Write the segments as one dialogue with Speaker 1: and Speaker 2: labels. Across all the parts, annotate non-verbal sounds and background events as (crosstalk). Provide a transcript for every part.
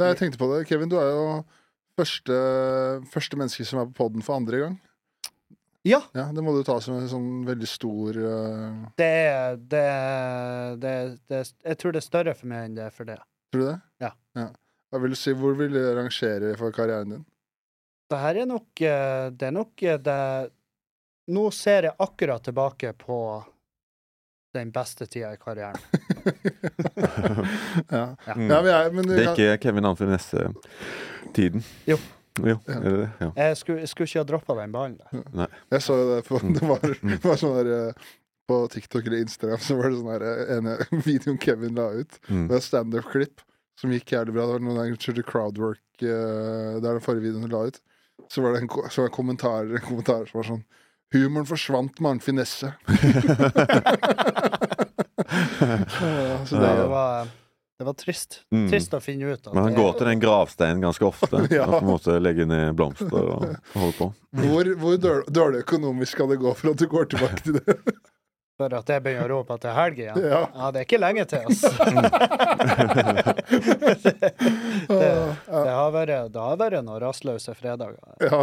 Speaker 1: Nei, jeg tenkte på det. Kevin, du er jo første, første menneske som er på poden for andre gang.
Speaker 2: Ja,
Speaker 1: Ja, Det må du ta som en sånn veldig stor eh,
Speaker 2: det er det, det, det Jeg tror det er større for meg enn det er for det.
Speaker 1: Tror du det?
Speaker 2: Ja.
Speaker 1: Hva vil du si, Hvor vil du rangere for karrieren din? (laughs)
Speaker 2: Det her er nok eh, Det er nok eh, det Nå ser jeg akkurat tilbake på den beste tida i karrieren.
Speaker 1: ja.
Speaker 3: Mm.
Speaker 1: ja, vi er, men vi
Speaker 3: Det er
Speaker 1: kan-
Speaker 3: ikke Kevin Ann for neste tiden.
Speaker 2: Jo.
Speaker 1: Ja.
Speaker 3: Jo, er det det? Ja.
Speaker 2: Jeg skulle, jeg skulle ikke ha droppa den ballen. der.
Speaker 1: Jeg så det på
Speaker 3: Mm.
Speaker 1: Det var, det var sånn der eh, På TikTok eller Instagram så var det sånn der eh, ene videoen Kevin la ut.
Speaker 3: Mm.
Speaker 1: (laughs)
Speaker 3: (laughs)
Speaker 1: Det var standup-klipp som gikk jævlig bra. Det var noen der kjørte crowdwork eh, Det er den forrige videoen hun la ut. Så var det en, ko- så var det en kommentar, (laughs) en kommentar som var sånn Humoren forsvant med annen finesse. (laughs) Ja, så det,
Speaker 2: Det var, det var trist.
Speaker 3: Mm.
Speaker 2: Trist å finne ut at
Speaker 3: Men han
Speaker 2: det-
Speaker 3: går til den gravsteinen ganske ofte.
Speaker 1: (laughs) Ja.
Speaker 3: Han på en måte legger ned blomster
Speaker 1: (laughs)
Speaker 3: og holder på.
Speaker 1: hvor hvor dør- dårlig økonomisk skal det gå for at du går tilbake til
Speaker 3: (laughs)
Speaker 1: det?
Speaker 2: for at jeg begynner å rope at det er helg igjen.
Speaker 1: Ja.
Speaker 2: Ja, det er ikke lenge til,
Speaker 3: (laughs) Mm.
Speaker 2: (laughs) altså.
Speaker 1: Ah, ja.
Speaker 2: Det har vært, det har vært noen rastløse fredager.
Speaker 1: Ja.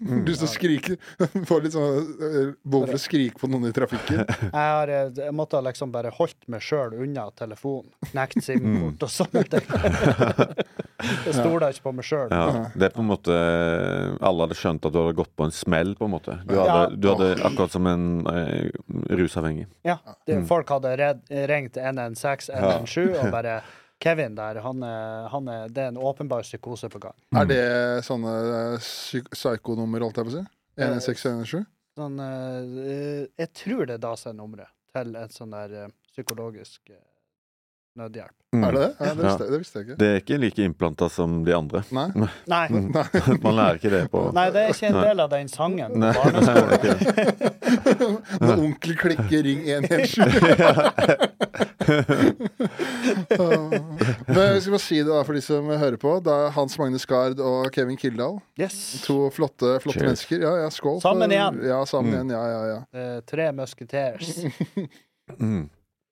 Speaker 3: Mm.
Speaker 1: Du som skriker. (laughs) Får litt sånn eh, behov for å skrike på noen i
Speaker 3: (laughs)
Speaker 1: trafikken.
Speaker 2: Jeg, har, eh, jeg måtte ha liksom bare holdt meg sjøl unna telefonen. Knekt SIM-kort og sånne
Speaker 3: (laughs)
Speaker 2: ting. Jeg stoler ikke på meg sjøl.
Speaker 3: Ja. Det er på en måte Alle hadde skjønt at du hadde gått på en smell, på en måte. Du
Speaker 2: Ja.
Speaker 3: hadde, du hadde akkurat som en eh, rusavhengig.
Speaker 2: Ja, det, folk hadde red, ringt 116, 117 og bare Kevin der, han er, han er, det er en åpenbar psykose på gang.
Speaker 1: Er det sånne eh, psy- psykonummer, holdt jeg på å si? 11617?
Speaker 2: Sånn, eh, jeg tror det er da seg nummeret til et sånn der eh, psykologisk eh, nødhjelp.
Speaker 3: Mm.
Speaker 1: Er det det? Ja, det,
Speaker 3: Ja.
Speaker 1: visste, jeg- det visste jeg ikke.
Speaker 3: Det er ikke like innplanta som de andre. (laughs)
Speaker 1: Nei?
Speaker 2: Nei,
Speaker 3: Mm.
Speaker 1: Nei.
Speaker 3: Man lærer ikke det på
Speaker 2: nei, det er ikke en del av den sangen på
Speaker 3: (laughs) Nei. (laughs)
Speaker 2: barneskolen.
Speaker 1: Når onkel klikker,
Speaker 3: (laughs)
Speaker 1: ring 117. Ah. Men jeg skal bare si det da for de som hører på. Det er Hans Magne Skard og Kevin Kildahl.
Speaker 2: Yes.
Speaker 1: To flotte, flotte
Speaker 3: Cheers.
Speaker 1: mennesker. Ja, ja, skål.
Speaker 2: Sammen
Speaker 1: for-
Speaker 2: igjen.
Speaker 1: Ja, sammen igjen. Ja, ja, ja.
Speaker 2: Eh, tre musketeers.
Speaker 3: mm.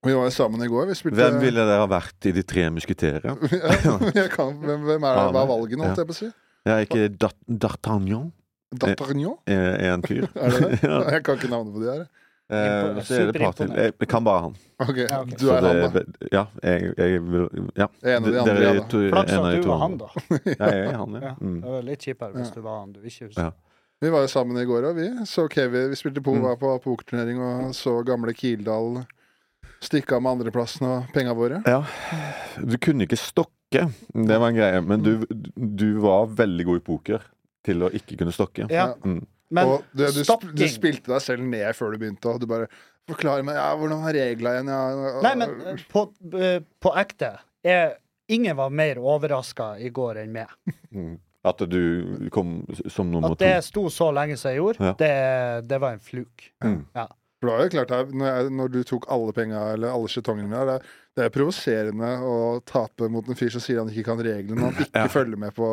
Speaker 1: Vi var jo sammen i går. Vi spilte
Speaker 3: Hvem ville dere ha vært i De tre musketerer?
Speaker 1: (laughs) Ja, jeg kan, hvem, hvem er det? Hva er valgene, holdt
Speaker 3: Ja.
Speaker 1: jeg på å si?
Speaker 3: Ja, ikke Dat- D'Artagnan
Speaker 1: D'Artagnan?
Speaker 3: er er eh, en fyr.
Speaker 1: (laughs) Er
Speaker 3: (laughs)
Speaker 1: det det?
Speaker 3: Ja.
Speaker 1: Jeg kan ikke navnet på de her.
Speaker 3: Eh, og så er det et par til. Jeg jeg kan bare han.
Speaker 1: Ok,
Speaker 2: Ja, ok.
Speaker 1: Du
Speaker 3: Så
Speaker 1: er han, da.
Speaker 3: det, Ja. Jeg, jeg vil Ja.
Speaker 1: Jeg er en av de
Speaker 3: Dere
Speaker 1: andre, ja,
Speaker 3: er
Speaker 1: da.
Speaker 3: to-
Speaker 2: Flaks
Speaker 3: en av
Speaker 2: at
Speaker 3: de
Speaker 2: du
Speaker 3: to
Speaker 2: var han,
Speaker 3: andre.
Speaker 2: da.
Speaker 3: Ja, jeg er han, ja.
Speaker 2: Ja.
Speaker 3: Mm.
Speaker 2: Det var litt kjipere hvis du var han du ikke husker.
Speaker 3: Ja.
Speaker 1: Vi var jo sammen i går òg, vi. Så Kevin, vi spilte po
Speaker 3: Mm.
Speaker 1: var på pokerturnering og så gamle Kildahl stikke av med andreplassen og penga våre.
Speaker 3: Ja, du kunne ikke stokke. Det var en greie. Men du, du var veldig god i poker til å ikke kunne stokke.
Speaker 2: Ja.
Speaker 3: Mm.
Speaker 2: Men
Speaker 1: og du, du, sp
Speaker 2: stokking.
Speaker 1: du spilte deg selv ned før du begynte, og du bare Forklar meg, ja, hvordan er regla igjen, ja
Speaker 2: Nei, men eh, på, eh, på ekte jeg, Ingen var mer overraska i går enn meg.
Speaker 3: Mm. At du kom som nummer
Speaker 2: At
Speaker 3: to.
Speaker 2: det sto så lenge som jeg gjorde,
Speaker 3: Ja.
Speaker 2: det, det var en fluk.
Speaker 3: Mm.
Speaker 2: Ja.
Speaker 1: For det var jo klart her, når, jeg, når du tok alle penga, eller alle skjetongene der, det, er- det er provoserende å tape mot en fyr som sier han ikke kan reglene, og han ikke følger med på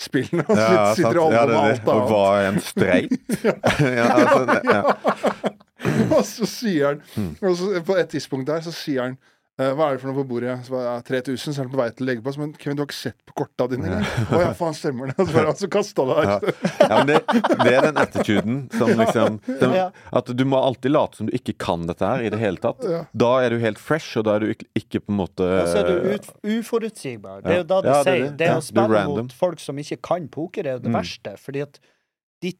Speaker 1: spillene, og
Speaker 3: Ja, sant.
Speaker 1: sånn sitter og
Speaker 3: Ja,
Speaker 1: holder
Speaker 3: det
Speaker 1: med
Speaker 3: er
Speaker 1: alt
Speaker 3: det. Og
Speaker 1: annet.
Speaker 3: var en streit. (laughs) ja, altså, det- ja.
Speaker 1: (laughs) Og så sier han, og så, på et tidspunkt der, så sier han eh, hva er det for noe på bordet? Så bare, ja, 3000, så er han på vei til å legge på oss. Men Kevin, du har ikke sett på korta dine? eller? Å ja, faen, stemmer det? (laughs) Og så bare, altså, kasta det
Speaker 3: Ja.
Speaker 1: her.
Speaker 3: Ja, men det, det er den attituden som liksom
Speaker 2: Ja.
Speaker 3: den, At du må alltid late som du ikke kan dette her i det hele tatt.
Speaker 1: Ja.
Speaker 3: Da er du helt fresh, og da er du ikke, ikke på en måte
Speaker 2: Og så er du ut, uforutsigbar. Det er jo da de
Speaker 3: Ja, det er
Speaker 2: sier. Det,
Speaker 3: det.
Speaker 2: er
Speaker 3: Ja,
Speaker 2: å
Speaker 3: du er
Speaker 2: spille
Speaker 3: random. Mm.
Speaker 2: mot folk som ikke kan poker, er jo det verste. Fordi at de,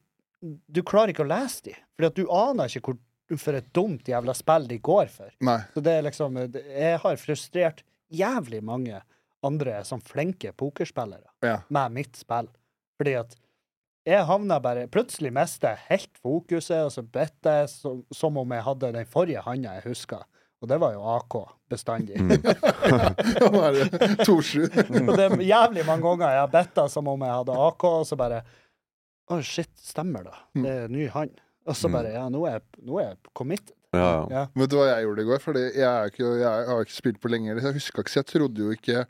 Speaker 2: du klarer ikke å lese de. Fordi at du aner ikke hvor, for et dumt jævla spill de går for.
Speaker 1: Nei.
Speaker 2: Så det er liksom det- Jeg har frustrert jævlig mange andre som flinke pokerspillere
Speaker 1: Ja. (laughs)
Speaker 2: med mitt spill. Fordi at jeg havna bare Plutselig mister jeg helt fokuset, og så bitter jeg som, som om jeg hadde den forrige handa jeg huska. Og det var jo AK bestandig.
Speaker 3: Mm.
Speaker 1: Han er eh, Torsrud.
Speaker 2: Og det er jævlig mange ganger jeg har bitta som om jeg hadde AK, og så bare Å, shit, stemmer det.
Speaker 3: Mm.
Speaker 2: Det er ny hand. Og så bare Ja, nå er jeg, nå er jeg committed.
Speaker 3: ja, Mm. ja.
Speaker 2: Ja.
Speaker 1: Vet du hva jeg gjorde i går? Fordi jeg, er ikke, jeg har ikke spilt på lenge. eller Jeg huska ikke, så jeg trodde jo ikke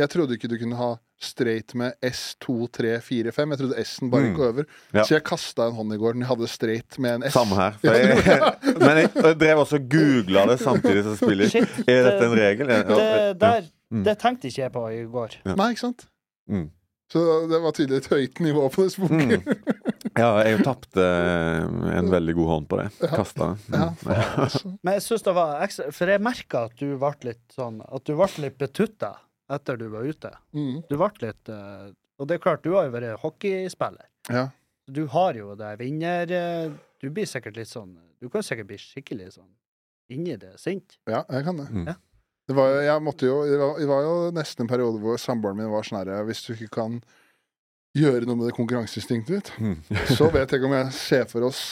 Speaker 1: Jeg trodde ikke du kunne ha straight med S, 2, 3, 4, 5. Jeg trodde S-en bare
Speaker 3: Mm.
Speaker 1: gikk over.
Speaker 3: Ja.
Speaker 1: Så jeg kasta en hånd i går når jeg hadde straight med en S.
Speaker 3: Samme her. For jeg, (laughs) men jeg, jeg drev også og googla det samtidig som jeg spiller.
Speaker 2: Shit,
Speaker 3: Er dette
Speaker 2: det-
Speaker 3: en regel? Ja, Mm.
Speaker 2: Det,
Speaker 3: ja.
Speaker 2: der, det tenkte ikke jeg på i går.
Speaker 1: Nei, ikke sant?
Speaker 3: Mm.
Speaker 1: Så det var tydelig et høyt nivå på det spoket.
Speaker 3: Mm. Ja, jeg tapte en veldig god hånd på det. Kasta det.
Speaker 1: Ja, faen, altså.
Speaker 2: Men jeg synes det var ekstra For jeg merka at du ble litt sånn At du ble litt betutta etter du var ute.
Speaker 1: (laughs) Mm.
Speaker 2: Du ble litt eh, Og det er klart, du har jo vært hockeyspiller.
Speaker 1: Ja.
Speaker 2: Du har jo det vinner... eh, Du blir sikkert litt sånn Du kan sikkert bli skikkelig sånn inni det sint.
Speaker 1: ja, jeg kan det.
Speaker 3: Mm.
Speaker 2: Ja.
Speaker 1: Det var, jo- jeg måtte jo, det, var, det var jo nesten en periode hvor samboeren min var sånn herre Hvis du ikke kan gjøre noe med det konkurranseinstinktet ditt,
Speaker 3: Mm. (laughs)
Speaker 1: så vet jeg ikke om jeg ser for oss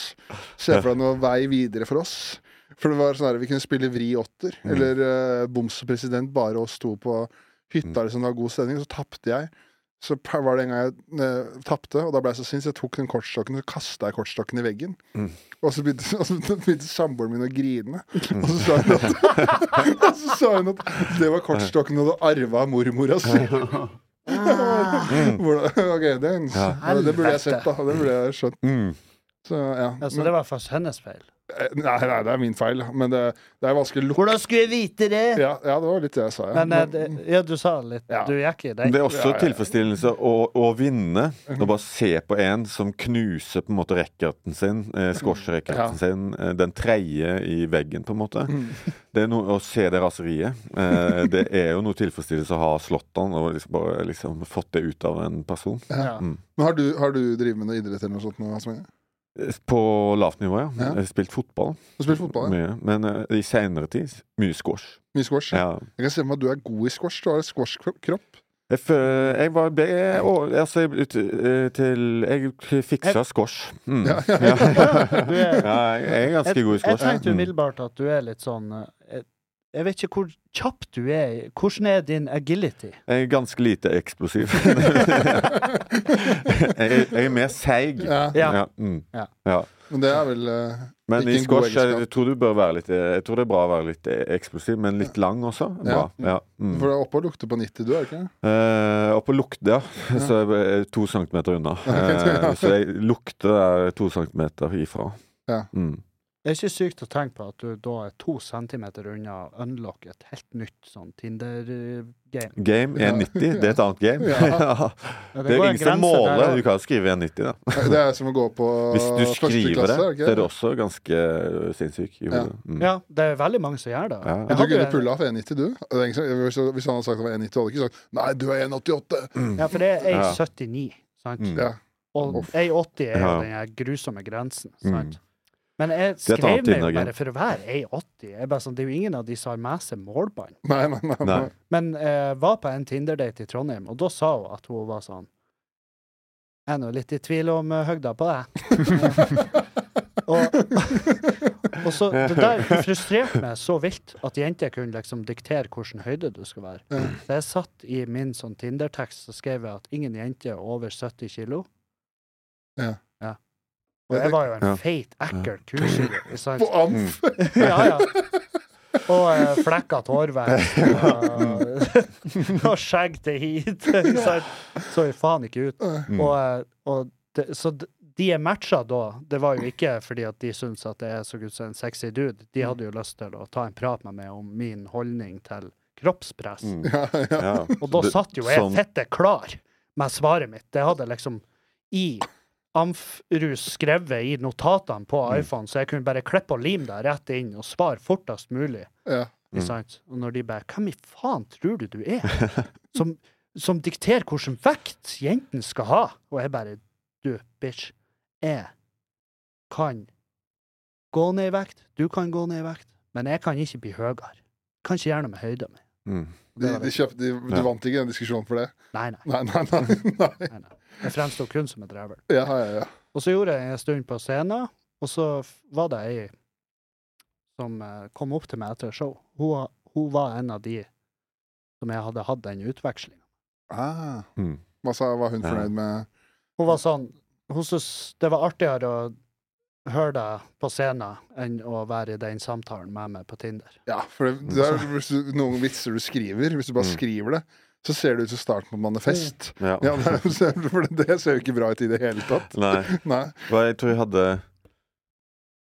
Speaker 1: Ser for deg noe vei videre for oss. For det var sånn her, vi kunne spille vri åtter,
Speaker 3: Mm.
Speaker 1: eller uh, boms og president, bare oss to på
Speaker 3: Mm.
Speaker 1: hytta, liksom, det var god stemning, og så tapte jeg. Så pa- var det en gang jeg eh, tapte, og da ble jeg så sint, så jeg tok den kortstokken og kasta kortstokken i veggen.
Speaker 3: Mm.
Speaker 1: Og så begynte, (laughs) og så begynte samboeren min å grine,
Speaker 3: Mm.
Speaker 1: og så sa hun at, (laughs)
Speaker 3: (laughs)
Speaker 1: og så sa hun at det var kortstokken du hadde arva av mormora si.
Speaker 3: (laughs)
Speaker 1: (laughs) Hvordan- Ok, det, er en-
Speaker 3: Ah. Ja.
Speaker 1: det burde jeg sett, da. Det burde jeg skjønt.
Speaker 3: Mm.
Speaker 1: Så, ja.
Speaker 2: Ja, så
Speaker 1: Men-
Speaker 2: Altså, det var faktisk hennes feil.
Speaker 1: Eh, Nei, nei, det er min feil, men det, det er vanskelig å lukke
Speaker 2: Hvordan skulle jeg vite det?!
Speaker 1: ja, ja, det var litt det jeg sa. Ja.
Speaker 2: Men eh, det, ja, du sa litt
Speaker 1: Ja.
Speaker 2: Du gikk i den.
Speaker 3: Det
Speaker 1: Ja,
Speaker 3: er også
Speaker 1: ja, ja.
Speaker 3: tilfredsstillelse å, å vinne. Å bare se på en som knuser på en måte racketen sin, eh,
Speaker 1: Ja.
Speaker 3: squash-racketen sin, eh, den tredje i veggen, på en måte.
Speaker 1: Mm.
Speaker 3: Det er noe å se det raseriet. Eh, det er jo noe tilfredsstillelse å ha slått han og liksom bare liksom fått det ut av en person. (laughs)
Speaker 2: Ja.
Speaker 1: Men har du, har du drevet med noe idrett eller noe sånt? nå, Hans Magne?
Speaker 3: Eh, På lavt nivå, ja.
Speaker 1: Ja.
Speaker 3: Jeg har spilt fotball
Speaker 1: Du har spilt fotball? Ja.
Speaker 3: mye. Men eh, i seinere tid mye squash.
Speaker 1: Mye squash?
Speaker 3: Ja.
Speaker 1: Jeg kan se for meg at du er god i squash. Du har en squash-kropp.
Speaker 3: Jeg, fø- jeg var ble, å- altså, jeg, ut- eh, til Jeg fiksa squash. Mm.
Speaker 1: Ja,
Speaker 2: Du er,
Speaker 3: Ja, jeg jeg er ganske god i
Speaker 2: Jeg
Speaker 3: squash.
Speaker 2: tenkte
Speaker 3: Mm.
Speaker 2: umiddelbart at du er litt sånn eh, Jeg, jeg vet ikke hvor kjapp du er. i- Hvordan er din agility?
Speaker 3: Jeg er ganske lite
Speaker 2: (laughs)
Speaker 3: eksplosiv. jeg, jeg er mer seig.
Speaker 1: Ja.
Speaker 2: Ja.
Speaker 3: mm.
Speaker 2: Ja.
Speaker 3: Ja.
Speaker 1: Men det er vel eh,
Speaker 3: Men
Speaker 1: Ikke
Speaker 3: i
Speaker 1: en god
Speaker 3: squash jeg,
Speaker 1: egenskap.
Speaker 3: tror du bør være litt eh, Jeg tror det er bra å være litt eh, eksplosiv, men litt lang også. er Bra. Ja. Mm.
Speaker 1: For det er oppe og lukter på 90, du, er det ikke? det?
Speaker 3: Eh, og på lukt, ja. Så jeg er to centimeter unna. Eh, så jeg lukter der to centimeter ifra.
Speaker 1: Ja.
Speaker 3: Mm.
Speaker 2: Det er ikke sykt å tenke på at du da er to centimeter unna å unlocke et helt nytt sånn Tinder-game.
Speaker 3: Game 1,90. Det er et annet game. (laughs)
Speaker 1: Ja.
Speaker 2: Ja,
Speaker 3: Det er
Speaker 2: går en
Speaker 3: ingen
Speaker 2: grense
Speaker 3: som
Speaker 2: der
Speaker 3: måler.
Speaker 2: også.
Speaker 3: Du kan skrive 1,90, da.
Speaker 1: Det er som å gå på
Speaker 3: (laughs) Hvis du skriver det,
Speaker 1: klasse,
Speaker 3: så
Speaker 1: er
Speaker 3: er det
Speaker 1: det ikke?
Speaker 3: også ganske øh, sinnssyk i
Speaker 1: Ja.
Speaker 3: hodet. Mm.
Speaker 2: Ja, det er veldig mange som gjør det.
Speaker 3: Ja.
Speaker 2: Jeg
Speaker 1: Men du
Speaker 2: hadde jo
Speaker 1: kunne
Speaker 2: en-
Speaker 1: pulla av 1,90, du. Det er ingen som- Hvis hvis han hadde sagt at det var 1,90, hadde du ikke sagt 'nei, du er 1,88'.
Speaker 2: Ja, for det er
Speaker 3: Ja.
Speaker 2: 1,79, sant?
Speaker 3: Mm.
Speaker 1: Ja.
Speaker 2: Og 1,80 er jo
Speaker 3: Ja.
Speaker 2: den her grusomme grensen,
Speaker 3: Mm.
Speaker 2: sant? Men jeg
Speaker 3: er et
Speaker 2: skrev meg
Speaker 3: annet
Speaker 2: jo
Speaker 3: Tinder-game.
Speaker 2: bare for å være 1,80. Jeg bare sånn, Det er jo ingen av de som har med seg målbånd.
Speaker 1: Nei, nei, nei. nei. (laughs)
Speaker 3: Nei.
Speaker 2: Men jeg var på en Tinder-date i Trondheim, og da sa hun at hun var sånn Jeg er nå litt i tvil om eh, høgda på
Speaker 3: (laughs)
Speaker 2: deg. og, og så Det
Speaker 3: (laughs)
Speaker 2: der frustrerte meg så vilt at jenter kunne liksom diktere hvilken høyde du skulle være.
Speaker 1: Ja.
Speaker 2: Så jeg satt i min sånn Tinder-tekst så skrev jeg at ingen jenter er over 70 kilo.
Speaker 1: Ja.
Speaker 2: Og jeg var jo
Speaker 3: Ja.
Speaker 2: en feit, ekkel kuskilo. ikke sant?
Speaker 1: På
Speaker 3: Mm.
Speaker 1: AMF!
Speaker 2: Ja, ja. Og eh, flekka tårvekst og, og (laughs) skjegg til hit. ikke sant? Så jo faen ikke ut.
Speaker 3: Mm.
Speaker 2: (laughs) Og, eh, og det, så d- de jeg matcha da, det var jo ikke fordi at de syns at jeg så ut som en sexy dude.
Speaker 3: Mm.
Speaker 2: De hadde jo lyst til å ta en prat med meg om min holdning til kroppspress.
Speaker 3: Mm.
Speaker 1: Ja, ja.
Speaker 3: Ja.
Speaker 2: (laughs) Og da
Speaker 3: Det-
Speaker 2: satt jo jeg
Speaker 3: sånn-
Speaker 2: fette klar med svaret mitt. Det hadde jeg liksom i Amfrus skrevet i notatene på
Speaker 3: Mm.
Speaker 2: iPhone, så jeg kunne bare klippe og lime det rett inn og svare fortest mulig.
Speaker 1: ja.
Speaker 2: Ikke sant? Og når de bare 'Hvem i faen tror du du er?' (laughs) Som, som dikterer hvilken vekt jentene skal ha. Og jeg bare 'Du, bitch, jeg kan gå ned i vekt, du kan gå ned i vekt, men jeg kan ikke bli høyere. Kan ikke gjøre noe med høyden min.
Speaker 3: Mm.
Speaker 1: De, de kjøpte, de, du
Speaker 3: Ja.
Speaker 1: vant ikke den diskusjonen for det? (laughs)
Speaker 2: Nei, nei.
Speaker 1: Nei, nei, nei. nei.
Speaker 2: nei, nei. Jeg fremstår kun som et rævhull.
Speaker 1: Ja, ja, ja.
Speaker 2: Og så gjorde jeg en stund på scenen, og så f- var det ei som eh, kom opp til meg etter et show. Hun, var- hun var en av de som jeg hadde hatt den utvekslinga.
Speaker 1: Ah.
Speaker 3: Mm.
Speaker 1: Hva sa, var hun
Speaker 3: Ja.
Speaker 1: fornøyd med?
Speaker 2: Hun var sånn Hun syntes det var artigere å høre deg på scenen enn å være i den samtalen med meg på Tinder.
Speaker 1: Ja, for det, det er hvis du, noen vitser du skriver, hvis du bare
Speaker 3: Mm.
Speaker 1: skriver det, så ser det ut som starten på et manifest.
Speaker 3: Ja.
Speaker 1: Ja, det, er- (laughs) for det ser jo ikke bra ut i det hele tatt.
Speaker 3: Nei.
Speaker 1: Nei.
Speaker 3: Hva, jeg tror jeg hadde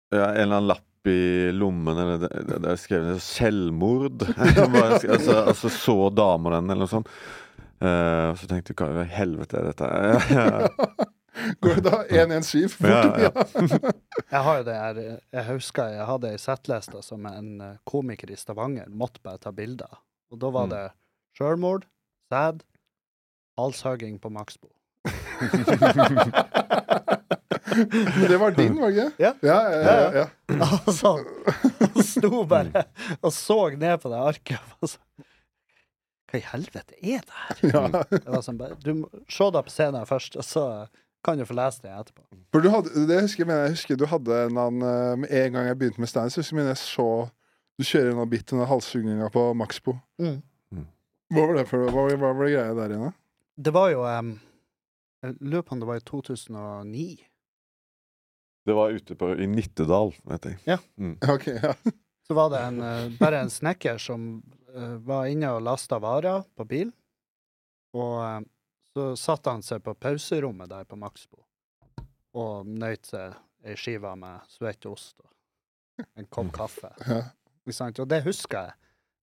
Speaker 3: ja, en eller annen lapp i lommen eller det- det- (laughs) der jeg skrev det, 'selvmord'. Bare sk- altså, altså så damer den, eller noe sånt. Eh, og så tenkte jeg hva i helvete er dette? (laughs)
Speaker 1: Går det da 117 fort? (laughs)
Speaker 3: Ja, ja.
Speaker 2: Jeg har jo det her, eh, jeg husker jeg hadde ei settliste som en eh, komiker i Stavanger måtte bare ta bilder av. Og da var
Speaker 3: Mm.
Speaker 2: det sjølmord, sæd, halshogging på (clears throat) Maxbo. (laughs)
Speaker 1: Men det var din, var det ikke?
Speaker 2: Ja.
Speaker 1: Ja, ja, ja, ja.
Speaker 2: Altså, han sto bare og så ned på det arket og bare sånn Hva i helvete er det her?
Speaker 3: Hmm.
Speaker 1: ja.
Speaker 2: Det var sånn bare, du må se deg på scenen først, og så kan du få lese det etterpå.
Speaker 1: For du hadde, det husker jeg, men jeg husker du hadde en annen eh, Med en gang jeg begynte med standup, så mener jeg så du kjører en av bit den halshugginga på Maxbo.
Speaker 2: Mm.
Speaker 3: Mm.
Speaker 1: Hva var det for Hva, hva var det greia der igjen, da?
Speaker 3: (laughs)
Speaker 2: Det var jo em, Jeg lurer på om det var i 2009.
Speaker 3: Det var ute på, i Nittedal, vet jeg.
Speaker 1: Ok, ja.
Speaker 2: Så var det en, eh, bare en snekker som eh, var inne og lasta varer på bil. Og eh, så satte han seg på pauserommet der på Maxbo og nøyt seg ei skive med svett ost og en kopp kaffe.
Speaker 1: ja.
Speaker 2: Ikke sant? Og det husker jeg.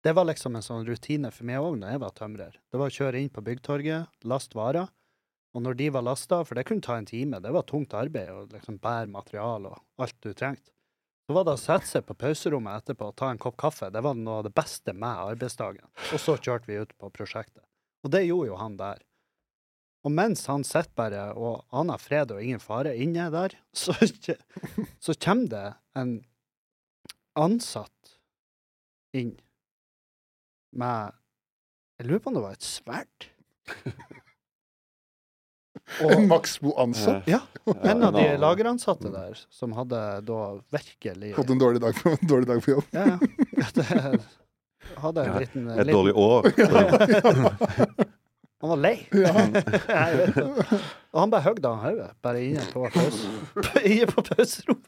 Speaker 2: Det var liksom en sånn rutine for meg òg da jeg var tømrer. Det var å kjøre inn på byggtorget, laste varer. Og når de var lasta, for det kunne ta en time, det var tungt arbeid å liksom bære materiale og alt du trengte, så var det å sette seg på pauserommet etterpå og ta en kopp kaffe. Det var noe av det beste med arbeidsdagen. Og så kjørte vi ut på prosjektet. Og det gjorde jo han der. Og mens han sitter bare og aner fred og ingen fare inne der, (laughs) så, kje- så kommer det en ansatt inn med Jeg lurer på om det var et sverd.
Speaker 1: (laughs) En Maxbo-ansatt
Speaker 2: Sånn, Ja, en av de
Speaker 3: Eh, annen-
Speaker 2: lageransatte
Speaker 3: Mm.
Speaker 2: der som hadde da virkelig
Speaker 1: hadde en dårlig dag på, en dårlig dag på jobb.
Speaker 2: Ja, ja. Det hadde en
Speaker 3: Ja,
Speaker 2: liten eh,
Speaker 3: Et
Speaker 2: liten-
Speaker 3: dårlig år.
Speaker 2: Han var
Speaker 3: (laughs)
Speaker 2: lei.
Speaker 1: Ja.
Speaker 3: Mm.
Speaker 2: Jeg vet det. Og han bare høgde han hodet, bare inne på pause. (laughs) Inne på pauserommet.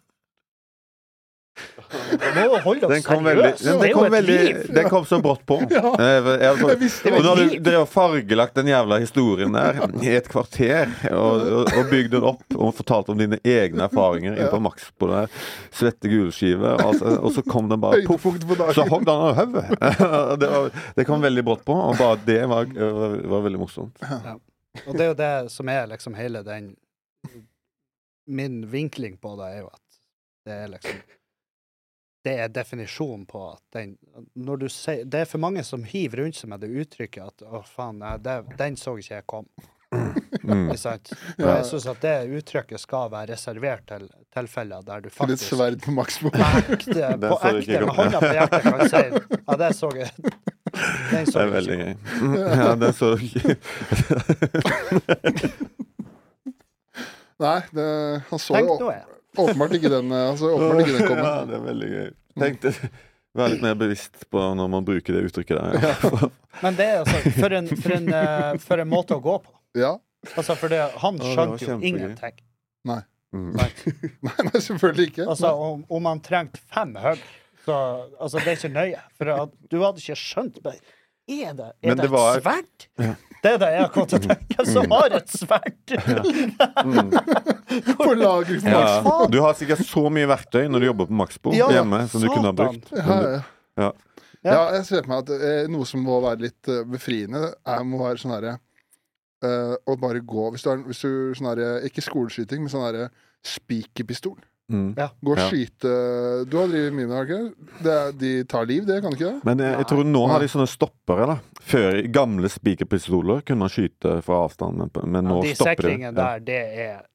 Speaker 2: Nå holder
Speaker 3: Den
Speaker 2: dere
Speaker 3: kom veldig,
Speaker 2: seriøst!
Speaker 3: den,
Speaker 2: Det er
Speaker 3: kom
Speaker 2: jo et
Speaker 3: veldig
Speaker 2: liv!
Speaker 3: den kom så brått
Speaker 2: (laughs)
Speaker 3: på.
Speaker 1: Ja.
Speaker 3: Eh, jeg-
Speaker 1: Jeg visste
Speaker 3: Og
Speaker 1: det.
Speaker 3: da har du
Speaker 2: liv.
Speaker 3: drevet og fargelagt den jævla historien der i et kvarter, og, og, og bygd den opp og fortalt om dine egne erfaringer innenfor maks på det der svette gulskive, altså, og så kom den bare poff.
Speaker 1: (laughs) Høydepunkt på
Speaker 3: Så
Speaker 1: dagen.
Speaker 3: hogg den av hodet. (laughs) Det, var- det kom veldig brått på, og bare det var, var, var veldig morsomt.
Speaker 2: Og det er jo det som er liksom hele den Min vinkling på det er jo at det er liksom Det er definisjonen på at den Når du sier Det er for mange som hiver rundt seg med det uttrykket at 'Å, faen, nei, det, den så ikke jeg kom'.
Speaker 3: Mm.
Speaker 2: Ikke
Speaker 3: (laughs)
Speaker 2: sant? Og
Speaker 1: Ja.
Speaker 2: jeg syns at det uttrykket skal være reservert til tilfeller der du
Speaker 1: Til et
Speaker 2: faktisk
Speaker 1: sverd på Maxbo.
Speaker 2: på
Speaker 3: (laughs)
Speaker 2: ekte,
Speaker 3: Den
Speaker 2: på
Speaker 3: så du ikke
Speaker 2: ekte med
Speaker 3: kom.
Speaker 2: hånda på hjertet kan si 'Ja, det så jeg'. Den
Speaker 3: Det
Speaker 2: så
Speaker 3: er
Speaker 2: jeg
Speaker 3: veldig
Speaker 2: ikke.
Speaker 3: gøy. (laughs) Ja, den så
Speaker 1: (laughs) Nei, det, han så
Speaker 2: Tenk
Speaker 1: jo
Speaker 2: nå, jeg.
Speaker 1: åpenbart ikke den eh, altså, åpenbart ikke den
Speaker 3: (laughs)
Speaker 1: komme.
Speaker 3: Ja, det er veldig gøy. Tenkte Vær litt mer bevisst på når man bruker det uttrykket der. (laughs) Ja.
Speaker 2: Men det er altså for en, for en, eh, for en måte å gå på.
Speaker 1: Ja.
Speaker 2: Altså, for det, han
Speaker 3: det var
Speaker 2: skjønte jo
Speaker 3: kjempegøy.
Speaker 2: ingenting.
Speaker 3: Mm.
Speaker 2: sant?
Speaker 1: (laughs) Nei, nei, selvfølgelig ikke.
Speaker 2: Altså, om, om han trengte fem hugg, så altså, det er ikke nøye. For at, du hadde ikke skjønt det. Er det, er
Speaker 3: Men
Speaker 2: det,
Speaker 3: det var- Mm.
Speaker 2: et sverd? Det er det jeg har kommet til å
Speaker 3: (laughs)
Speaker 2: tenke, som har et sverd!
Speaker 1: På lagring på Maxbo.
Speaker 3: Ja. Du har sikkert så mye verktøy når du jobber på Maxbo
Speaker 2: Ja,
Speaker 3: hjemme som du kunne ha
Speaker 2: satan.
Speaker 3: brukt.
Speaker 1: Ja,
Speaker 3: Men du-
Speaker 1: ja.
Speaker 3: Ja.
Speaker 1: Ja, jeg ser for meg at eh, noe som må være litt eh, befriende, er, må være sånn herre eh, Å bare gå Hvis du har hvis du, sånn herre Ikke skoleskyting, men sånn herre spikerpistol.
Speaker 3: Mm.
Speaker 1: Gå og
Speaker 3: Ja.
Speaker 1: skyte eh, Du har drevet mye med det, har du ikke? det? er- De tar liv, det, kan du ikke det?
Speaker 3: Men eh, jeg, jeg tror nå har de sånne stoppere. da Før i gamle spikerpistoler kunne man skyte fra avstand, men, på- men nå
Speaker 2: de
Speaker 3: stopper de.
Speaker 2: sikringene
Speaker 3: Ja.
Speaker 2: der, det er,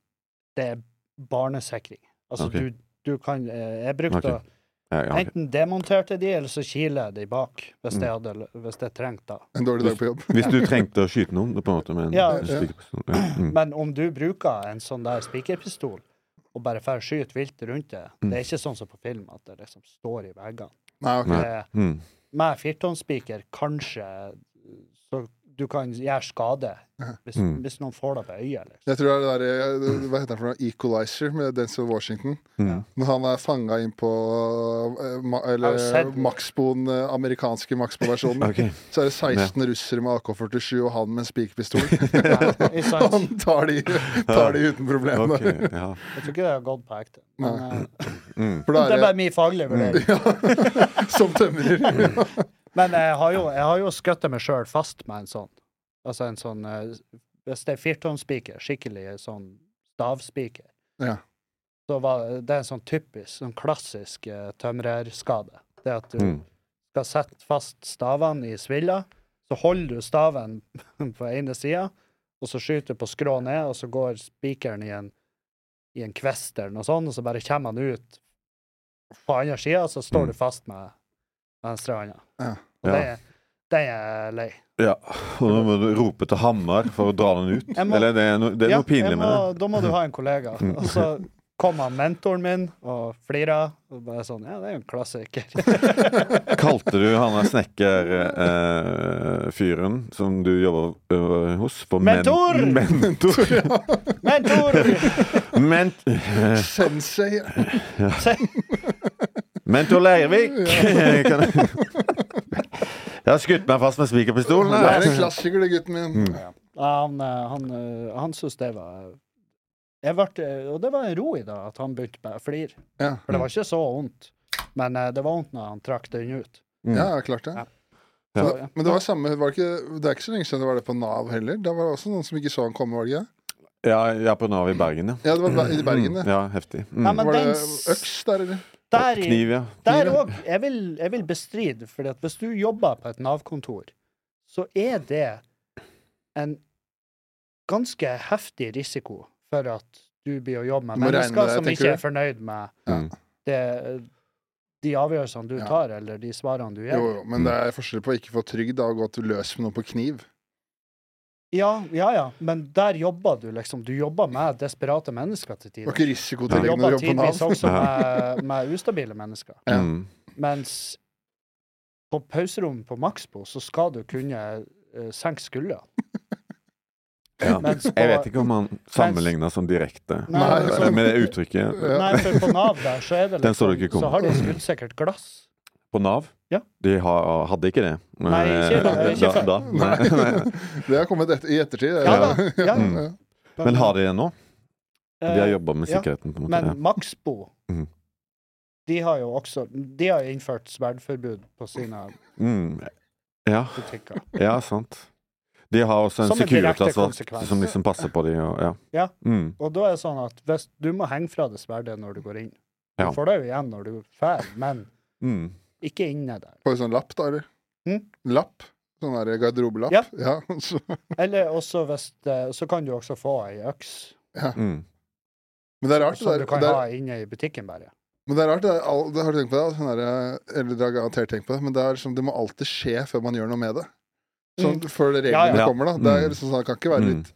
Speaker 2: det er barnesikring. Altså,
Speaker 3: Ok.
Speaker 2: du, du kan eh, Jeg brukte
Speaker 3: Ok.
Speaker 2: å
Speaker 3: Ja, ja, ok. Mm.
Speaker 2: Enten demonterte de, eller så kiler jeg de bak, hvis jeg, hadde, hvis jeg trengte det.
Speaker 1: En dårlig dag på jobb. (laughs)
Speaker 3: Hvis du trengte å skyte noen på en måte med en
Speaker 2: Ja.
Speaker 3: spikerpistol. Ja. Mm.
Speaker 2: Men om du bruker en sånn der spikerpistol og bare får skyte vilt rundt det
Speaker 3: Mm.
Speaker 2: Det er ikke sånn som på film, at det liksom står i veggene.
Speaker 1: Nei, ok.
Speaker 3: Nei.
Speaker 2: Det er-
Speaker 3: Mm.
Speaker 2: Med firtånnsspiker, kanskje Så du kan gjøre skade hvis,
Speaker 3: Mm.
Speaker 2: hvis noen får deg på øyet,
Speaker 3: (laughs)
Speaker 2: liksom.
Speaker 1: Jeg tror det er det der eh, Hva heter den for noe? Equalizer med Denzel Washington.
Speaker 3: Mm.
Speaker 1: Når han er fanga inn på eh, ma
Speaker 2: Jeg har
Speaker 1: eller
Speaker 2: sett-
Speaker 1: Maxboen, eh, amerikanske Maxbo-versjonen,
Speaker 3: (laughs) Ok.
Speaker 1: så er det 16 russere med AK-47 og han med en
Speaker 3: (laughs)
Speaker 1: spikerpistol.
Speaker 2: Ja, ikke sant?
Speaker 1: Han tar de, tar de uten problemer.
Speaker 3: Ok, ja.
Speaker 2: Jeg tror ikke det har gått på ekte. Men, eh,
Speaker 3: Mm.
Speaker 1: For da
Speaker 2: det er
Speaker 1: er
Speaker 2: bare min faglige vurdering.
Speaker 1: det som tømrer.
Speaker 3: (laughs)
Speaker 2: Men jeg har jo, jeg har jo skutt meg sjøl fast med en sånn. Altså en sånn eh, Hvis det er firtonspiker, skikkelig sånn stavspiker,
Speaker 1: Ja.
Speaker 2: så var det er en sånn typisk, sånn klassisk eh, tømrerskade. Det at du
Speaker 3: Mm.
Speaker 2: skal sette fast stavene i svilla, så holder du staven (laughs) på ene sida, og så skyter du på skrå ned, og så går spikeren i en, i en kvist eller noe sånt, og så bare kommer han ut på andre sida, og så står du
Speaker 3: Mm.
Speaker 2: fast med venstre hånda.
Speaker 1: Ja.
Speaker 2: Og det, det er lei.
Speaker 3: Ja, og nå må du rope til Hamar for å dra den ut.
Speaker 2: Jeg må-
Speaker 3: Eller det er, no, det er
Speaker 2: Ja,
Speaker 3: noe pinlig
Speaker 2: jeg
Speaker 3: med det. Mm.
Speaker 2: må- Da må du ha en kollega.
Speaker 3: (laughs)
Speaker 2: Og så kom han mentoren min og flira, og bare sånn Ja, det er jo en klassiker. (laughs)
Speaker 3: Kalte du han der snekkerfyren eh, fyren som du jobber ø, hos, for men-
Speaker 2: Mentor!
Speaker 3: mentor?
Speaker 1: (laughs)
Speaker 2: Mentor!
Speaker 3: Men,
Speaker 1: Sensei.
Speaker 2: (laughs)
Speaker 3: mentor Leirvik! Kan jeg jeg har skutt meg fast med spikerpistolen.
Speaker 1: Det er en
Speaker 3: her.
Speaker 1: klassiker, det, gutten min.
Speaker 3: Mm.
Speaker 2: Ja, han, eh, han, eh, han syntes det var jeg ble, Og det var en ro i det, at han begynte bare å flire.
Speaker 1: Ja,
Speaker 2: For det var ikke så vondt. Men eh, det var vondt når han trakk den ut.
Speaker 3: Mm.
Speaker 1: ja jeg har klart det.
Speaker 2: Ja.
Speaker 1: Så,
Speaker 2: Ja.
Speaker 1: men det var samme, var det, ikke, det er ikke så lenge siden det var det på Nav heller. Da var det også noen som ikke så han komme, var det ikke? det?
Speaker 3: Ja, jeg er på Nav i Bergen, ja.
Speaker 1: Ja, det var i Bergen, det.
Speaker 3: Ja, heftig.
Speaker 2: Nei,
Speaker 3: Mm.
Speaker 2: men
Speaker 1: Var det
Speaker 2: den
Speaker 1: øks der, eller?
Speaker 2: der i
Speaker 3: Kniv, ja.
Speaker 2: Der òg. Jeg, vil- jeg vil bestride, for hvis du jobber på et Nav-kontor, så er det en ganske heftig risiko for at du blir å jobbe med
Speaker 1: Du må regne
Speaker 2: mennesker
Speaker 1: det,
Speaker 2: som
Speaker 1: tenker
Speaker 2: ikke er
Speaker 1: du?
Speaker 2: fornøyd med
Speaker 3: Mm.
Speaker 2: det, eh, de avgjørelsene du
Speaker 1: Ja.
Speaker 2: tar, eller de svarene du
Speaker 1: Jo,
Speaker 2: gir.
Speaker 1: jo, men det er forskjell på å ikke få trygd av å gå til løs med noe på kniv.
Speaker 2: Ja, ja, ja, men der jobber du liksom. Du jobber med desperate mennesker til
Speaker 1: Det var
Speaker 2: tider.
Speaker 1: ikke
Speaker 2: Du
Speaker 1: risikotillegg når
Speaker 2: jobber
Speaker 1: du jobber på
Speaker 2: tidvis
Speaker 1: Nav.
Speaker 2: også
Speaker 3: (laughs)
Speaker 2: med, med ustabile mennesker.
Speaker 1: Ja.
Speaker 3: Mm.
Speaker 2: Mens på pauserommet på Maxbo så skal du kunne eh, senke skuldra.
Speaker 3: Ja.
Speaker 2: Mens på-
Speaker 3: Jeg vet ikke om han sammenligna sånn direkte
Speaker 2: Nei,
Speaker 1: altså-
Speaker 3: med det uttrykket.
Speaker 1: Ja.
Speaker 2: Nei, for på Nav der så er det
Speaker 3: (laughs) Den så du
Speaker 2: liksom-
Speaker 3: ikke komme.
Speaker 2: Så har de skuddsikkert glass.
Speaker 3: På Nav?
Speaker 2: Ja.
Speaker 3: De har, hadde ikke det.
Speaker 2: Nei, ikke-
Speaker 3: Eh,
Speaker 2: ikke
Speaker 3: (laughs) da,
Speaker 2: før.
Speaker 3: da. Nei.
Speaker 1: (laughs) Det har kommet etter, i ettertid. det.
Speaker 2: Ja da. Ja,
Speaker 3: Mm. Men har de det nå? De har jobba med
Speaker 2: ja.
Speaker 3: sikkerheten, på en måte.
Speaker 2: Eh, Men Maxbo
Speaker 3: Mhm.
Speaker 2: de har jo også De har jo innført sverdforbud på sine
Speaker 3: Ja. Mm. Ja,
Speaker 2: butikker.
Speaker 3: ja, sant. De har også en
Speaker 2: Som en direkte
Speaker 3: Securitas-vakt
Speaker 2: konsekvens.
Speaker 3: som liksom passer på de og ja.
Speaker 2: Ja.
Speaker 3: Mm.
Speaker 2: Og da er det sånn at hvis du må henge fra deg sverdet når du går inn. Du
Speaker 3: Ja.
Speaker 2: får det jo igjen når du drar, men
Speaker 3: Mm.
Speaker 2: ikke inne der.
Speaker 1: På en sånn lapp, da, eller?
Speaker 2: Mm.
Speaker 1: Lapp? Sånn der garderobelapp?
Speaker 2: Ja.
Speaker 1: (laughs) så,
Speaker 2: Eller også hvis det, Så kan du også få ei øks
Speaker 3: Mm.
Speaker 1: men det er rart,
Speaker 2: Sånn som
Speaker 1: det
Speaker 2: du
Speaker 1: der.
Speaker 2: kan
Speaker 1: Det er,
Speaker 2: ha inne i butikken, bare.
Speaker 1: men det er rart, det er, all- det har du tenkt på det? Sånn der, eller du har garantert tenkt på det, men det, er liksom, det må alltid skje før man gjør noe med det. Sånn, Før reglene
Speaker 2: Mm. Ja,
Speaker 3: ja.
Speaker 1: kommer, da. Det, er
Speaker 3: Mm.
Speaker 1: liksom, sånn, det kan ikke være litt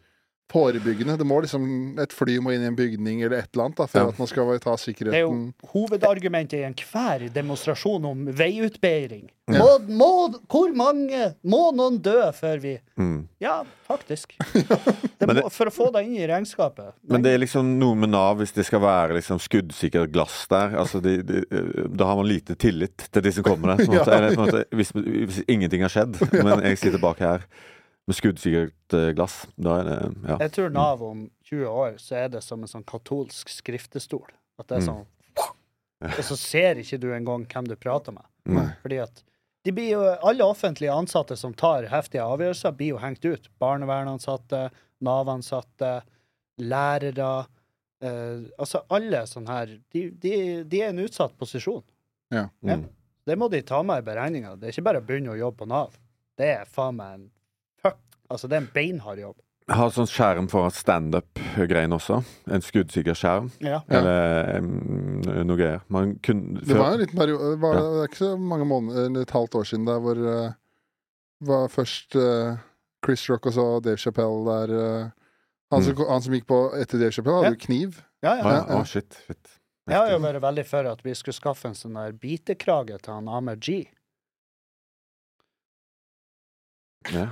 Speaker 1: forebyggende. Det må liksom, Et fly må inn i en bygning eller et eller annet da, for
Speaker 3: Ja.
Speaker 1: at man skal ta
Speaker 2: Det er jo
Speaker 1: sikkerheten.
Speaker 2: hovedargumentet i enhver demonstrasjon om veiutbedring.
Speaker 1: Ja.
Speaker 2: Må, må, hvor mange Må noen dø før vi
Speaker 3: Mm.
Speaker 2: Ja,
Speaker 1: (laughs)
Speaker 2: faktisk. Det
Speaker 3: Men
Speaker 2: må, for å få det inn i regnskapet.
Speaker 3: Men det er liksom noe med Nav, hvis det skal være liksom skuddsikkert glass der altså de, de, Da har man lite tillit til de som
Speaker 2: (laughs)
Speaker 3: kommer der. På en måte.
Speaker 1: Ja.
Speaker 3: Eller, på en måte, hvis, hvis ingenting har skjedd, men jeg sitter bak her med skuddsikkert eh, glass, da er det Ja.
Speaker 2: Jeg tror Nav om 20 år så er det som en sånn katolsk skriftestol. At det er sånn Og så ser ikke du engang hvem du prater med.
Speaker 3: Mm.
Speaker 2: Fordi at de blir jo, alle offentlige ansatte som tar heftige avgjørelser, blir jo hengt ut. Barnevernansatte, Nav-ansatte, lærere eh, Altså alle sånne her de, de, de er i en utsatt posisjon.
Speaker 1: Ja.
Speaker 2: Ja.
Speaker 3: Mm.
Speaker 2: Det må de ta med i beregninga. Det er ikke bare å begynne å jobbe på Nav. Det er faen meg en fuck. Altså, det er en beinhard jobb.
Speaker 3: Jeg har sånn skjerm foran standup-greien også. En skuddsikker skjerm,
Speaker 2: Ja.
Speaker 1: Ja.
Speaker 3: eller mm, noe greier. Man kunne
Speaker 1: Det var
Speaker 3: før-
Speaker 1: en liten periode Det, var, det er ikke så mange måneder eller et halvt år siden der hvor eh, var først eh, Chris Rock og så Dave Chappelle der eh, han,
Speaker 3: Mm.
Speaker 1: som, han som gikk på etter Dave Chappelle, hadde jo kniv.
Speaker 2: Ja, ja.
Speaker 3: Å, ja.
Speaker 1: ja.
Speaker 3: Å, shit. shit.
Speaker 2: Jeg har jo vært veldig for at vi skulle skaffe en sånn der bitekrage til han Amer G.
Speaker 3: Ja.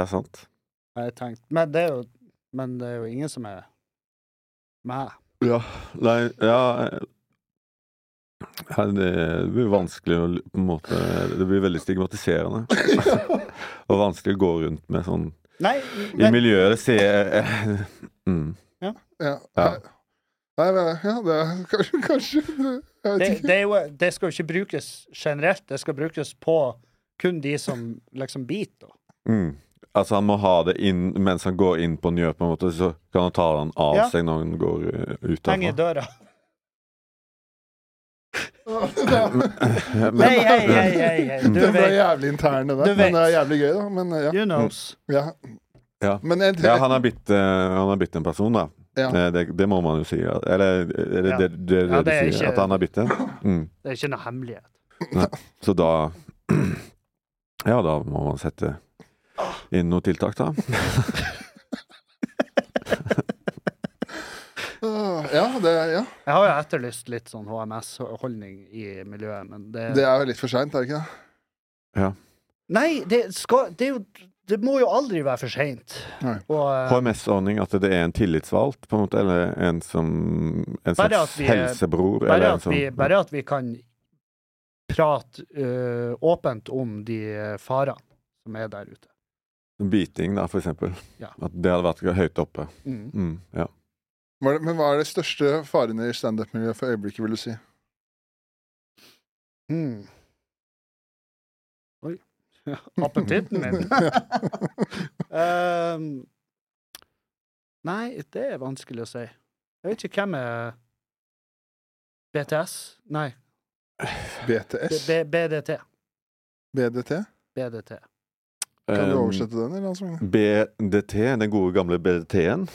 Speaker 3: ja, sant.
Speaker 2: har Jeg tenkt. Men, det er jo, men det er jo ingen som er meg.
Speaker 3: Ja, nei, ja ja, det, det blir vanskelig å l- på en måte Det blir veldig
Speaker 1: (laughs)
Speaker 3: stigmatiserende. Og vanskelig å gå rundt med sånn
Speaker 2: Nei,
Speaker 3: I
Speaker 2: men,
Speaker 3: miljøet det ser mm.
Speaker 1: Ja,
Speaker 3: Ja.
Speaker 1: Nei, men- ja det er (laughs) kanskje, kanskje Jeg
Speaker 2: det,
Speaker 1: vet ikke.
Speaker 2: det, er jo, det skal jo ikke brukes generelt. Det skal brukes på kun de som liksom biter. da.
Speaker 3: Mm. Altså han må ha det inn mens han går inn på Njø, på en måte, så kan han ta den av
Speaker 2: Ja.
Speaker 3: seg når han går eh, ut
Speaker 2: Henger i døra.
Speaker 3: derfra.
Speaker 1: (laughs)
Speaker 3: (laughs) Men-
Speaker 2: Hei, hei, hei, hei,
Speaker 3: (laughs)
Speaker 2: hei. (laughs) Du
Speaker 1: Den ble
Speaker 2: vet.
Speaker 1: jævlig intern, det
Speaker 2: Du
Speaker 1: der.
Speaker 2: vet.
Speaker 1: Men det er jævlig gøy, da. Men eh, ja.
Speaker 2: You knows.
Speaker 1: ja.
Speaker 3: Ja.
Speaker 1: Men jeg,
Speaker 3: Ja, han har bitt, eh, han har bitt en person, da.
Speaker 1: Ja.
Speaker 3: Eh, Det, det må man jo si. ja. Eller er det
Speaker 2: Ja.
Speaker 3: det, det, det
Speaker 2: Ja,
Speaker 3: du
Speaker 2: det er
Speaker 3: sier?
Speaker 2: ikke-
Speaker 3: At han har bitt en? Mm.
Speaker 2: Det er ikke noe hemmelighet.
Speaker 3: Så da (clears throat) Ja, da må man sette inn noen tiltak, da.
Speaker 1: Åh, ja, det, ja.
Speaker 2: Jeg har jo etterlyst litt sånn HMS-holdning i miljøet, men det,
Speaker 1: det er jo litt for seint, er det ikke det?
Speaker 2: Nei, det skal Det, er jo, det må jo aldri være for seint.
Speaker 1: Nei.
Speaker 2: Og eh,
Speaker 3: HMS-ordning, at det er en tillitsvalgt, på en måte, eller en som En
Speaker 2: Bare
Speaker 3: slags
Speaker 2: at vi-
Speaker 3: helsebror,
Speaker 2: bare
Speaker 3: eller en sånn-
Speaker 2: at,
Speaker 3: som
Speaker 2: vi, bare at vi kan prate eh, åpent om de øh, farene som er der ute.
Speaker 3: Biting, da, for eksempel.
Speaker 2: Ja.
Speaker 3: At det hadde vært høyt oppe.
Speaker 2: Mm.
Speaker 3: Mm, ja.
Speaker 1: Hva er det? Men hva er det største faren i standup-miljøet for øyeblikket, vil du si?
Speaker 2: Mm. Oi. Appetitten
Speaker 1: (laughs)
Speaker 2: (laughs) min. Ehm, nei, det er vanskelig å si. Jeg vet ikke hvem er BTS? Nei, B
Speaker 1: BTS?
Speaker 2: B BDT.
Speaker 1: BDT?
Speaker 2: BDT.
Speaker 1: Kan du
Speaker 3: Um,
Speaker 1: oversette den, eller? Altså?
Speaker 3: BDT, den gode gamle BDT-en.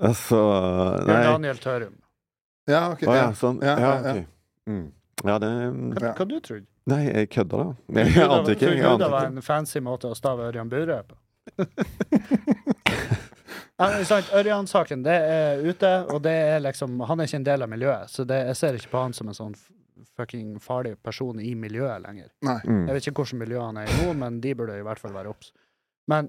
Speaker 3: altså Nei.
Speaker 2: Bjørn Daniel Tørum.
Speaker 1: Ja, ok.
Speaker 3: Å ja,
Speaker 1: ja.
Speaker 3: sånn. Ja,
Speaker 1: Ja, ja, ja.
Speaker 3: ok. Mm. Ja, det
Speaker 2: Hva,
Speaker 1: Ja.
Speaker 2: hva du trodde
Speaker 3: Nei, jeg kødda, da.
Speaker 2: du?
Speaker 3: Jeg ante
Speaker 2: Trodde
Speaker 3: ikke. Jeg
Speaker 2: du det
Speaker 3: ante
Speaker 2: var
Speaker 3: ikke.
Speaker 2: en fancy måte å stave Ørjan Burøe på? (laughs) Ja, men sant, Ørjan-saken, det er ute, og det er liksom Han er ikke en del av miljøet, så det, jeg ser ikke på han som en sånn f- fucking farlig person i miljøet lenger.
Speaker 1: Nei.
Speaker 3: Mm.
Speaker 2: Jeg vet ikke hvilket miljø han er i nå, men de burde i hvert fall være obs. Men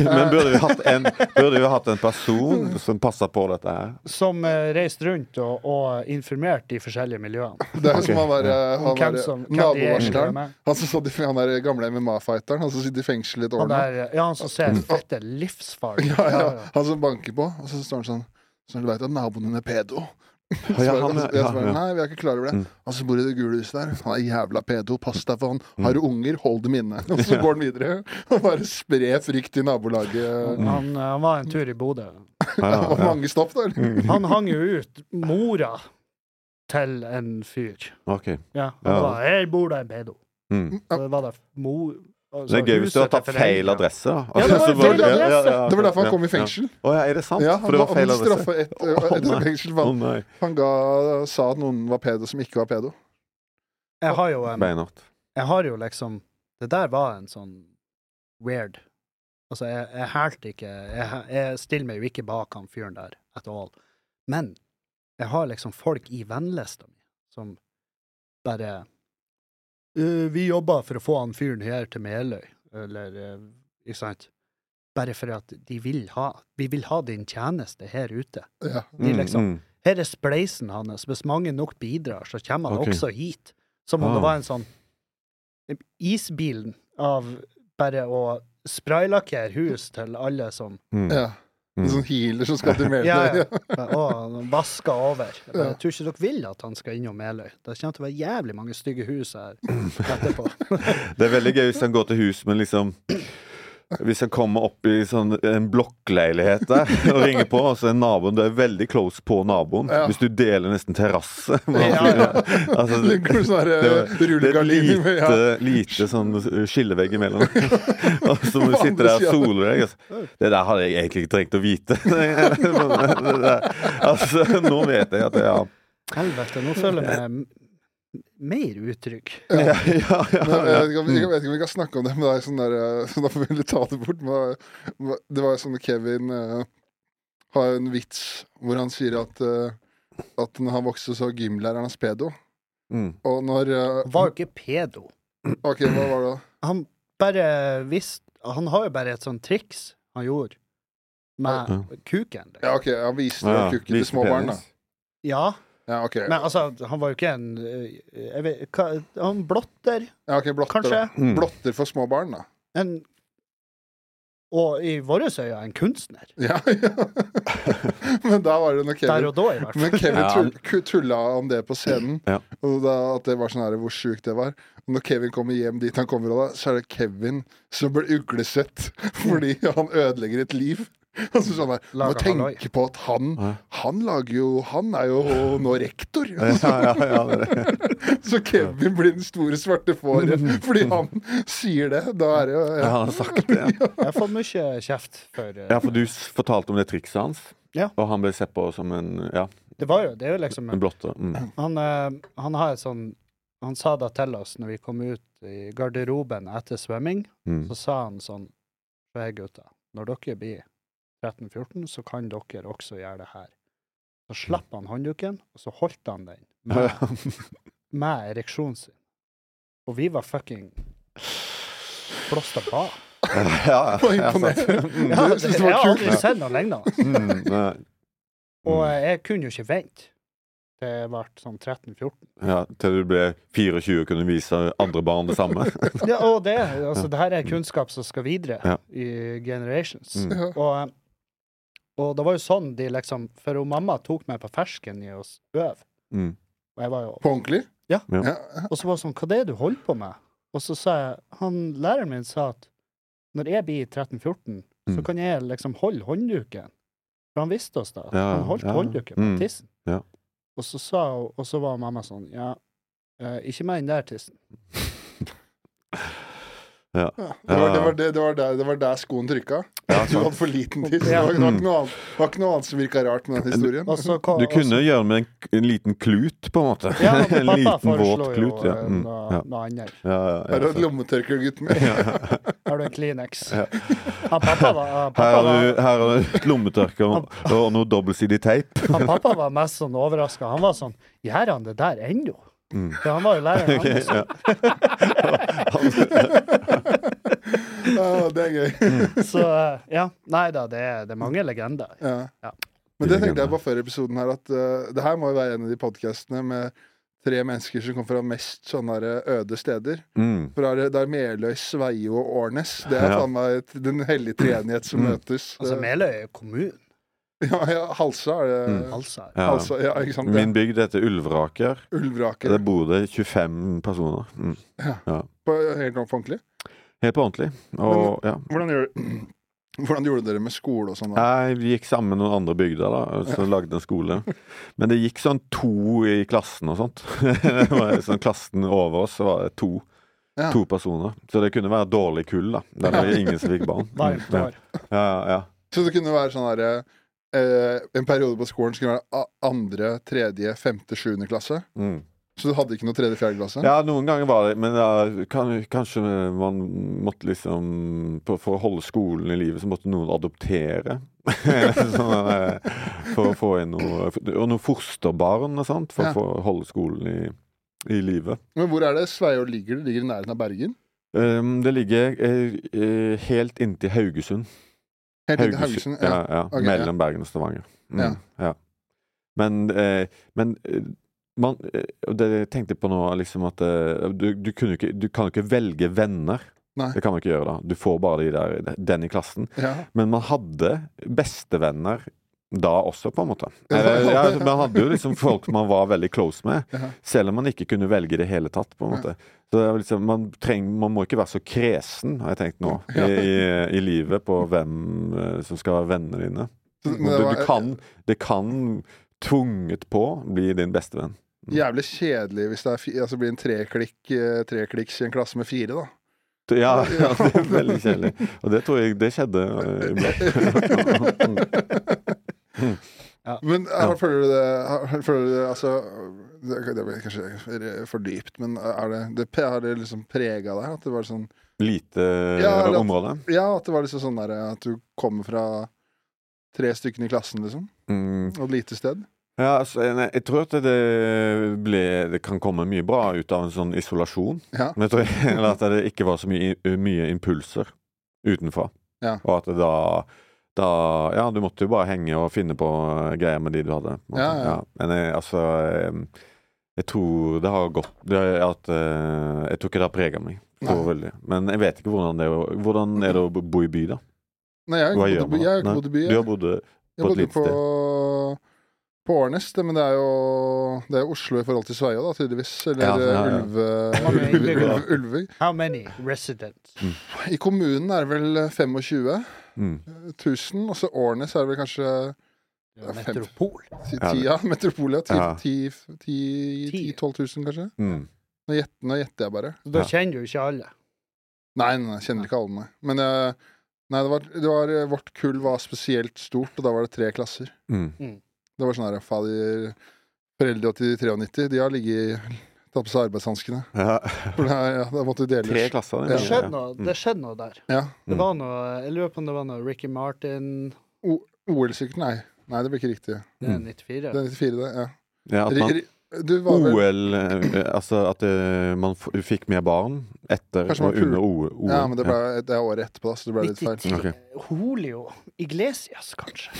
Speaker 3: Men burde vi hatt en, burde vi hatt en person som passer på dette her?
Speaker 2: som eh, reiste rundt og, og informert de forskjellige miljøene
Speaker 1: Det er jo som han var, eh, han
Speaker 2: om
Speaker 1: var
Speaker 2: hvem som
Speaker 1: eh,
Speaker 2: hvem de er egentlig er
Speaker 1: nabovarsleren.
Speaker 2: med.
Speaker 1: Han som satt i, han der gamle MMA-fighteren, han som sitter i fengsel i et år
Speaker 2: Han
Speaker 1: nå.
Speaker 2: der, ja, han som ser fette livsfarlig ut.
Speaker 1: (laughs) Mm. Ja, ja. Han som banker på, og så står han sånn Sånn, du veit at naboen din er pedo? Så
Speaker 3: Ja,
Speaker 1: bare- og
Speaker 3: han,
Speaker 1: så-
Speaker 3: ja,
Speaker 1: jeg svarer,
Speaker 3: ja.
Speaker 1: Nei, vi er ikke klar over det.
Speaker 3: Mm.
Speaker 1: Han som bor i det gule huset der, han er jævla pedo. Pass deg for han.
Speaker 3: Mm.
Speaker 1: Har du unger, hold dem inne. (laughs) Og så går han videre og bare sprer frykt i nabolaget. (laughs)
Speaker 2: Han, eh, han var en tur i Bodø.
Speaker 3: Mm. Ja,
Speaker 1: Det var
Speaker 3: ja. Mm.
Speaker 1: mange stopp der.
Speaker 2: Han hang jo ut mora til en fyr.
Speaker 3: Ok.
Speaker 2: Ja, han
Speaker 3: Ja.
Speaker 2: var 'Her bor det en pedo'.
Speaker 3: Mm.
Speaker 2: Så det var det altså, mor
Speaker 3: Det er gøy hvis du har tatt feil adresse. da.
Speaker 2: Ja,
Speaker 3: Altså,
Speaker 2: det var
Speaker 3: Så
Speaker 2: en feil
Speaker 3: bare- ja, ja,
Speaker 2: adresse.
Speaker 3: ja,
Speaker 1: Det var derfor
Speaker 3: ja,
Speaker 1: han kom i
Speaker 3: ja.
Speaker 1: fengsel.
Speaker 3: Å ja, er det sant?
Speaker 1: Ja,
Speaker 3: For det var
Speaker 1: han
Speaker 3: feil
Speaker 1: ble
Speaker 3: adresse?
Speaker 1: straffa etter,
Speaker 3: Å,
Speaker 1: etter
Speaker 3: nei.
Speaker 1: fengsel.
Speaker 3: Å
Speaker 1: for Han,
Speaker 3: nei.
Speaker 1: han ga, sa at noen var pedo som ikke var pedo.
Speaker 2: Jeg har jo en
Speaker 3: Beinhardt.
Speaker 2: jeg har jo liksom Det der var en sånn weird Altså, jeg, jeg hælte ikke jeg, hæ- jeg stiller meg jo ikke bak han fyren der at all. Men jeg har liksom folk i vennlista mi som bare «Øh, Vi jobber for å få han fyren her til Meløy, eller øh, Ikke sant? Bare for at de vil ha Vi vil ha din tjeneste her ute.
Speaker 1: Ja.
Speaker 2: De
Speaker 3: Mm,
Speaker 2: liksom
Speaker 3: mm.
Speaker 2: her er spleisen hans. Hvis mange nok bidrar, så kommer han
Speaker 3: Ok.
Speaker 2: også hit. Som om
Speaker 3: Ah.
Speaker 2: det var en sånn isbilen av bare å spraylakkere hus til alle som
Speaker 3: Mm.
Speaker 1: ja. En
Speaker 3: Mm.
Speaker 1: sånn healer som
Speaker 3: (laughs)
Speaker 1: skal til Meløy.
Speaker 2: Ja, ja.
Speaker 1: (laughs) ja.
Speaker 2: og vasker over. Jeg bare,
Speaker 1: Ja.
Speaker 2: tror ikke dere vil at han skal innom Meløy. Det kommer til å være jævlig mange stygge hus
Speaker 3: (clears throat)
Speaker 2: her etterpå.
Speaker 3: Det er veldig gøy hvis han går til hus, men liksom hvis han kommer opp i sånn, en blokkleilighet der og ringer på, og så er naboen Det er veldig close på naboen.
Speaker 1: Ja.
Speaker 3: Hvis du deler
Speaker 1: (laughs)
Speaker 3: nesten terrasse med
Speaker 2: Ja,
Speaker 3: han
Speaker 2: ja.
Speaker 3: fyren. altså, det,
Speaker 1: Ligger det sånn her,
Speaker 3: det-
Speaker 1: eh,
Speaker 3: det er
Speaker 1: rullegardin
Speaker 3: et
Speaker 1: med- ja.
Speaker 3: lite, lite sånn skillevegg
Speaker 1: (laughs)
Speaker 3: imellom. og så må du sitte der og sole deg. Altså. Det der hadde jeg egentlig ikke trengt å vite. (laughs) det der. Altså, nå vet jeg at jeg har
Speaker 2: Helvete, nå føler jeg meg m- mer utrygg.
Speaker 3: ja, ja, ja, Mm.
Speaker 1: Men Jeg vet, ikke, om- jeg vet ikke om vi kan snakke om det, men det er sånn der, eh, så da får vi heller ta det bort. Men det- det var sånn Kevin eh, har en vits hvor han sier at, eh, at når han vokste, så var gymlæreren hans pedo.
Speaker 3: Mm.
Speaker 1: Og når eh,
Speaker 2: Han var jo ikke pedo.
Speaker 1: OK, hva var det? da?
Speaker 2: han bare visste Han har jo bare et sånt triks han gjorde med
Speaker 3: Ja.
Speaker 2: kuken. liksom.
Speaker 1: Ja, OK, han viste
Speaker 3: Ja,
Speaker 1: ja, kukken til
Speaker 3: liten
Speaker 1: små barn, da.
Speaker 3: penis.
Speaker 2: Ja,
Speaker 1: Ja, OK.
Speaker 2: men altså, han var jo ikke en eh, jeg vet, hva, Han blotter,
Speaker 1: Ja, ok, blotter,
Speaker 2: kanskje?
Speaker 1: da.
Speaker 3: Mm.
Speaker 1: Blotter for små barn, da.
Speaker 2: En og i våre øyne en kunstner.
Speaker 1: Ja, ja. (laughs) Men da var det når
Speaker 2: Der
Speaker 1: Kevin
Speaker 2: og da, i hvert
Speaker 1: (laughs)
Speaker 2: fall.
Speaker 1: Men Kevin
Speaker 3: Ja.
Speaker 1: tull- ku- tulla om det på scenen,
Speaker 3: Ja.
Speaker 1: og da, at det var sånn her, hvor sjukt det var. Og når Kevin kommer hjem dit han kommer fra, da, så er det Kevin som blir uglesett (laughs) fordi han ødelegger et liv. (laughs) Og så sånn der, du må
Speaker 2: Lager halloi.
Speaker 1: tenke på at han Han lager jo Han er jo nå rektor.
Speaker 3: Ja, ja, ja, det er det.
Speaker 1: (laughs) Så Kevin blir den store svarte fåret
Speaker 3: (laughs)
Speaker 1: fordi han sier det. Da er det jo
Speaker 3: Jeg
Speaker 1: ja.
Speaker 3: har sagt det.
Speaker 2: Jeg har fått mye kjeft for eh,
Speaker 3: Ja, for du s- fortalte om det trikset hans,
Speaker 2: Ja.
Speaker 3: og han ble sett på som en ja,
Speaker 2: Det var jo, det er jo liksom
Speaker 3: en blotter. Mm.
Speaker 2: han, eh, han har et sånn Han sa det til oss når vi kom ut i garderoben etter svømming.
Speaker 3: Mm.
Speaker 2: (laughs) Så sa han sånn Hei, gutter. Når dere blir 13-14, så kan dere også gjøre det her. Så slapp han håndduken, og så holdt han den med, med ereksjonen sin. Og vi var fucking blåst av banen.
Speaker 3: Ja,
Speaker 1: Det var
Speaker 3: ja,
Speaker 1: imponerende.
Speaker 3: sant.
Speaker 2: Ja,
Speaker 1: Du
Speaker 2: det,
Speaker 1: synes det
Speaker 2: jeg
Speaker 1: var
Speaker 2: har
Speaker 1: kult?
Speaker 2: aldri sett noe lignende.
Speaker 3: Mm, nei.
Speaker 2: Og eh, jeg kunne jo ikke vente. Det ble sånn 13-14.
Speaker 3: Ja, til du ble 24 og kunne vise andre barn
Speaker 2: (laughs)
Speaker 3: det samme.
Speaker 2: Ja, og det, altså, det her er kunnskap som skal videre
Speaker 3: Ja.
Speaker 2: i generations.
Speaker 3: Mm.
Speaker 1: Ja.
Speaker 2: Og, eh, og det var jo sånn de liksom For hun mamma tok meg på fersken i å s- øve.
Speaker 3: Mm.
Speaker 2: Og jeg var jo
Speaker 1: På ordentlig?
Speaker 2: Ja.
Speaker 3: Ja.
Speaker 2: Og så var det sånn Hva det er det du holder på med? Og så sa jeg han, Læreren min sa at når jeg blir 13-14, så
Speaker 3: Mm.
Speaker 2: kan jeg liksom holde håndduken. For han visste oss da. at
Speaker 3: Ja,
Speaker 2: han holdt
Speaker 3: ja, ja.
Speaker 2: håndduken på
Speaker 3: Mm.
Speaker 2: tissen.
Speaker 3: Ja.
Speaker 2: Og, så sa, hun- og så var mamma sånn Ja, eh, ikke mer enn der tissen.
Speaker 3: Ja.
Speaker 1: Det var, det, var, det, det, var der, det var der skoen trykka.
Speaker 3: Eh. Ja,
Speaker 1: Du
Speaker 3: sant.
Speaker 1: hadde for liten tiss. Det
Speaker 2: Ja.
Speaker 1: var, det var, ikke noe annet, det var ikke noe annet som virka rart med den historien.
Speaker 2: Og så kom,
Speaker 3: Du
Speaker 2: og
Speaker 3: kunne gjøre med en, en liten klut, på en måte.
Speaker 2: Ja,
Speaker 3: (laughs)
Speaker 2: men
Speaker 3: en
Speaker 2: pappa
Speaker 3: liten våt
Speaker 2: foreslo jo
Speaker 3: klut. Ja.
Speaker 2: eh,
Speaker 3: Mm.
Speaker 2: noe,
Speaker 3: ja.
Speaker 2: noe annet.
Speaker 3: Ja,
Speaker 1: Her
Speaker 3: ja, ja,
Speaker 1: er et
Speaker 3: (laughs) sant.
Speaker 1: lommetørkle, gutten min.
Speaker 2: Har du en Kleenex?
Speaker 3: Ja.
Speaker 2: (laughs) Han pappa var, han
Speaker 3: her
Speaker 2: pappa
Speaker 3: har
Speaker 2: var,
Speaker 3: du, her har du et lommetørkle og, og noe dobbeltsidig teip.
Speaker 2: han pappa var mest sånn overraska. Han var sånn Gjør han det der ennå? For han var jo læreren
Speaker 3: Mm. (laughs)
Speaker 2: hans.
Speaker 3: Ok, ja.
Speaker 1: Ja, det er
Speaker 3: (laughs)
Speaker 1: gøy.
Speaker 2: Så eh, ja. Nei da, det er, det er mange legender.
Speaker 1: Ja.
Speaker 2: Ja.
Speaker 1: Men det tenkte jeg på før episoden her, at eh, det her må jo være en av de podkastene med tre mennesker som kommer fra mest sånne der eh, øde steder.
Speaker 3: Mm.
Speaker 1: For det er, det er Meløy, Sveio og Årnes. Det er
Speaker 3: Ja. Mm.
Speaker 1: faen meg et- den hellige treenighet som møtes. Eh,
Speaker 2: Altså, Meløy er jo kommunen,
Speaker 1: ja, ja, Halsa er det.
Speaker 2: altså.
Speaker 3: Ja.
Speaker 1: Halsa, ja, ikke sant. Det
Speaker 3: Mm. Min
Speaker 1: er
Speaker 3: bygd heter Ulvraker.
Speaker 1: Ulvraker.
Speaker 3: Der bor det 25 personer. Mm.
Speaker 1: På, helt på ordentlig.
Speaker 3: Helt på ordentlig. Og, ja.
Speaker 1: Hvordan, gjør, (clears throat) hvordan gjorde dere med skole og sånn? da?
Speaker 3: Nei, vi gikk sammen med noen andre bygder, da, så lagde en skole. Men det gikk sånn to i klassen og sånt. (laughs) Det var sånn Klassen over oss så var det to.
Speaker 1: Ja.
Speaker 3: To personer. Så det kunne være dårlig kull, da. Det var ingen som fikk barn.
Speaker 2: Varmt
Speaker 3: Ja,
Speaker 2: år.
Speaker 3: ja, ja.
Speaker 1: Så det kunne være sånn herre eh, En periode på skolen skulle være a- andre, tredje, femte, sjuende klasse.
Speaker 3: Mm.
Speaker 1: Så du hadde ikke noe tredje, fjerde klasse?
Speaker 3: ja, (laughs) noen ganger var det Men ja, kan, kanskje man måtte liksom på- For å holde skolen i livet, så måtte noen adoptere. (laughs) sånn, eh, for å få inn noe Og noen fosterbarn og sånt, for
Speaker 1: Ja.
Speaker 3: å få holde skolen i, i livet.
Speaker 1: Men hvor er det Sveio ligger? Det ligger i nærheten av Bergen?
Speaker 3: Um, det ligger eh, eh, helt inntil Haugesund.
Speaker 1: Helt inn til Haugesund?
Speaker 3: ja.
Speaker 1: Ja.
Speaker 3: Ja,
Speaker 1: Ok,
Speaker 3: Mellom Bergen og Stavanger. Mm,
Speaker 1: Ja.
Speaker 3: ja. Men, eh, men eh, man, eh, og det jeg tenkte på nå, er liksom at eh, du, du, kunne ikke, du kan jo ikke velge venner.
Speaker 1: Nei.
Speaker 3: Det kan du ikke gjøre da. Du får bare de der, den i klassen.
Speaker 1: Ja.
Speaker 3: Men man hadde bestevenner da også, på en måte.
Speaker 1: (laughs) Ja.
Speaker 3: Eller, ja, man hadde jo liksom folk man var veldig close med,
Speaker 1: Ja.
Speaker 3: selv om man ikke kunne velge i det hele tatt. på en måte. Så det er liksom, man, treng, man må ikke være så kresen, har jeg tenkt nå, i, i, i livet på hvem eh, som skal være vennene dine.
Speaker 1: Så- men
Speaker 3: Du,
Speaker 1: det var eh,
Speaker 3: du kan, det kan tvunget på bli din bestevenn.
Speaker 1: Jævlig kjedelig hvis det er fi, altså blir en treklikk, eh, treklikks i en klasse med fire, da.
Speaker 3: Ja, ja, (laughs) det er veldig kjedelig. Og det tror jeg det skjedde. eh,
Speaker 1: (laughs)
Speaker 3: iblant. Mm.
Speaker 1: Men eh, føler du det, har- føler du det altså, det, det blir kanskje for dypt, men er det, det, har det liksom prega deg? At det var sånn
Speaker 3: Lite
Speaker 1: Ja, eller at-
Speaker 3: område.
Speaker 1: Ja, at det var liksom sånn der At du kommer fra tre stykker i klassen, liksom.
Speaker 3: Mm.
Speaker 1: Og et lite sted.
Speaker 3: Ja, altså, jeg, nei, jeg tror at det, eh, ble, det kan komme mye bra ut av en sånn isolasjon.
Speaker 1: Ja.
Speaker 3: Men jeg tror (laughs) eller at det ikke var så mye, mye impulser utenfra.
Speaker 1: Ja.
Speaker 3: Og at det da, da Ja, du måtte jo bare henge og finne på eh, greier med de du hadde. på en måte.
Speaker 1: Ja, ja.
Speaker 3: Men jeg, altså eh, Jeg tror det har gått det, er at, eh, Jeg tror ikke det har prega meg så
Speaker 1: Nei.
Speaker 3: veldig. Men jeg vet ikke hvordan det er å- Hvordan er det å bo i by, da?
Speaker 1: Nei, jeg
Speaker 3: Hva
Speaker 1: bodde
Speaker 3: gjør
Speaker 1: på-
Speaker 3: man?
Speaker 1: jeg
Speaker 3: Nei,
Speaker 1: bodde by-
Speaker 3: Du har bodd
Speaker 1: Jeg
Speaker 3: på et
Speaker 1: bodde
Speaker 3: lite
Speaker 1: på, på Årnes, det, men det er jo det er Oslo i forhold til Sveio, da, tydeligvis. Eller
Speaker 3: Ja, ja, ja.
Speaker 1: Ulve,
Speaker 2: Mange
Speaker 1: Ulve,
Speaker 2: innbyggere.
Speaker 1: Ulve, Ulvøy.
Speaker 2: How many residents?
Speaker 1: I kommunen er det vel 25
Speaker 3: mm.
Speaker 1: 000, og så Årnes er det vel kanskje
Speaker 2: Det er Metropol.
Speaker 1: ti-
Speaker 3: Ja, det-
Speaker 1: ti- ja, Metropolia.
Speaker 3: Ja.
Speaker 1: 10 000-12
Speaker 2: Ti.
Speaker 1: 000, kanskje.
Speaker 3: Mm.
Speaker 1: Nå gjetter, nå gjetter jeg bare.
Speaker 2: Så Da
Speaker 3: Ja.
Speaker 2: kjenner du ikke alle.
Speaker 1: Nei, nei, jeg kjenner ikke alle, nei. Men eh, nei, det var, det var, eh, vårt kull var spesielt stort, og da var det tre klasser.
Speaker 3: Mm.
Speaker 1: Det var sånn her fader, Foreldre til 93, de har ligget i- Tatt på seg arbeidshanskene.
Speaker 3: Ja.
Speaker 1: For det er, ja, da måtte de
Speaker 3: Tre
Speaker 1: deles.
Speaker 3: klasser.
Speaker 2: Det
Speaker 1: Ja.
Speaker 2: skjedde noe, det skjedde noe der.
Speaker 1: Ja.
Speaker 2: Det
Speaker 3: Mm.
Speaker 2: var noe, jeg lurer på om det var noe Ricky Martin
Speaker 1: OL-sykkel, nei. Nei, det blir ikke riktig.
Speaker 2: det er
Speaker 3: Mm.
Speaker 2: 94.
Speaker 1: Det er 94, det. ja.
Speaker 3: Ja, at man,
Speaker 1: Ri- ri- Du var vel
Speaker 3: OL eh, Altså at eh, man f fikk mer barn etter
Speaker 1: Kanskje man
Speaker 3: og under O- OL.
Speaker 1: Ja, men det, ble, det er året etterpå, da, så det ble litt feil.
Speaker 2: 93.
Speaker 3: Ok.
Speaker 2: Julio Iglesias, kanskje.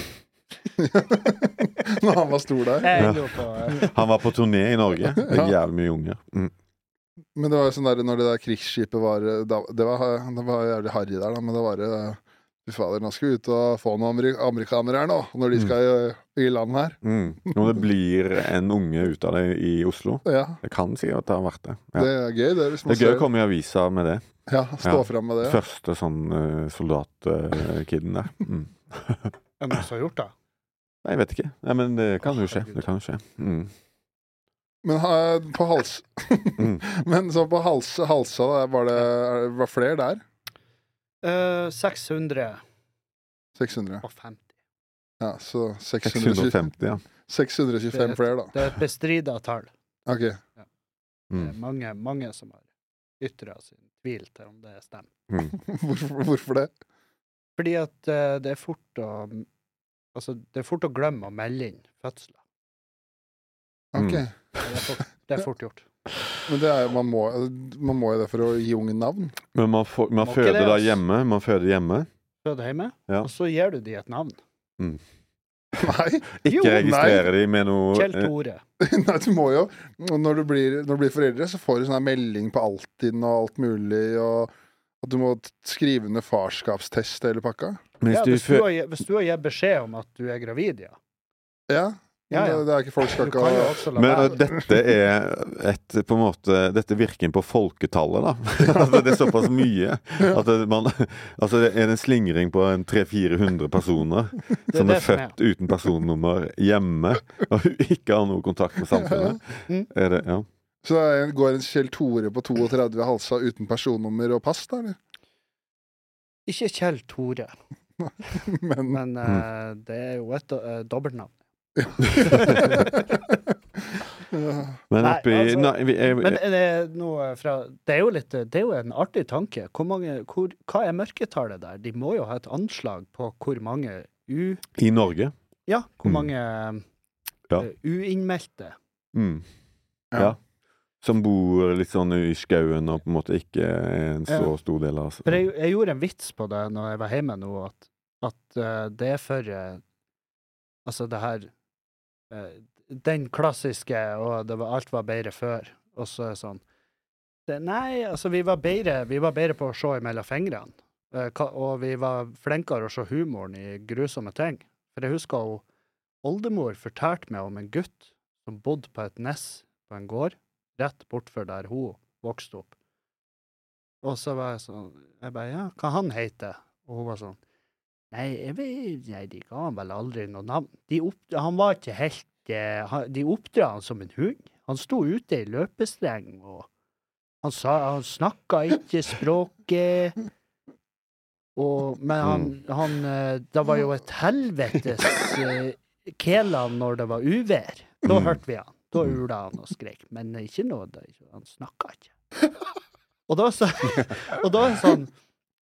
Speaker 1: (laughs) Når han var stor der.
Speaker 2: Jeg
Speaker 3: Ja.
Speaker 2: lurer på eh,
Speaker 3: Han var på turné i
Speaker 1: (laughs)
Speaker 3: Norge. Det er jævlig mye unger. Mm.
Speaker 1: Men det var jo sånn der når det der krigsskipet var da, det, var det var jævlig harry der, da, men det var eh, Fy fader, nå skal vi ut og få noen ameri- amerikanere her nå, når de skal i, i land her.
Speaker 3: Mm. Når det blir en unge ut av det i Oslo.
Speaker 1: Ja,
Speaker 3: Det kan sikkert ha vært det. Ja.
Speaker 1: det er gøy, det. Hvis man
Speaker 3: Det er gøy
Speaker 1: ser,
Speaker 3: å komme i avisa med det.
Speaker 1: ja, stå
Speaker 3: Ja.
Speaker 1: fram med det. Ja.
Speaker 3: Første sånn uh, soldatkiden der. Mm.
Speaker 2: hvem som har gjort det.
Speaker 3: Nei, jeg vet ikke. Nei, men det kan jo skje. Det kan jo skje. Mm.
Speaker 1: Men ha- på hals...
Speaker 3: Mm.
Speaker 1: (laughs) Men så på hals, Halsa, da, var det er- var flere der?
Speaker 2: Eh, 600
Speaker 1: 600.
Speaker 2: og 50.
Speaker 1: Ja, så 625
Speaker 3: 650, ja.
Speaker 1: 625 flere, da.
Speaker 2: Det er et bestrida tall.
Speaker 1: Ok.
Speaker 2: Det
Speaker 3: Mm.
Speaker 2: er mange, mange som har ytra sin tvil til om det stemmer.
Speaker 3: Mm.
Speaker 1: (laughs) Hvorfor, hvorfor det?
Speaker 2: Fordi at eh, det er fort å Altså, det er fort å glemme å melde inn fødsler.
Speaker 1: Ok.
Speaker 3: Mm.
Speaker 2: Det er fort, det er fort gjort.
Speaker 1: Men det er, man, må, man må jo det for å gi ungen navn.
Speaker 3: (laughs) Men man, får, man
Speaker 2: Må ikke
Speaker 3: føder
Speaker 2: det,
Speaker 3: da
Speaker 2: ass.
Speaker 3: hjemme. Man føder hjemme.
Speaker 2: Føder hjemme,
Speaker 3: Ja.
Speaker 2: og så gir du dem et navn.
Speaker 1: Nei,
Speaker 2: Jo,
Speaker 3: Ikke
Speaker 2: nei.
Speaker 3: registrerer de med noe
Speaker 2: Kjell
Speaker 3: eh,
Speaker 2: Tore.
Speaker 1: (laughs) nei du må jo Når du blir, når du blir foreldre, så får du sånn her melding på Altinn og alt mulig, og at du må t- skrive under farskapstest og hele pakka.
Speaker 3: Hvis
Speaker 2: Ja,
Speaker 3: du
Speaker 2: hvis, du
Speaker 3: fø-
Speaker 2: har, gi- hvis du har gitt beskjed om at du er gravid, ja.
Speaker 1: Ja. men
Speaker 2: Ja, ja.
Speaker 1: Det, det er ikke folk skal
Speaker 2: Du
Speaker 1: ikke
Speaker 2: kan jo
Speaker 1: ha
Speaker 2: også la
Speaker 3: Men
Speaker 2: være.
Speaker 3: uh, dette er et på en måte Dette virker inn på folketallet, da. (laughs) altså, det er såpass mye at det, man Altså det er en slingring på en 300-400 personer
Speaker 2: Det
Speaker 3: som
Speaker 2: det
Speaker 3: er født uten personnummer hjemme og ikke har noe kontakt med samfunnet.
Speaker 2: (laughs) Mm.
Speaker 3: Er det, ja.
Speaker 1: Så det er en- går en Kjell Tore på 32 halsa uten personnummer og pass, da, eller? (laughs)
Speaker 2: Ikke Kjell Tore,
Speaker 1: Men
Speaker 2: men
Speaker 3: Mm.
Speaker 2: eh, det er jo et eh, dobbeltnavn.
Speaker 1: ja.
Speaker 3: Men
Speaker 2: Nei,
Speaker 3: oppi
Speaker 2: altså-
Speaker 3: nei, vi er,
Speaker 2: Men er det, noe fra, det, er jo litt, eh, det er jo en artig tanke. Hvor mange, hvor, hva er mørketallet der? De må jo ha et anslag på hvor mange u...
Speaker 3: I Norge.
Speaker 2: Ja, hvor
Speaker 3: Mm.
Speaker 2: mange
Speaker 3: Ja.
Speaker 2: eh, uinnmeldte.
Speaker 3: Mm.
Speaker 1: (laughs) Ja.
Speaker 3: Ja. Som bor litt sånn i skauen og på en måte ikke er en så
Speaker 2: Ja.
Speaker 3: stor del av
Speaker 2: For jeg, jeg gjorde en vits på det når jeg var hjemme nå, at, at eh, det er for eh, Altså, det her eh, Den klassiske og det var, alt var bedre før, og så er det sånn det, Nei, altså, vi var, bedre, vi var bedre på å se imellom fingrene. Eh, hva- og vi var flinkere å se humoren i grusomme ting. For jeg husker hun oldemor fortalte meg om en gutt som bodde på et ness på en gård rett bortfor der hun vokste opp. Og så var jeg sånn Jeg bare Ja, hva han heter? Og hun var sånn Nei, jeg vet Nei, de ga han vel aldri noe navn. De opp, han var ikke helt eh, han, De oppdra han som en hund. Han sto ute i løpestreng, og han, sa, han snakka ikke språket. Og, men han, han eh, Det var jo et helvetes eh, Kæland når det var uvær. Da
Speaker 3: Mm.
Speaker 2: hørte vi han. Da
Speaker 3: Mm.
Speaker 2: ula han og skrek. Men ikke noe det- Han snakka ikke. Og da, så, (laughs) og da er det sånn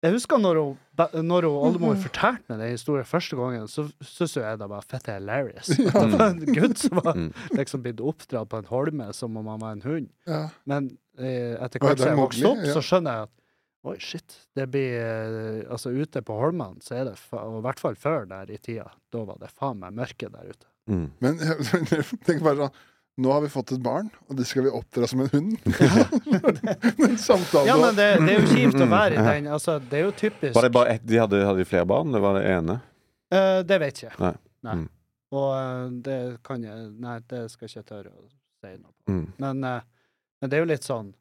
Speaker 2: Jeg husker når hun, ba- når hun oldemor fortalte meg den historien første gangen, så syntes jo jeg det var fett hilarious. (laughs) At det var en gutt som var
Speaker 3: Mm.
Speaker 2: liksom blitt oppdratt på en holme som om han var en hund.
Speaker 1: Ja.
Speaker 2: Men eh, etter
Speaker 1: Oi,
Speaker 2: hvert
Speaker 1: det er
Speaker 2: som jeg vokste
Speaker 1: Mowgli,
Speaker 2: opp,
Speaker 1: ja.
Speaker 2: så skjønner jeg at Oi, shit. Det blir eh, Altså, ute på holmene, så er det fa Og i hvert fall før der i tida. Da var det faen meg mørke der ute.
Speaker 1: (laughs)
Speaker 3: Mm.
Speaker 1: Men tenk bare sånn Nå har vi fått et barn, og det skal vi oppdra som en hund. (laughs) Den samtalen
Speaker 2: Ja,
Speaker 1: du
Speaker 2: men
Speaker 1: har.
Speaker 2: det, det er jo kjipt å
Speaker 3: (laughs)
Speaker 2: være i den. Altså, det er jo typisk.
Speaker 3: Var det bare ett? De hadde, hadde de flere barn? Det var det ene?
Speaker 2: Eh, det vet jeg.
Speaker 3: Nei. Mm.
Speaker 2: Og eh, det kan jeg Nei, det skal jeg ikke tørre å si noe på.
Speaker 3: Mm.
Speaker 2: Men, eh, men det er jo litt sånn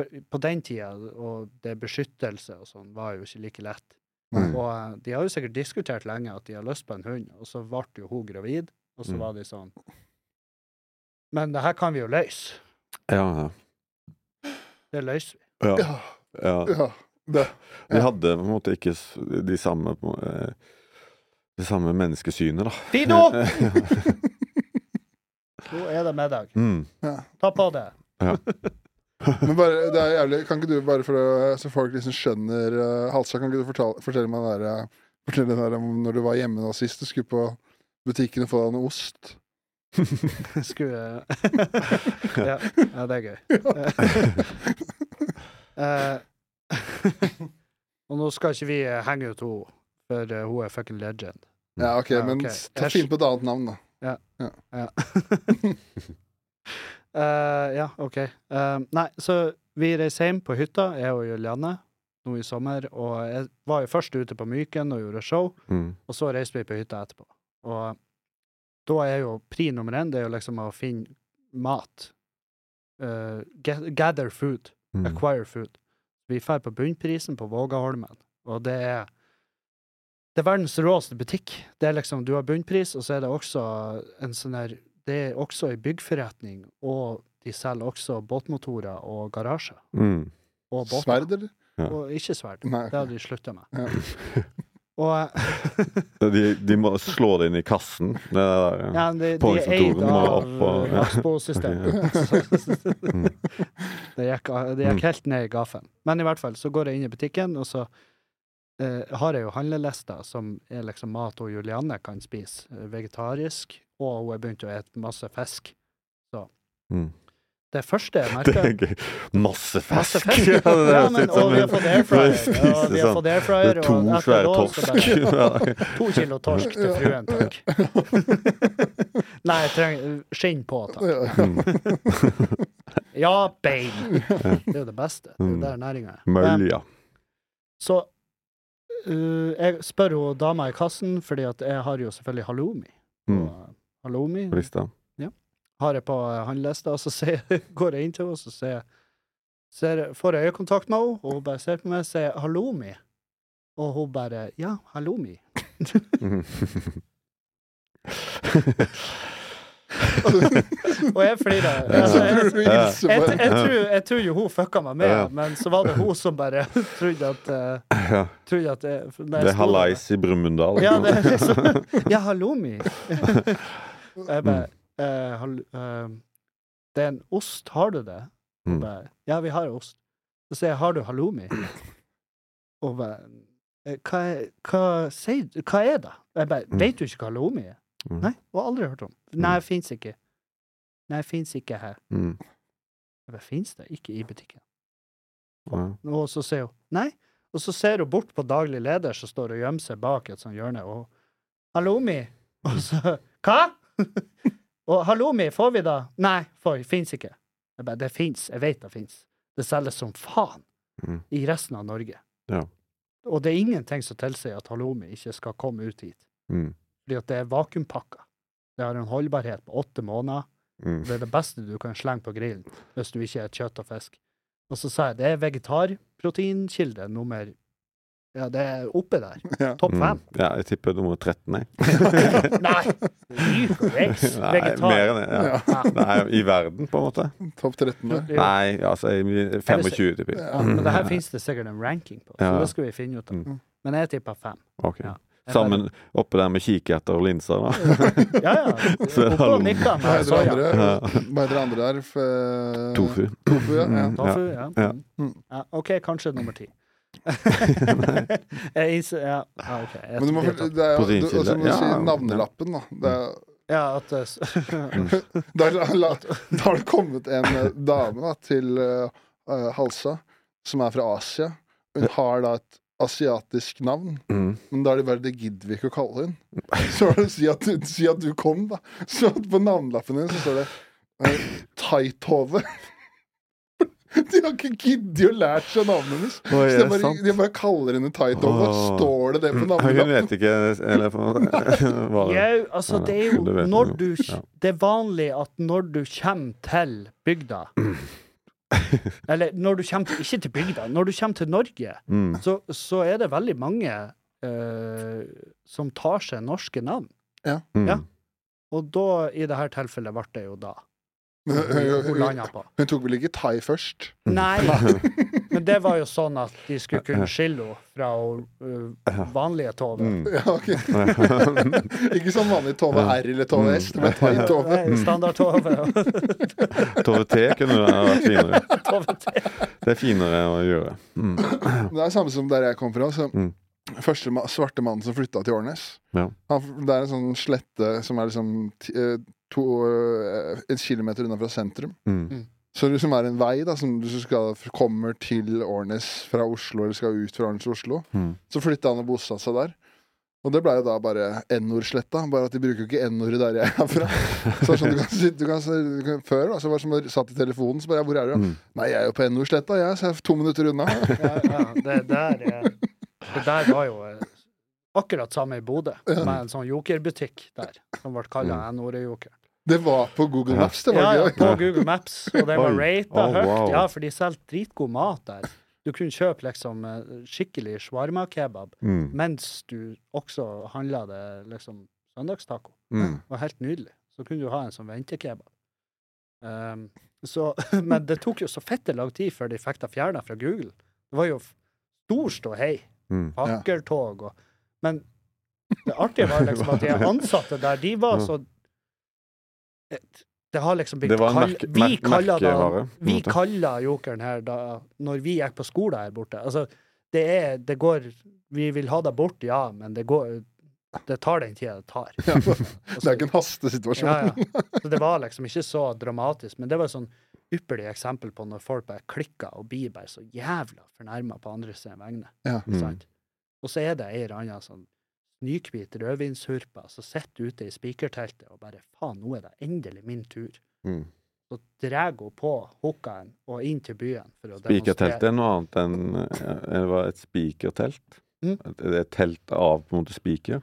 Speaker 2: på- På den tida, og det beskyttelse og sånn, var jo ikke like lett.
Speaker 1: Nei.
Speaker 2: Og eh, de har jo sikkert diskutert lenge at de har lyst på en hund, og så ble jo hun gravid, og så
Speaker 3: Mm.
Speaker 2: var de sånn Men det her kan vi jo løse.
Speaker 3: Ja, ja.
Speaker 2: Det løser vi.
Speaker 3: ja.
Speaker 1: Ja,
Speaker 3: ja.
Speaker 1: ja, det.
Speaker 3: Vi hadde på en måte ikke s- de samme på en må- eh, Det samme menneskesynet, da.
Speaker 2: Dino! Nå er det middag.
Speaker 3: (laughs) Mm.
Speaker 1: Ja.
Speaker 2: Ta på det.
Speaker 1: Men bare, det er jævlig Kan ikke du bare for å, så folk liksom skjønner eh, Halsa, kan ikke du fortale, fortelle meg den der, eh, fortelle den der om når du var hjemme nå sist du skulle på butikken og få deg noe ost?
Speaker 2: (laughs) Skulle ja, ja, det er gøy. Eh, (laughs) og nå skal ikke vi eh, henge ut henne, for eh, hun er fucking legend.
Speaker 3: Mm.
Speaker 1: Ja, OK,
Speaker 2: Ja,
Speaker 1: men
Speaker 2: ok.
Speaker 1: s- ta finn på et annet navn, da.
Speaker 2: Ja. Eh, ja, OK. Eh, nei, så vi reiser hjem på hytta, jeg og Julianne, nå i sommer. Og jeg var jo først ute på Myken og gjorde show,
Speaker 3: Mm.
Speaker 2: og så reiste vi på hytta etterpå. Og da er jo pri nummer én det er jo liksom å finne mat. Eh, ga- gather food.
Speaker 3: Mm.
Speaker 2: Acquire Food. Vi drar på bunnprisen på Vågaholmen, og det er det er verdens råeste butikk. Det er liksom, Du har bunnpris, og så er det også en sånn her Det er også ei byggforretning, og de selger også båtmotorer og garasjer.
Speaker 3: Mm.
Speaker 2: Og båter.
Speaker 1: Sverd, eller?
Speaker 2: Og ikke sverd.
Speaker 1: Nei.
Speaker 2: Det hadde de slutta med.
Speaker 1: Ja.
Speaker 2: Og
Speaker 1: (laughs)
Speaker 2: (laughs)
Speaker 3: De, de må slå det inn i kassen. Det der,
Speaker 2: ja, de, de er
Speaker 3: Påhengsmotoren
Speaker 2: eid
Speaker 3: må
Speaker 2: av eh,
Speaker 3: opp og- ja. (laughs) Mm.
Speaker 2: Raspo-systemet. Det gikk, det gikk helt ned i gaffen. Men i hvert fall, så går jeg inn i butikken, og så eh, har jeg jo handlelister som er liksom mat hun Julianne kan spise, eh, vegetarisk, og hun har begynt å ete masse fisk. Så
Speaker 3: Mm.
Speaker 2: det første jeg
Speaker 3: (laughs) Det er
Speaker 2: merker
Speaker 3: gøy. Masse
Speaker 2: Masse
Speaker 3: fisk!
Speaker 2: fisk!
Speaker 3: (laughs) Ja, det
Speaker 2: Ja,
Speaker 3: høres
Speaker 2: men,
Speaker 3: ut som
Speaker 2: og vi har
Speaker 3: en- (laughs)
Speaker 2: fått airfryer.
Speaker 3: Når jeg
Speaker 2: Ja, vi har
Speaker 3: spiser sånn.
Speaker 2: fått
Speaker 3: Det
Speaker 2: airfryer,
Speaker 3: er
Speaker 2: og
Speaker 3: to
Speaker 2: etter
Speaker 3: svære
Speaker 2: da så bare
Speaker 3: (laughs) torsk.
Speaker 2: To kilo torsk til fruen, takk.
Speaker 3: (laughs)
Speaker 2: Nei, jeg trenger skinn på, takk.
Speaker 1: Ja.
Speaker 3: mm.
Speaker 2: Ja, bein! Det er jo det beste. Det er
Speaker 3: Mm.
Speaker 2: jo der næringa er. Men-
Speaker 3: Mølja.
Speaker 2: Så øh, jeg spør jo dama i kassen, fordi at jeg har jo selvfølgelig halloumi.
Speaker 3: Mm.
Speaker 2: Og, øh, halloumi
Speaker 3: Visst det.
Speaker 2: har jeg på øh, handlelista, og så sier- går jeg (laughs) inn til henne, og så sier jeg- ser, får jeg øyekontakt med henne, og hun bare ser på meg og sier 'halloumi'. Og hun bare 'ja, halloumi'. (laughs)
Speaker 3: Mm. (laughs)
Speaker 2: Og jeg flirer.
Speaker 3: (laughs) Ja.
Speaker 2: Altså,
Speaker 1: (laughs)
Speaker 2: jeg,
Speaker 1: Så burde
Speaker 2: jeg,
Speaker 1: du
Speaker 3: Ja.
Speaker 1: hilse
Speaker 2: jeg,
Speaker 1: på-
Speaker 2: jeg, tror, jeg tror jo hun fucka meg med,
Speaker 3: Ja.
Speaker 2: men så var det hun som bare (laughs) trodde at, øh,
Speaker 3: ja.
Speaker 2: trodde at jeg, når jeg sto der-
Speaker 3: Det er hallais i Brumunddal.
Speaker 2: Ja, det er
Speaker 3: (laughs)
Speaker 2: liksom Ja, halloumi! jeg bare
Speaker 3: Mm.
Speaker 2: eh, hall, eh, Det er en ost, har du det?
Speaker 3: Mm.
Speaker 2: Jeg bare, ja, vi har ost. Så sier jeg, har du halloumi? Og bare eh, hva, er- hva, sier, du- hva er det? Jeg bare,
Speaker 3: Mm.
Speaker 2: vet du ikke hva halloumi er?
Speaker 3: Mm.
Speaker 2: Nei, jeg har aldri hørt om. Nei, fins ikke. Nei, fins ikke her.
Speaker 3: Mm.
Speaker 2: Jeg bare, fins det? Ikke i butikken.
Speaker 3: Ja.
Speaker 2: Og så sier hun nei. Og så ser hun bort på daglig leder som står og gjemmer seg bak et sånt hjørne, og halloumi. Og så hva? (laughs) og halloumi, får vi da? Nei, får, fins ikke. Jeg bare, det fins, jeg vet det fins. Det selges som faen
Speaker 3: Mm.
Speaker 2: i resten av Norge.
Speaker 3: Ja.
Speaker 2: Og det er ingenting som tilsier at halloumi ikke skal komme ut hit.
Speaker 3: Mm.
Speaker 2: Fordi at det er vakuumpakka. Det har en holdbarhet på åtte måneder.
Speaker 3: Mm.
Speaker 2: Det er det beste du kan slenge på grillen hvis du ikke er kjøtt og fisk. Og så sa jeg det er vegetarproteinkilde nummer Ja, det er oppe der.
Speaker 1: Ja.
Speaker 2: Topp fem.
Speaker 3: Mm. (laughs) Ja, jeg tipper nummer 13, jeg.
Speaker 2: (laughs) Nei! Myk og veks.
Speaker 3: (laughs) Nei, mer
Speaker 2: Vegetar.
Speaker 3: enn det. Ja.
Speaker 1: Ja.
Speaker 2: Ja.
Speaker 3: Nei, I verden, på en måte.
Speaker 1: Topp 13 der.
Speaker 2: Jo,
Speaker 3: (laughs) Nei, altså jeg- 25, tipper jeg. Mm.
Speaker 1: Ja,
Speaker 2: Men det her finnes det sikkert en ranking på, så
Speaker 3: Ja.
Speaker 2: det skal vi finne ut av.
Speaker 3: Mm.
Speaker 2: Men jeg tipper
Speaker 3: (laughs)
Speaker 2: fem.
Speaker 3: Ok.
Speaker 2: Ja. Jeg
Speaker 3: Sammen oppe der med kikerter og linser, da.
Speaker 2: bare- Ja, ja.
Speaker 3: Så er det
Speaker 2: Oppe og
Speaker 1: Hva
Speaker 2: nikker med
Speaker 1: heter det
Speaker 2: soya.
Speaker 1: andre, hva heter det andre der? F
Speaker 3: Tofu.
Speaker 1: Tofu, ja. ja.
Speaker 3: Mm.
Speaker 2: Tofu, ja.
Speaker 3: Ja.
Speaker 2: Mm. ja. OK, kanskje nummer
Speaker 3: (laughs)
Speaker 2: ti. (laughs) jeg innser Ja, ja, OK. Jeg
Speaker 1: Men du må,
Speaker 2: blir tatt.
Speaker 1: det er jo, du, og
Speaker 3: Proteinkilde.
Speaker 1: så må du si
Speaker 3: Ja.
Speaker 1: navnelappen, da. Det er,
Speaker 2: Ja, at eh,
Speaker 1: Der, la- da har det kommet en eh, dame da, til eh, eh, Halsa, som er fra Asia. Hun har da et asiatisk navn,
Speaker 3: Mm.
Speaker 1: men da er det bare det gidder vi ikke å kalle henne. Så er det å si at, si at du kom, da. Så at på navnelappen din så står det eh, Tighthove. (laughs) De har ikke giddet å lære seg navnet hennes.
Speaker 3: Oi,
Speaker 1: Så
Speaker 3: er
Speaker 1: de
Speaker 3: det
Speaker 1: bare,
Speaker 3: sant?
Speaker 1: de bare kaller henne Tighthove.
Speaker 3: Åh.
Speaker 1: Står det det på
Speaker 3: Hun
Speaker 1: navnet?
Speaker 3: Mm. vet ikke eller, (laughs) hva det
Speaker 2: Jau, altså,
Speaker 3: Ja,
Speaker 2: det er jo
Speaker 3: det vet
Speaker 2: når
Speaker 3: man
Speaker 2: du
Speaker 3: jo. Ja.
Speaker 2: Det er vanlig at når du kommer til bygda
Speaker 3: (laughs)
Speaker 2: Eller når du kommer til, ikke til bygda, når du kommer til Norge,
Speaker 3: Mm.
Speaker 2: så, så er det veldig mange eh, som tar seg norske navn.
Speaker 3: Mm.
Speaker 2: Ja. Og da, i dette tilfellet, ble det jo da.
Speaker 1: Hun,
Speaker 2: Hun
Speaker 1: hun,
Speaker 2: landa på.
Speaker 1: hun tok vel ikke thai først?
Speaker 3: (laughs)
Speaker 2: Nei, men det var jo sånn at de skulle kunne skille henne fra eh, vanlige Tove.
Speaker 3: Mm.
Speaker 1: Ja, ok. Ikke sånn vanlig Tove R eller Tove S, men
Speaker 2: (laughs)
Speaker 1: Thai-Tove.
Speaker 2: Nei, Standard-Tove og
Speaker 3: Tove T kunne ha vært finere.
Speaker 2: Tove T.
Speaker 3: Det er finere å gjøre. Mm.
Speaker 1: Det er samme som der jeg kom fra. Så.
Speaker 3: Mm.
Speaker 1: Første ma svarte mannen som flytta til Årnes.
Speaker 3: Ja.
Speaker 1: Han, det er en sånn slette som er liksom ti- eh, to, eh, en kilometer unna fra sentrum.
Speaker 3: Mm.
Speaker 1: Så det som er en vei da, som du skal, kommer til Årnes fra Oslo, eller skal ut fra Årnes til Oslo.
Speaker 3: Mm.
Speaker 1: Så flytta han og bosatte seg der. Og det blei jo da bare N-ordsletta. Bare at de bruker jo ikke N-ordet der jeg er fra. Så det er sånn du kan, sitte- du kan, se- du kan, Før da, så var det som å satt i telefonen, så bare ja, 'Hvor er du?'
Speaker 3: Mm.
Speaker 1: Nei, jeg er jo på N-ordsletta, jeg, så jeg er to minutter unna.
Speaker 2: Ja, ja, det der er Det der var jo eh, akkurat samme i Bodø, med en sånn jokerbutikk der, som ble kalla N-ordet-joker.
Speaker 1: Det var på Google
Speaker 3: Ja.
Speaker 1: Maps, det
Speaker 2: E Ja,
Speaker 1: var
Speaker 2: ja,
Speaker 1: gøy. (laughs)
Speaker 2: på Google Maps, og det var
Speaker 3: Oi.
Speaker 2: rata
Speaker 3: Oh, wow.
Speaker 2: høyt. Ja, for de selger dritgod mat der. Du kunne kjøpe liksom eh, skikkelig shawarma-kebab,
Speaker 3: Mm.
Speaker 2: mens du også handla det liksom søndagstaco.
Speaker 3: Mm.
Speaker 2: Det var helt nydelig. Så kunne du ha en sånn ventekebab. Ehm, så, (laughs) men det tok jo så fette lang tid før de fikk det fjerna fra Google. Det var jo f- stor ståhei.
Speaker 3: Mm.
Speaker 2: Hakkertog og Men det artige var liksom
Speaker 3: (laughs)
Speaker 2: at de ansatte der, de var så Det har liksom blitt
Speaker 3: Mm. Det var en
Speaker 2: kall-
Speaker 3: merke-
Speaker 2: Vi
Speaker 3: mer-
Speaker 2: kaller da-
Speaker 3: merkevare, på en
Speaker 2: Vi
Speaker 3: måte.
Speaker 2: kaller jokeren her da Når vi gikk på skole her borte Altså, det er Det går Vi vil ha deg bort, ja, men det går Det tar den tida det tar. Altså,
Speaker 1: Ja, altså, det er ikke en hastesituasjon.
Speaker 2: Ja, ja. Så det var liksom ikke så dramatisk, men det var et sånn ypperlig eksempel på når folk bare klikker og blir bare så jævla fornærma på andre sine vegne.
Speaker 1: Ja.
Speaker 3: Mm.
Speaker 2: Sant? Og så er det ei eller anna sånn snykhvit rødvinshurpa som sitter ute i spikerteltet og bare faen, nå er det endelig min tur.
Speaker 3: Mm.
Speaker 2: Så drar hun på hookaen og inn til byen for å demonstrere.
Speaker 3: Spikertelt er noe annet enn eh, det var et spikertelt.
Speaker 2: Mm.
Speaker 3: Det er et telt av på en måte spiker.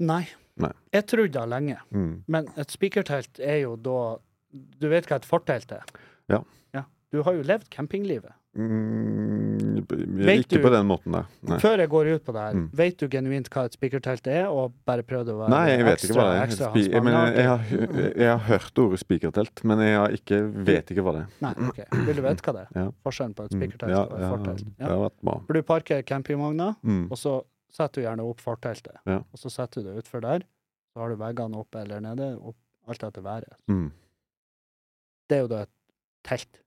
Speaker 2: Nei.
Speaker 3: Nei.
Speaker 2: Jeg trodde det lenge,
Speaker 3: Mm.
Speaker 2: men et spikertelt er jo da Du vet hva et fortelt er?
Speaker 3: Ja.
Speaker 2: Du har jo levd campinglivet.
Speaker 3: Mm.
Speaker 2: Vet
Speaker 3: Ikke
Speaker 2: du-
Speaker 3: på den måten der. Nei.
Speaker 2: Før jeg går ut på det her,
Speaker 3: Mm.
Speaker 2: vet du genuint hva et spikertelt er, og bare prøvde å være
Speaker 3: Nei, jeg vet ikke
Speaker 2: ekstra,
Speaker 3: hva det er.
Speaker 2: ekstra
Speaker 3: Spi-
Speaker 2: Hans
Speaker 3: men eh,
Speaker 2: Magne
Speaker 3: jeg, jeg, har, hø- jeg har hørt ordet spikertelt, men jeg har ikke, vet ikke hva det er.
Speaker 2: Nei, ok. Vil du vite hva det er?
Speaker 3: Ja.
Speaker 2: Forskjellen på Mm. et
Speaker 3: Mm.
Speaker 2: spikertelt
Speaker 3: Ja,
Speaker 2: og et
Speaker 3: ja,
Speaker 2: fortelt?
Speaker 3: Det
Speaker 2: Ja.
Speaker 3: har vært bra.
Speaker 2: For du parker campingvogna,
Speaker 3: Mm.
Speaker 2: og så setter du gjerne opp forteltet.
Speaker 3: Ja.
Speaker 2: Og så setter du det utfor der. Så har du veggene opp eller nede, opp, alt etter været.
Speaker 3: Mm.
Speaker 2: Det er jo da et telt.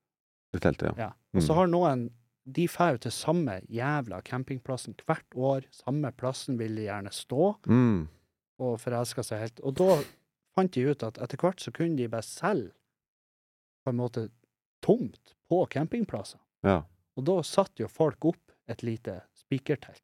Speaker 3: Det teltet, ja.
Speaker 2: Ja. Og
Speaker 3: Mm.
Speaker 2: så har noen de drar jo til samme jævla campingplassen hvert år. Samme plassen vil de gjerne stå.
Speaker 3: Mm.
Speaker 2: og forelska seg helt. Og da fant de ut at etter hvert så kunne de bare selge på en måte tomt på campingplasser.
Speaker 3: ja.
Speaker 2: Og da satte jo folk opp et lite spikertelt.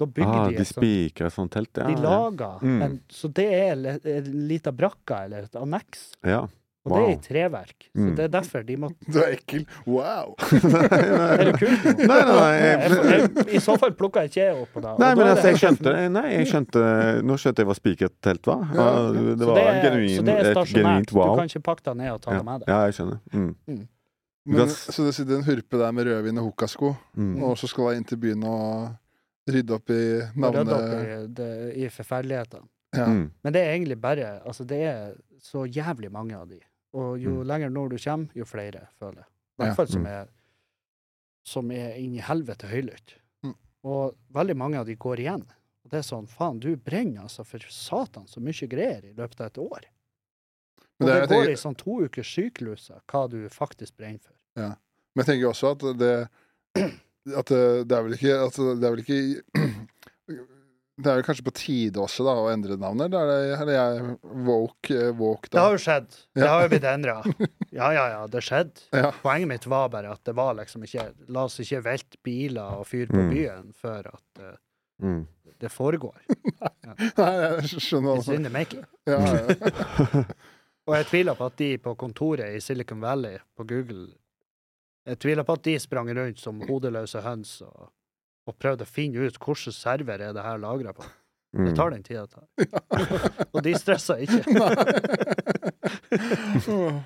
Speaker 2: Da bygde
Speaker 3: Ah,
Speaker 2: de
Speaker 3: de
Speaker 2: et sånt.
Speaker 3: spiker et sånt telt, ja.
Speaker 2: De laga
Speaker 3: Mm.
Speaker 2: en Så det er le- en lita brakka eller et anneks.
Speaker 3: ja.
Speaker 2: Og det er i
Speaker 3: Wow.
Speaker 2: treverk. Så
Speaker 3: Mm.
Speaker 2: det er derfor de måtte
Speaker 1: Du er ekkel.
Speaker 3: (laughs)
Speaker 1: Wow!
Speaker 2: Er det kult? nå?
Speaker 3: Nei, nei, nei,
Speaker 2: Jeg,
Speaker 3: jeg-
Speaker 2: jeg, I så fall plukka ikke jeg opp på det. og
Speaker 3: Nei,
Speaker 2: da
Speaker 3: men
Speaker 2: er
Speaker 3: altså,
Speaker 2: det-
Speaker 3: jeg skjønte det. Nei, jeg skjønte Nå skjønte jeg hva spikertelt var.
Speaker 1: Ja,
Speaker 3: Ah,
Speaker 1: ja.
Speaker 3: Det
Speaker 2: Så
Speaker 3: var
Speaker 2: det er, så
Speaker 3: genuin,
Speaker 2: det er
Speaker 3: et
Speaker 2: stasjonært.
Speaker 3: genuint wow.
Speaker 2: Du kan ikke pakke deg ned og ta
Speaker 3: ja.
Speaker 2: det med deg.
Speaker 3: ja, jeg skjønner. Mm.
Speaker 1: Men,
Speaker 3: Gass.
Speaker 1: så det sitter en hurpe der med rødvin og hookasko,
Speaker 3: Mm.
Speaker 1: og så skal jeg inn til byen og rydde opp i
Speaker 2: Og rydde opp
Speaker 1: navnet
Speaker 2: i, det- i forferdelighetene.
Speaker 1: ja.
Speaker 3: Mm.
Speaker 2: Men det er egentlig bare Altså, det er så jævlig mange av de. Og jo
Speaker 3: Mm.
Speaker 2: lenger nord du kommer, jo flere, føler jeg. I
Speaker 1: Ja.
Speaker 2: hvert fall som
Speaker 3: Mm.
Speaker 2: er som er inn i helvete høylytt.
Speaker 1: Mm.
Speaker 2: Og veldig mange av de går igjen. Og det er sånn, faen, du brenner altså for satan så mye greier i løpet av et år. Og
Speaker 1: Men det
Speaker 2: det,
Speaker 1: er- jeg
Speaker 2: går
Speaker 1: tenker-
Speaker 2: i sånn to ukers sykluser hva du faktisk brenner for.
Speaker 1: Men jeg tenker også at det At det, det er vel ikke at Det er vel ikke (clears throat) Det er vel kanskje på tide også da å endre navnet? Da er det eller jeg woke, eh, woke
Speaker 2: Det
Speaker 1: da.
Speaker 2: har jo skjedd. Det har jo blitt endra. Ja, ja, ja, det skjedde.
Speaker 1: Ja. (laughs)
Speaker 2: Poenget mitt var bare at det var liksom ikke La oss ikke velte biler og fyre på
Speaker 3: Mm.
Speaker 2: byen før at eh,
Speaker 3: Mm.
Speaker 2: det foregår.
Speaker 1: Nei, jeg skjønner
Speaker 2: It's
Speaker 1: altså.
Speaker 2: in the making.
Speaker 1: Ja, ja.
Speaker 2: Og jeg tviler på at de på kontoret i Silicon Valley på Google Jeg tviler på at de sprang rundt som hodeløse høns og, og prøvde å finne ut hvilken server er det her lagra
Speaker 3: (laughs)
Speaker 2: på.
Speaker 3: mm,
Speaker 2: Det tar den tida det tar. (laughs) Og de stressa ikke.
Speaker 1: (laughs) Åh.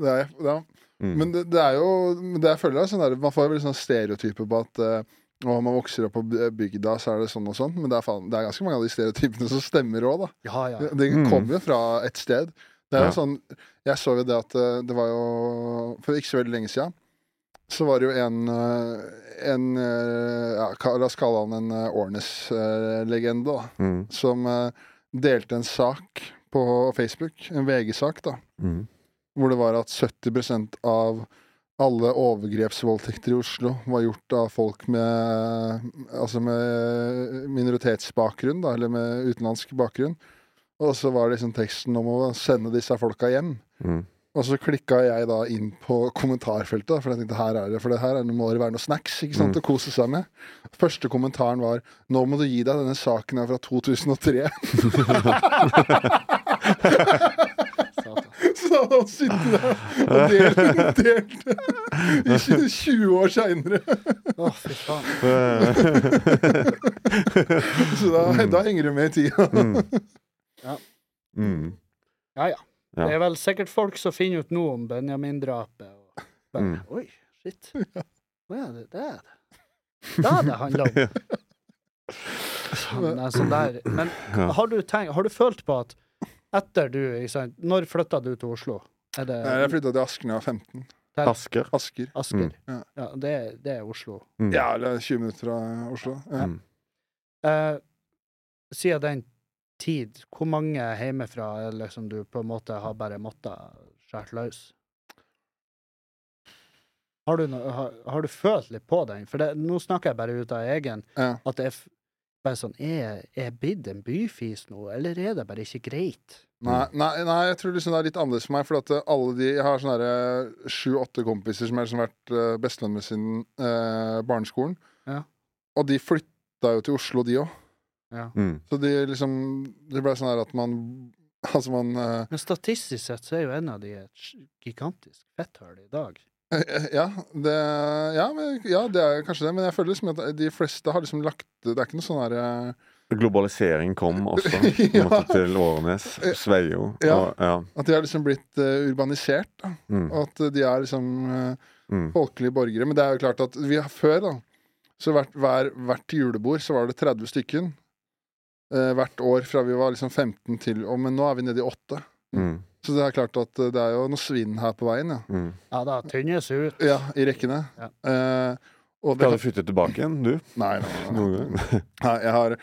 Speaker 1: Det er, ja.
Speaker 3: Mm.
Speaker 1: Men det, det er jo men det jeg føler er sånn der, Man får veldig sånn stereotyper på at eh, når man vokser opp på by- bygda, så er det sånn og sånn. Men det er, faen, det er ganske mange av de stereotypene som stemmer òg, da.
Speaker 2: Ja, ja.
Speaker 1: Det
Speaker 3: Mm.
Speaker 1: kommer jo fra et sted. Det er jo
Speaker 3: Ja.
Speaker 1: sånn, jeg så jo det at eh, det var jo For ikke så veldig lenge siden så var det jo en, eh, en eh, ja, ka- La oss kalle han en eh, Ornes-legende, da.
Speaker 3: Mm.
Speaker 1: Som eh, delte en sak på Facebook, en VG-sak, da.
Speaker 3: Mm.
Speaker 1: Hvor det var at 70 av alle overgrepsvoldtekter i Oslo var gjort av folk med, altså med minoritetsbakgrunn, da, eller med utenlandsk bakgrunn. Og så var det liksom teksten om å sende disse folka hjem.
Speaker 3: Mm.
Speaker 1: Og så klikka jeg da inn på kommentarfeltet, da, for jeg tenkte her er det, for det her er- må det være noe snacks ikke sant,
Speaker 3: Mm.
Speaker 1: å kose seg med. Første kommentaren var 'Nå må du gi deg, denne saken er fra 2003'.
Speaker 2: Satan.
Speaker 1: (laughs) Så da hadde han sittet der og delt, delt i 20 år seinere.
Speaker 2: Å, fy faen.
Speaker 1: Så da, da henger du med i tida.
Speaker 2: (laughs) Ja.
Speaker 3: (laughs) Mm.
Speaker 2: Ja, ja.
Speaker 3: Ja.
Speaker 2: Det er vel sikkert folk som finner ut nå om Benjamin-drapet. Og bare,
Speaker 3: Mm.
Speaker 2: Oi, shit. Hva er det der? Det er det handler om.
Speaker 3: (laughs)
Speaker 2: Sånn, altså der. Men
Speaker 3: Ja.
Speaker 2: har du, tenkt, har du følt på at etter du ikke sant, Når flytta du til Oslo? Er det
Speaker 1: Nei, Jeg flytta til Asker da jeg var 15.
Speaker 3: Asker.
Speaker 1: Asker.
Speaker 2: Asker?
Speaker 3: Mm.
Speaker 1: Ja.
Speaker 2: Ja, det, er- det er Oslo.
Speaker 3: Mm.
Speaker 1: Ja, eller 20 minutter fra Oslo. Ja.
Speaker 3: Mm.
Speaker 2: Eh, siden den tid, hvor mange hjemmefra er det liksom du på en måte har bare måttet skjære løs? Har du, no- har, har du følt litt på den? For det, nå snakker jeg bare ut av egen.
Speaker 1: Ja.
Speaker 2: At det er f- bare sånn Er jeg- er jeg blitt en byfis nå, eller er det bare ikke greit?
Speaker 1: Nei, nei, nei, jeg tror liksom det er litt annerledes for meg. For at eh, alle de, Jeg har sånne sju-åtte kompiser som har liksom vært eh, bestevenner med siden eh, barneskolen.
Speaker 2: Ja.
Speaker 1: Og de flytta jo til Oslo, de òg.
Speaker 3: Mm.
Speaker 1: Så de liksom Det ble sånn her at man (laughs) Altså, man eh,
Speaker 2: Men statistisk sett så er jo en av de et sj- gigantisk fetthull i dag.
Speaker 1: Eh, (laughs) Ja, det, ja, men, ja, det er kanskje det, men jeg føler liksom at de fleste har liksom lagt Det er ikke noe sånn her eh,
Speaker 3: Globalisering
Speaker 1: (laughs)
Speaker 3: kom også,
Speaker 1: Ja.
Speaker 3: måtte til Årenes. Sveio.
Speaker 1: Ja.
Speaker 3: Og, ja.
Speaker 1: At de har liksom blitt eh, urbanisert. Da.
Speaker 3: Mm.
Speaker 1: Og at de er liksom eh,
Speaker 3: Mm.
Speaker 1: folkelige borgere. Men det er jo klart at vi har før, da Så hvert, hver, hvert julebord så var det 30 stykken. Eh, hvert år fra vi var liksom 15 til og, Men nå er vi nede i 8.
Speaker 3: Mm.
Speaker 1: Så det er klart at eh, det er jo noe svinn her på veien, ja.
Speaker 3: Mm.
Speaker 2: Ja da, tynnes
Speaker 1: (laughs)
Speaker 2: ut.
Speaker 1: Ja, I rekkene.
Speaker 2: Ja.
Speaker 1: Eh, og det
Speaker 3: Skal du flytte tilbake igjen, du?
Speaker 1: Nei, nei, nei.
Speaker 3: Noen gang?
Speaker 1: Nei, jeg har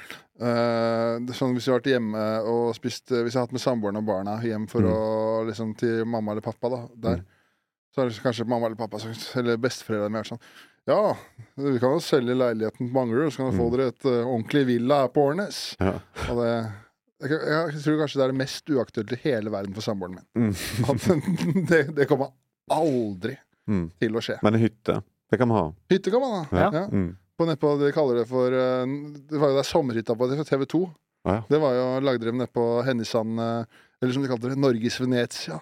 Speaker 1: øh, det er sånn, Hvis jeg har vært hjemme og spist øh, Hvis jeg har hatt med samboeren og barna hjem for
Speaker 3: Mm.
Speaker 1: å, liksom, til mamma eller pappa, da, der,
Speaker 3: Mm.
Speaker 1: så har kanskje mamma eller pappa sagt, eller besteforeldrene mine vært sånn Ja, vi kan jo selge leiligheten på Manglerud, så kan dere få
Speaker 3: Mm.
Speaker 1: dere et øh, ordentlig villa her på Årnes.
Speaker 3: Ja.
Speaker 1: Og det, jeg, jeg tror kanskje det er det mest uaktuelle i hele verden for samboeren min.
Speaker 3: Mm.
Speaker 1: At (laughs) det, det kommer aldri
Speaker 3: Mm.
Speaker 1: til å skje.
Speaker 3: Men en hytte, det kan vi ha.
Speaker 1: Hytte kan man ha.
Speaker 3: Ja.
Speaker 1: Ja
Speaker 3: Mm.
Speaker 1: på nedpå, de kaller det for eh, Det var jo der sommerhytta på det fra TV 2.
Speaker 3: Ah, ja.
Speaker 1: Det var jo lagde de nedpå Hennisand eh, Eller som de kalte det, Norges Venezia.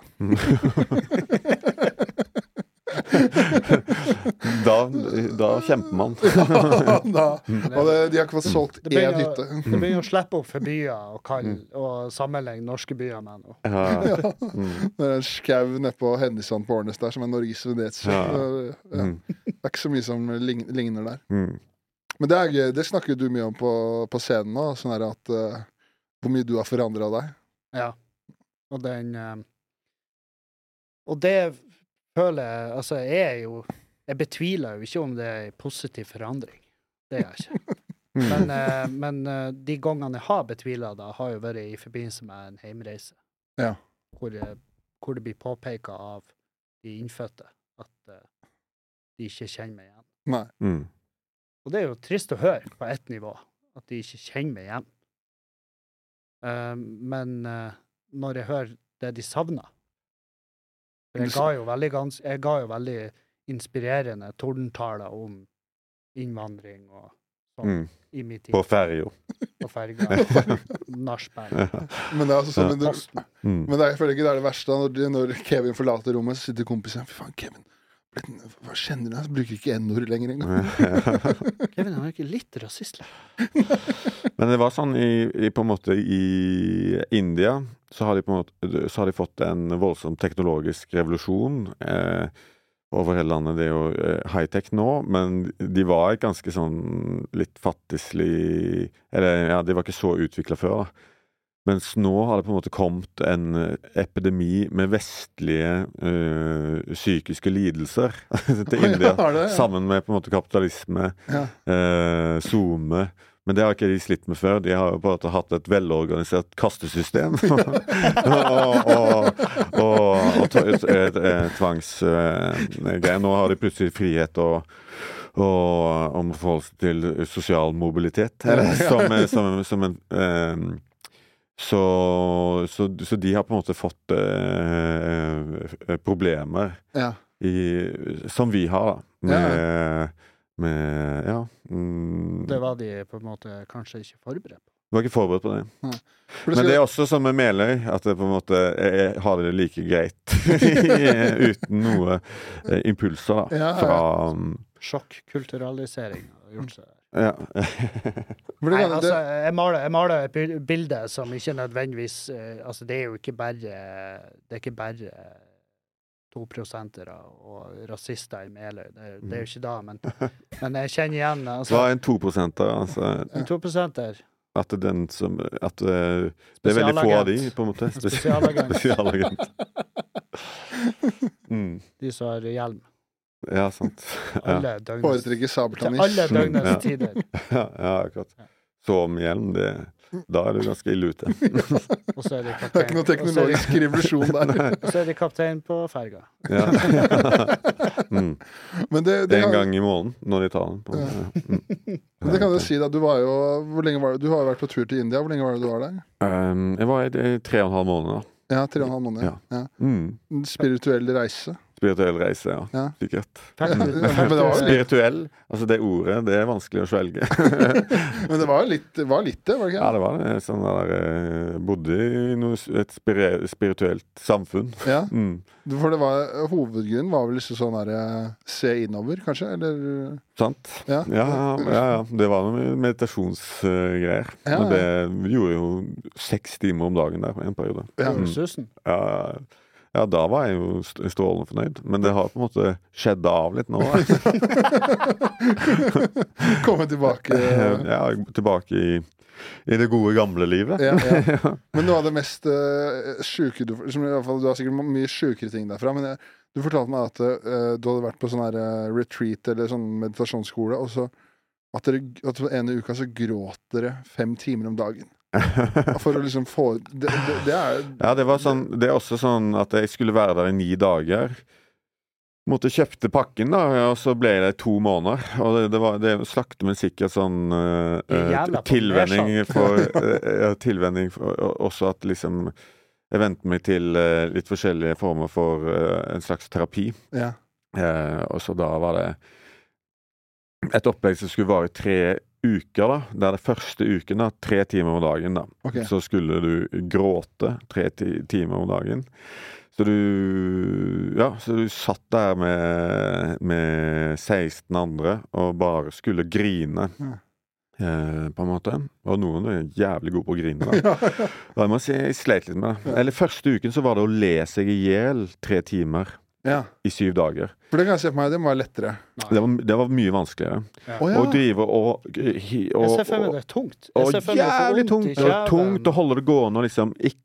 Speaker 3: Da, da kjemper man.
Speaker 1: da, (laughs) og det, de har ikke fått solgt
Speaker 2: Det
Speaker 1: én
Speaker 2: begynner-
Speaker 1: hytte.
Speaker 2: Du begynner å slippe opp for byer og, kall, og sammenligne norske byer med noe.
Speaker 3: Ja.
Speaker 1: (laughs)
Speaker 3: ja. Mm.
Speaker 1: Det er en skau nedpå Hennisand på Årnes der som er Norges Venezia.
Speaker 3: Ja.
Speaker 1: Det er- Ja.
Speaker 3: Mm.
Speaker 1: Det er ikke så mye som lign- ligner der.
Speaker 3: Mm.
Speaker 1: Men det er gøy, det snakker jo du mye om på, på scenen nå, sånn her at eh, hvor mye du har forandra deg.
Speaker 2: Ja. Og den eh, Og det føler jeg Altså, jeg er jo Jeg betviler jo ikke om det er en positiv forandring. Det gjør jeg ikke.
Speaker 3: Mm.
Speaker 2: Men, eh, men eh, de gangene jeg har betvila det, har jo vært i forbindelse med en heimreise.
Speaker 1: Ja.
Speaker 2: Hvor, eh, hvor det blir påpeka av de innfødte at eh, de ikke kjenner meg igjen.
Speaker 1: Nei.
Speaker 3: Mm.
Speaker 2: Og det er jo trist å høre på ett nivå, at de ikke kjenner meg igjen. Eh, men eh, når jeg hører det de savner For jeg ga jo veldig, gans, jeg ga jo veldig inspirerende tordentaler om innvandring og sånn
Speaker 3: Mm.
Speaker 2: i min tid
Speaker 3: På ferja.
Speaker 2: på
Speaker 3: (laughs)
Speaker 2: ferga. Nachspiel.
Speaker 1: Men det er altså sånn, men det-
Speaker 2: Posten.
Speaker 3: Mm.
Speaker 1: Men det er, jeg føler ikke det er det verste. da. Når, de- når Kevin forlater rommet, så sitter kompisen Fy faen, Kevin. blitt en- Hva kjenner du? Han bruker ikke n-ord lenger
Speaker 3: (laughs)
Speaker 1: engang.
Speaker 2: Kevin, han er ikke litt rasist lenger.
Speaker 3: Men det var sånn i, i, på en måte i India så har de, på en måte, så har de fått en voldsom teknologisk revolusjon eh, over hele landet. Det er jo eh, high-tech nå, men de var et ganske sånn litt fattigslig Eller ja, de var ikke så utvikla før, da. Mens nå har det på en måte kommet en eh, epidemi med vestlige eh, psykiske lidelser (laughs) til India.
Speaker 1: Ja, er det, ja.
Speaker 3: Sammen med på en måte kapitalisme,
Speaker 1: Ja.
Speaker 3: eh, SoMe. Men det har ikke de slitt med før. De har jo på en måte hatt et velorganisert kastesystem. (laughs) og og, og, og t- eh, eh, tvangsgreier. Nå har de plutselig frihet og, og om å forholde seg til sosial mobilitet. Eller, som, eh, som, som en eh, så, så, så de har på en måte fått eh, eh, problemer
Speaker 1: Ja.
Speaker 3: i, som vi har, da. Med, med Ja. Mm,
Speaker 2: Det var de på en måte kanskje ikke forberedt på.
Speaker 3: var ikke forberedt på det.
Speaker 1: For
Speaker 3: Men det er
Speaker 1: skal-
Speaker 3: også som med Meløy, at det på en måte jeg, jeg har det like greit
Speaker 1: (laughs)
Speaker 3: (laughs) uten noe eh, impulser da,
Speaker 1: Ja, ja.
Speaker 3: fra um,
Speaker 2: Sjokkkulturalisering har gjort seg.
Speaker 3: ja. (laughs)
Speaker 1: for det
Speaker 2: Nei,
Speaker 1: kan-
Speaker 2: altså,
Speaker 1: det-
Speaker 2: jeg maler, jeg maler et bil- bilde som ikke nødvendigvis eh, Altså, det er jo ikke bare Det er ikke bare to prosentere og rasister i Meløy. Det, er- det er jo ikke da, men, men jeg kjenner igjen
Speaker 3: Det var
Speaker 2: altså,
Speaker 3: en toprosenter, altså.
Speaker 2: en
Speaker 3: (laughs)
Speaker 2: toprosenter.
Speaker 3: At det er den som At eh, det er veldig få av de,
Speaker 2: Spesialagent.
Speaker 3: på en måte.
Speaker 1: (laughs)
Speaker 3: Spes-
Speaker 2: Spesialagent.
Speaker 3: Spesialagent. Mm.
Speaker 2: De som har hjelm.
Speaker 3: Ja, sant. Ja,
Speaker 2: Alle døgnets
Speaker 1: Foretrekker
Speaker 2: til
Speaker 1: sabeltannis.
Speaker 2: alle
Speaker 3: Ja.
Speaker 2: døgnets tider.
Speaker 3: (laughs) ja, ja akkurat. Sovehjelm, det Da er du ganske ille
Speaker 1: (laughs)
Speaker 3: ute.
Speaker 2: Og så er
Speaker 1: Det er
Speaker 2: det
Speaker 1: ikke
Speaker 2: kaptein,
Speaker 1: noe teknologisk revolusjon der.
Speaker 3: (laughs)
Speaker 1: (laughs)
Speaker 3: Nei.
Speaker 2: og så er det kaptein på ferga.
Speaker 3: Ja. Mm.
Speaker 1: Men det, det,
Speaker 3: En
Speaker 1: kan,
Speaker 3: gang i måneden, når de tar den. På.
Speaker 1: (laughs)
Speaker 3: Mm.
Speaker 1: men det kan jo si da, du var jo Hvor lenge var det? Du har jo vært på tur til India. Hvor lenge var det du var der?
Speaker 3: Um, jeg var i, i tre og en halv måned, da.
Speaker 1: Ja, tre og en halv måned. Ja.
Speaker 3: Mm.
Speaker 1: En Spirituell reise.
Speaker 3: Spirituell reise, ja.
Speaker 1: Ja.
Speaker 3: Sikkert.
Speaker 2: Fikk
Speaker 1: Ja,
Speaker 2: du,
Speaker 1: men
Speaker 2: fikk
Speaker 1: det var-
Speaker 2: du,
Speaker 3: Spirituell, altså det ordet, det er vanskelig å svelge.
Speaker 1: Men det var jo litt, det var litt det, var det
Speaker 3: (laughs) Ja,
Speaker 1: ikke?
Speaker 3: det var det. Sånn der, eh, bodde i noe, s- et spire, spirituelt samfunn.
Speaker 1: Ja.
Speaker 3: Mm.
Speaker 1: For det var, hovedgrunnen var vel liksom sånn derre se innover, kanskje? Eller
Speaker 3: Sant?
Speaker 1: Ja.
Speaker 3: Ja, ja, ja. Det var noe meditasjonsgreier.
Speaker 1: Ja,
Speaker 3: Og det gjorde jo seks timer om dagen der en periode.
Speaker 1: ja.
Speaker 2: fikk du susen?
Speaker 3: Ja, ja, da var jeg jo st- strålende fornøyd. Men det har på en måte skjedd av litt
Speaker 1: (laughs)
Speaker 3: nå.
Speaker 1: Komme tilbake.
Speaker 3: (laughs) Ja, tilbake i, i det gode gamle livet.
Speaker 1: Ja, ja. Men noe av det mest uh, sjuke du, som i hvert fall, du har sikkert mye sjukere ting derfra, men jeg, du fortalte meg at eh, du hadde vært på sånn her eh, retreat eller sånn meditasjonsskole, og så at dere at på den ene uka så gråt dere fem timer om dagen. For å liksom få Det, det, det er
Speaker 3: (laughs) Ja, det var sånn Det er også sånn at jeg skulle være der i ni dager. Måtte kjøpte pakken, da, og så ble det to måneder. Og det, det var det slakte, men sikkert sånn eh, eh,
Speaker 2: Jævla
Speaker 3: tilvenning
Speaker 2: på
Speaker 3: for eh, ja, Tilvenning for, og- også at liksom Jeg vente meg til eh, litt forskjellige former for eh, en slags terapi.
Speaker 1: Ja.
Speaker 3: Eh, og så da var det et opplegg som skulle vare i tre uker, da. Der det første uken, da, tre timer om dagen, da.
Speaker 1: Ok.
Speaker 3: Så skulle du gråte tre ti timer om dagen. Så du Ja, så du satt der med, med 16 andre og bare skulle grine.
Speaker 1: Ja.
Speaker 3: Eh, på en måte. Og noen er jævlig gode på å grine. Da. Og jeg må si jeg sleit litt med det. Eller første uken så var det å le seg i hjel tre timer
Speaker 1: ja.
Speaker 3: i syv dager.
Speaker 1: For det kan jeg se for meg, det må være lettere.
Speaker 3: Det var, det var mye vanskeligere.
Speaker 1: Å
Speaker 3: Å
Speaker 1: ja.
Speaker 3: drive og, eh, hi-
Speaker 2: Jeg
Speaker 3: og,
Speaker 2: ser for meg
Speaker 3: og,
Speaker 2: det er tungt. Jeg
Speaker 3: og
Speaker 2: ser for meg det er vondt
Speaker 3: Jævlig
Speaker 2: i
Speaker 3: tungt! Det var
Speaker 2: kjeven.
Speaker 3: tungt å holde det gående og liksom ikk-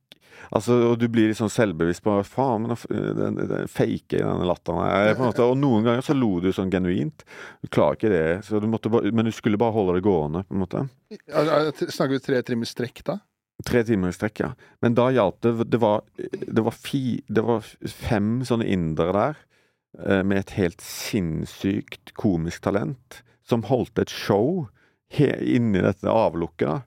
Speaker 3: Altså, og du blir litt sånn selvbevisst på Faen, men da f- eh, den, den fake i denne latteren her på en måte. Og noen ganger så lo du sånn genuint. Du klarer ikke det. Så du måtte bare, men du skulle bare holde det gående, på en måte.
Speaker 1: Er- er- Snakker vi tre timer strekk da?
Speaker 3: Tre timer i strekk, ja. Men da hjalp det. Det var, det var, fi, det var fem sånne indere der eh, med et helt sinnssykt komisk talent som holdt et show he, inni dette avlukket. da.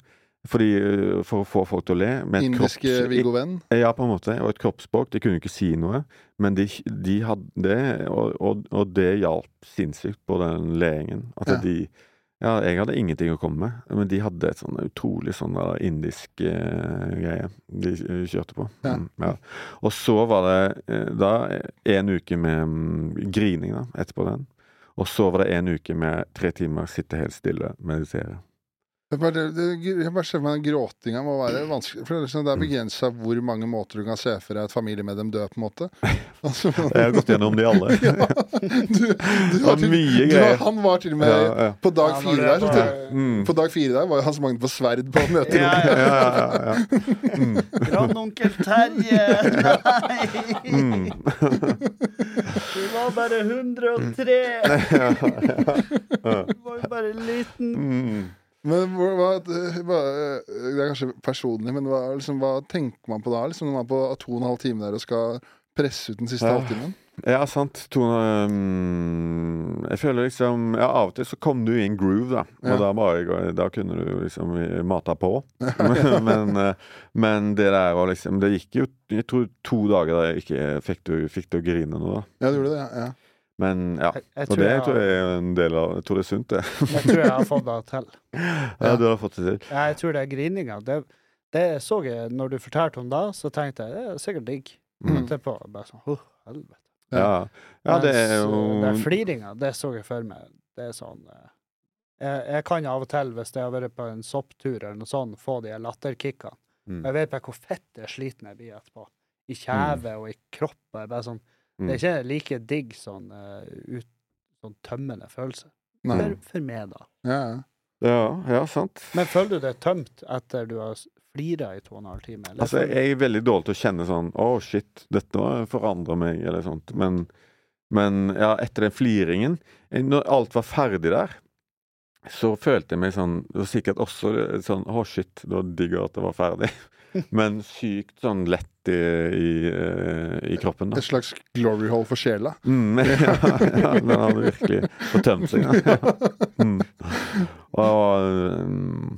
Speaker 3: Fordi, eh, for å få folk til å le. Med et
Speaker 1: Indiske
Speaker 3: kropps-
Speaker 1: Viggo Venn?
Speaker 3: ja, på en måte. Og et kroppsspråk. De kunne ikke si noe, men de, de hadde det, og, og, og det hjalp sinnssykt på den leingen. At
Speaker 1: Ja.
Speaker 3: de Ja, jeg hadde ingenting å komme med, men de hadde et sånn utrolig sånn der indisk eh, greie de eh, kjørte på.
Speaker 1: Ja.
Speaker 3: Mm, ja. Og så var det eh, da en uke med mm, grining da, etterpå den. Og så var det en uke med tre timer sitte helt stille, meditere.
Speaker 1: Jeg bare, det, jeg bare ser for meg den gråtinga må være vanskelig. For det er, liksom, det er begrensa hvor mange måter du kan se for deg et familiemedlem dø, på en
Speaker 3: (laughs)
Speaker 1: måte. Altså,
Speaker 3: Jeg
Speaker 1: (laughs)
Speaker 3: har gått gjennom de alle.
Speaker 1: ja, du, du
Speaker 3: Det
Speaker 1: har
Speaker 3: var
Speaker 1: til,
Speaker 3: mye
Speaker 1: du har,
Speaker 3: greier.
Speaker 1: han var til og med
Speaker 3: Ja, ja.
Speaker 1: På dag
Speaker 2: Ja, når
Speaker 1: fire
Speaker 2: det
Speaker 1: der så
Speaker 2: var-
Speaker 1: til-
Speaker 3: Mm.
Speaker 1: På dag fire der var jo hans mangel på sverd på
Speaker 3: Ja,
Speaker 1: møterommet.
Speaker 3: ja, ja, ja, ja.
Speaker 2: Grandonkel Terje! Nei!
Speaker 3: (laughs) Mm.
Speaker 2: Du var bare
Speaker 3: (laughs)
Speaker 2: 103! Du var jo bare liten.
Speaker 3: Mm.
Speaker 1: Men hvor- hva, hva, Det er kanskje personlig, men hva, liksom, hva tenker man på da? Liksom, når man er på to og en halv time der og skal presse ut den siste
Speaker 3: Ja.
Speaker 1: halvtimen?
Speaker 3: Ja, sant. Tone mm, Jeg føler liksom ja, Av og til så kom du i en groove, da. Og
Speaker 1: Ja.
Speaker 3: da, bare, da kunne du jo liksom mata på. (laughs) men, eh, men det der var liksom Det gikk jo Jeg tror to dager der jeg ikke fikk til fikk til å grine nå, da.
Speaker 1: Ja, du gjorde det? Ja. ja.
Speaker 3: Men ja.
Speaker 2: Jeg, jeg,
Speaker 3: Og
Speaker 2: tror
Speaker 3: det
Speaker 2: jeg,
Speaker 3: tror
Speaker 2: jeg,
Speaker 3: jeg er en del av Jeg tror det er sunt, det.
Speaker 2: tror jeg har fått det til.
Speaker 3: (laughs) Ja, du har fått det til.
Speaker 2: Ja, Jeg tror det er grininga. Det, det så jeg når du fortalte om det, så tenkte jeg det er sikkert digg.
Speaker 3: Mm.
Speaker 2: Etterpå bare sånn «Åh, helvete.
Speaker 3: Ja. ja, det er
Speaker 2: Mens,
Speaker 3: jo
Speaker 2: eh, Det er fliringa, det så jeg for meg. Det er sånn eh, jeg, jeg kan av og til, hvis jeg har vært på en sopptur eller noe sånt, få de latterkickene.
Speaker 3: Mm.
Speaker 2: Jeg vet bare hvor fett jeg sliten jeg blir etterpå. I kjeve og i kropp. og Jeg bare sånn, det er ikke
Speaker 3: Mm.
Speaker 2: like digg sånn, eh, ut, sånn tømmende følelse.
Speaker 1: Nei.
Speaker 2: For, for meg, da.
Speaker 1: Ja, ja.
Speaker 3: Ja, ja, sant.
Speaker 2: Men føler du deg tømt etter du har s- flira i to og en halv time? Eller?
Speaker 3: Altså, jeg er veldig dårlig til å kjenne sånn Å, shit, dette forandrer meg, eller sånt. Men, men ja, etter den fliringen eh, Når alt var ferdig der, så følte jeg meg sånn Det var sikkert også eh, sånn Å, shit, det var digg at det var ferdig. Men sykt sånn lett i, i, eh, i kroppen, da.
Speaker 1: Et slags glory hole for sjela.
Speaker 3: Mm, (laughs) ja, ja, den hadde virkelig fått tømt
Speaker 1: (laughs)
Speaker 3: seg. Ja. Mm. Og, um,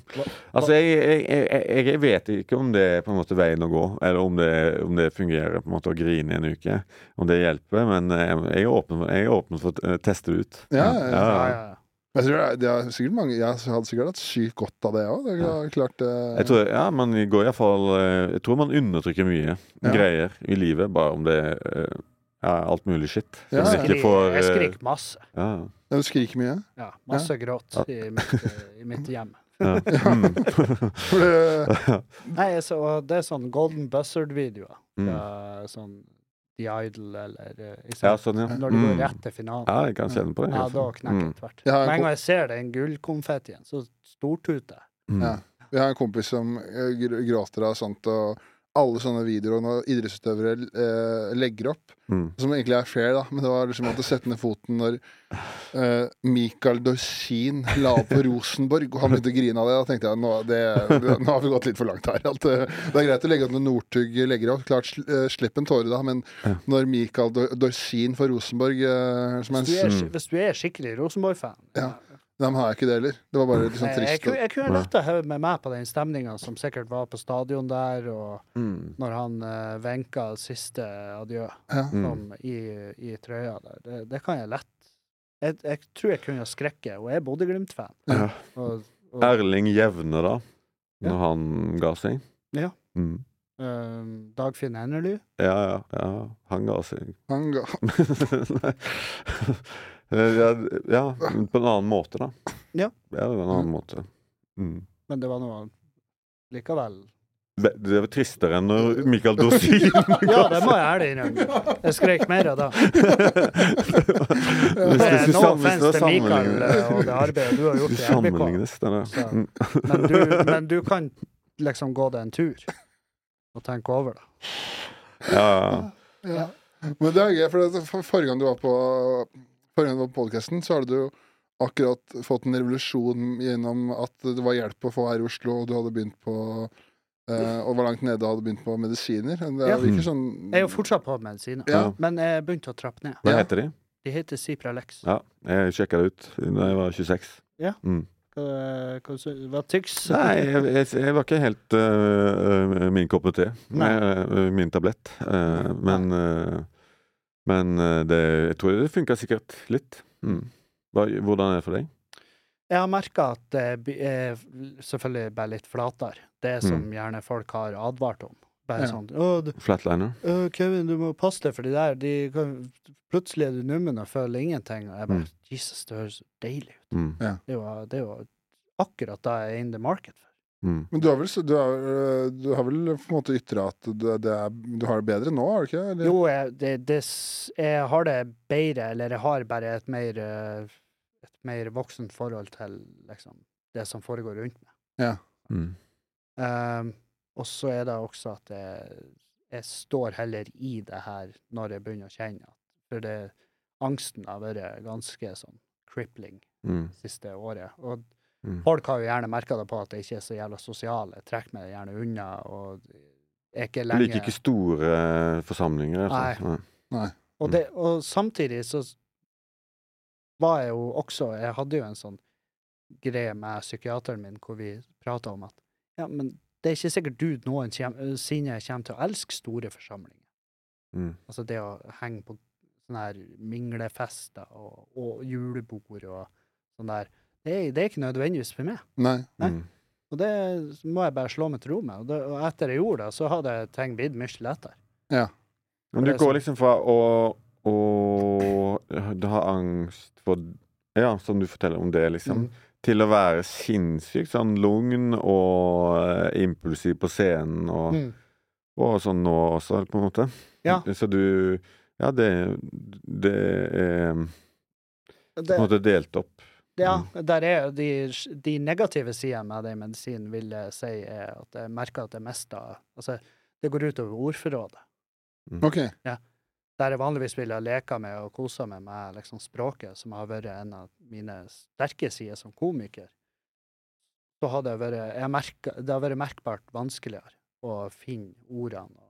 Speaker 3: altså, jeg, jeg, jeg, jeg- jeg vet ikke om det er på en måte veien å gå, eller om det, om det fungerer på en måte å grine i en uke. Om det hjelper, men eh, jeg er åpen, for- jeg er åpen for å eh, teste det ut.
Speaker 1: Ja, ja, ja.
Speaker 2: Ja, ja, ja.
Speaker 1: Jeg, tror det er, det er sikkert mange, jeg hadde sikkert hatt sykt godt av det òg. Det er klart eh,
Speaker 3: Jeg tror, ja, man går i hvert fall, eh, jeg tror man undertrykker mye
Speaker 1: Ja.
Speaker 3: greier i livet, bare om det eh, er alt mulig skitt.
Speaker 1: Ja,
Speaker 3: Som
Speaker 1: ja.
Speaker 3: ikke får
Speaker 2: Jeg
Speaker 3: eh,
Speaker 2: skriker masse.
Speaker 3: ja.
Speaker 1: (laughs) ja, Du skriker mye.
Speaker 2: Ja, masse gråt
Speaker 3: Ja.
Speaker 2: i mitt, eh, i mitt hjem.
Speaker 3: Ja. Mm.
Speaker 1: For det,
Speaker 2: Nei, jeg så, og det er sånn Golden Buzzard-videoer.
Speaker 3: Mm.
Speaker 2: fra Sånn The Idol eller eh, ikke
Speaker 3: ja,
Speaker 2: sant?
Speaker 3: sånn, ja.
Speaker 2: Når det går
Speaker 3: Mm.
Speaker 2: rett til finalen.
Speaker 3: Ja, jeg kan kjenne på det. altså. sånn. i
Speaker 2: Ja, da
Speaker 3: hvert fall.
Speaker 2: knekker jeg tvert.
Speaker 1: Jeg har en
Speaker 2: Med en
Speaker 1: ko-
Speaker 2: gang jeg ser den gullkonfettien, så stortuter jeg.
Speaker 3: Mm.
Speaker 1: Ja. Vi har en kompis som eh, gr- gråter av sånt, og alle sånne videoer når idrettsutøvere eh, legger opp,
Speaker 3: Mm.
Speaker 1: som egentlig er fair, da, men det var liksom at å sette ned foten når eh, Michael Dorsin la opp på Rosenborg, og han begynte å grine av det. Da tenkte jeg nå, det, det, nå har vi gått litt for langt her. At, eh, det er greit å legge opp når Northug legger opp, klart sl, eh, slipp en tåre da, men
Speaker 3: Ja.
Speaker 1: når Michael Dor- Dorsin for Rosenborg eh, som er en
Speaker 2: Hvis du er,
Speaker 3: Mm.
Speaker 1: s-
Speaker 2: skik- hvis du er skikkelig Rosenborg-fan
Speaker 1: Ja. Nei, men han er ikke det heller. Det var bare litt sånn
Speaker 2: jeg, jeg,
Speaker 1: trist.
Speaker 2: kunne- jeg kunne
Speaker 3: Ja.
Speaker 2: lett ha hevet meg med på den stemninga som sikkert var på stadion der, og
Speaker 3: Mm.
Speaker 2: når han eh, venka siste adjø
Speaker 1: Ja.
Speaker 3: Mm.
Speaker 2: som i, i trøya der. Det, det kan jeg lett. Jeg, jeg tror jeg kunne ha skrekket, og jeg er Bodø-Glimt-fan.
Speaker 1: Ja.
Speaker 2: Og, og,
Speaker 3: Erling Jevne, da.
Speaker 2: Ja.
Speaker 3: Når han ga seg.
Speaker 2: Ja.
Speaker 3: Mm.
Speaker 2: eh, Dagfinn Hennerly.
Speaker 3: Ja, ja, ja. Han ga seg. (laughs)
Speaker 1: Han ga
Speaker 3: Nei. Eh, ja, ja, men på en annen måte, da.
Speaker 2: Ja.
Speaker 3: på en annen måte. Mm.
Speaker 2: Men det var noe likevel
Speaker 3: Det det var tristere enn når
Speaker 2: (laughs)
Speaker 3: Michael Dorsin
Speaker 2: Ja, det må jeg ærlig innrømme. Jeg skrek mer
Speaker 3: (laughs)
Speaker 2: av det.
Speaker 3: Hvis
Speaker 2: Det
Speaker 3: det
Speaker 2: er
Speaker 3: skulle
Speaker 2: Eh, No
Speaker 3: sam- hvis
Speaker 2: offense
Speaker 3: det
Speaker 2: til Mikael
Speaker 3: sammenlignes-
Speaker 2: eh, og det arbeidet du
Speaker 3: (laughs)
Speaker 2: har gjort i RBK,
Speaker 3: sammenlignes det der.
Speaker 2: Så-
Speaker 3: Mm.
Speaker 2: men du, men du kan liksom gå deg en tur og tenke over det.
Speaker 3: Ja, ja.
Speaker 1: Ja. Men det er gøy, for det, for, forrige gang du var på Forrige gang du var på podkasten, så hadde du jo akkurat fått en revolusjon gjennom at det var hjelp å få her i Oslo, og du hadde begynt på eh, Og var langt nede og hadde begynt på medisiner. Det
Speaker 2: Ja.
Speaker 1: er virker sånn
Speaker 2: Jeg er jo fortsatt på medisiner,
Speaker 1: Ja.
Speaker 2: men jeg begynte å trappe ned.
Speaker 3: Hva
Speaker 1: Ja.
Speaker 3: heter de?
Speaker 2: De heter Cipralex.
Speaker 3: Ja, jeg sjekka det ut da jeg var 26.
Speaker 2: Hva, hva, sy- hva tyks?
Speaker 3: Nei, jeg, jeg, jeg var ikke helt øh, øh, min kopp med te.
Speaker 2: Nei.
Speaker 3: Øh, min tablett. Øh, men øh, men øh, det, jeg tror det funka sikkert litt. Mm. Hva, hvordan er det for deg?
Speaker 2: Jeg har merka at det by- er selvfølgelig bare litt flatere. Det som
Speaker 3: Mm.
Speaker 2: gjerne folk har advart om. Bare
Speaker 1: Ja.
Speaker 2: sånn å, du,
Speaker 3: Flatliner.
Speaker 2: «Å, Øh, Kevin, du må passe deg for de der. De kan, plutselig er du nummen og føler ingenting. Og jeg bare
Speaker 3: Mm.
Speaker 2: Jesus, det høres deilig ut.
Speaker 3: Mm.
Speaker 2: Det er jo, det er jo akkurat da jeg er in the market for.
Speaker 3: Mm.
Speaker 1: Men du har vel, så- du har, øh, du har vel på en måte ytra at du, det er, du har det bedre nå, har du ikke? det? Eller?
Speaker 2: Jo, jeg, det, det, s- jeg har det bedre, eller jeg har bare et mer, eh, et mer voksent forhold til liksom, det som foregår rundt meg.
Speaker 3: Mm.
Speaker 2: Ehm, og så er det også at jeg, jeg står heller i det her når jeg begynner å kjenne at For det, angsten har vært ganske sånn crippling
Speaker 3: Mm.
Speaker 2: det siste året. Og
Speaker 3: Mm.
Speaker 2: folk har jo gjerne merka det på at jeg ikke er så jævla sosial. Jeg trekker meg gjerne unna og er ikke
Speaker 3: Du
Speaker 2: lenge
Speaker 3: liker ikke store øh, forsamlinger? Altså. Nei.
Speaker 2: Og,
Speaker 3: Mm.
Speaker 2: det, og samtidig så s- var jeg jo også Jeg hadde jo en sånn greie med psykiateren min hvor vi prata om at ja, men det er ikke sikkert du noensinne kommer til å elske store forsamlinger.
Speaker 3: Mm.
Speaker 2: Altså det å henge på sånne her minglefester og, og julebord og sånn der. Det er, det er ikke nødvendigvis for meg.
Speaker 1: Nei.
Speaker 2: Nei.
Speaker 3: Mm.
Speaker 2: Og det må jeg bare slå meg til ro med. Og, det, og etter jeg gjorde det, så hadde ting blitt mye lettere. Det
Speaker 3: Men du
Speaker 2: er
Speaker 3: går
Speaker 2: sånn.
Speaker 3: liksom fra å, å Du har angst for Ja, som du forteller om det, liksom.
Speaker 2: Mm.
Speaker 3: Til å være sinnssykt sånn lugn og eh, impulsiv på scenen og,
Speaker 2: Mm.
Speaker 3: og sånn nå også, på en måte.
Speaker 2: Ja.
Speaker 3: Så du Ja, det, det er på en
Speaker 2: Det,
Speaker 3: måte delt opp.
Speaker 2: Ja, der er de, de negative sidene med den medisinen, vil jeg si, er at jeg merker at jeg mister Altså, det går ut over ordforrådet.
Speaker 1: Ok.
Speaker 2: Der jeg vanligvis ville ha leka med og kosa meg med liksom språket, som har vært en av mine sterke sider som komiker, så har det vært jeg merka, Det har vært merkbart vanskeligere å finne ordene.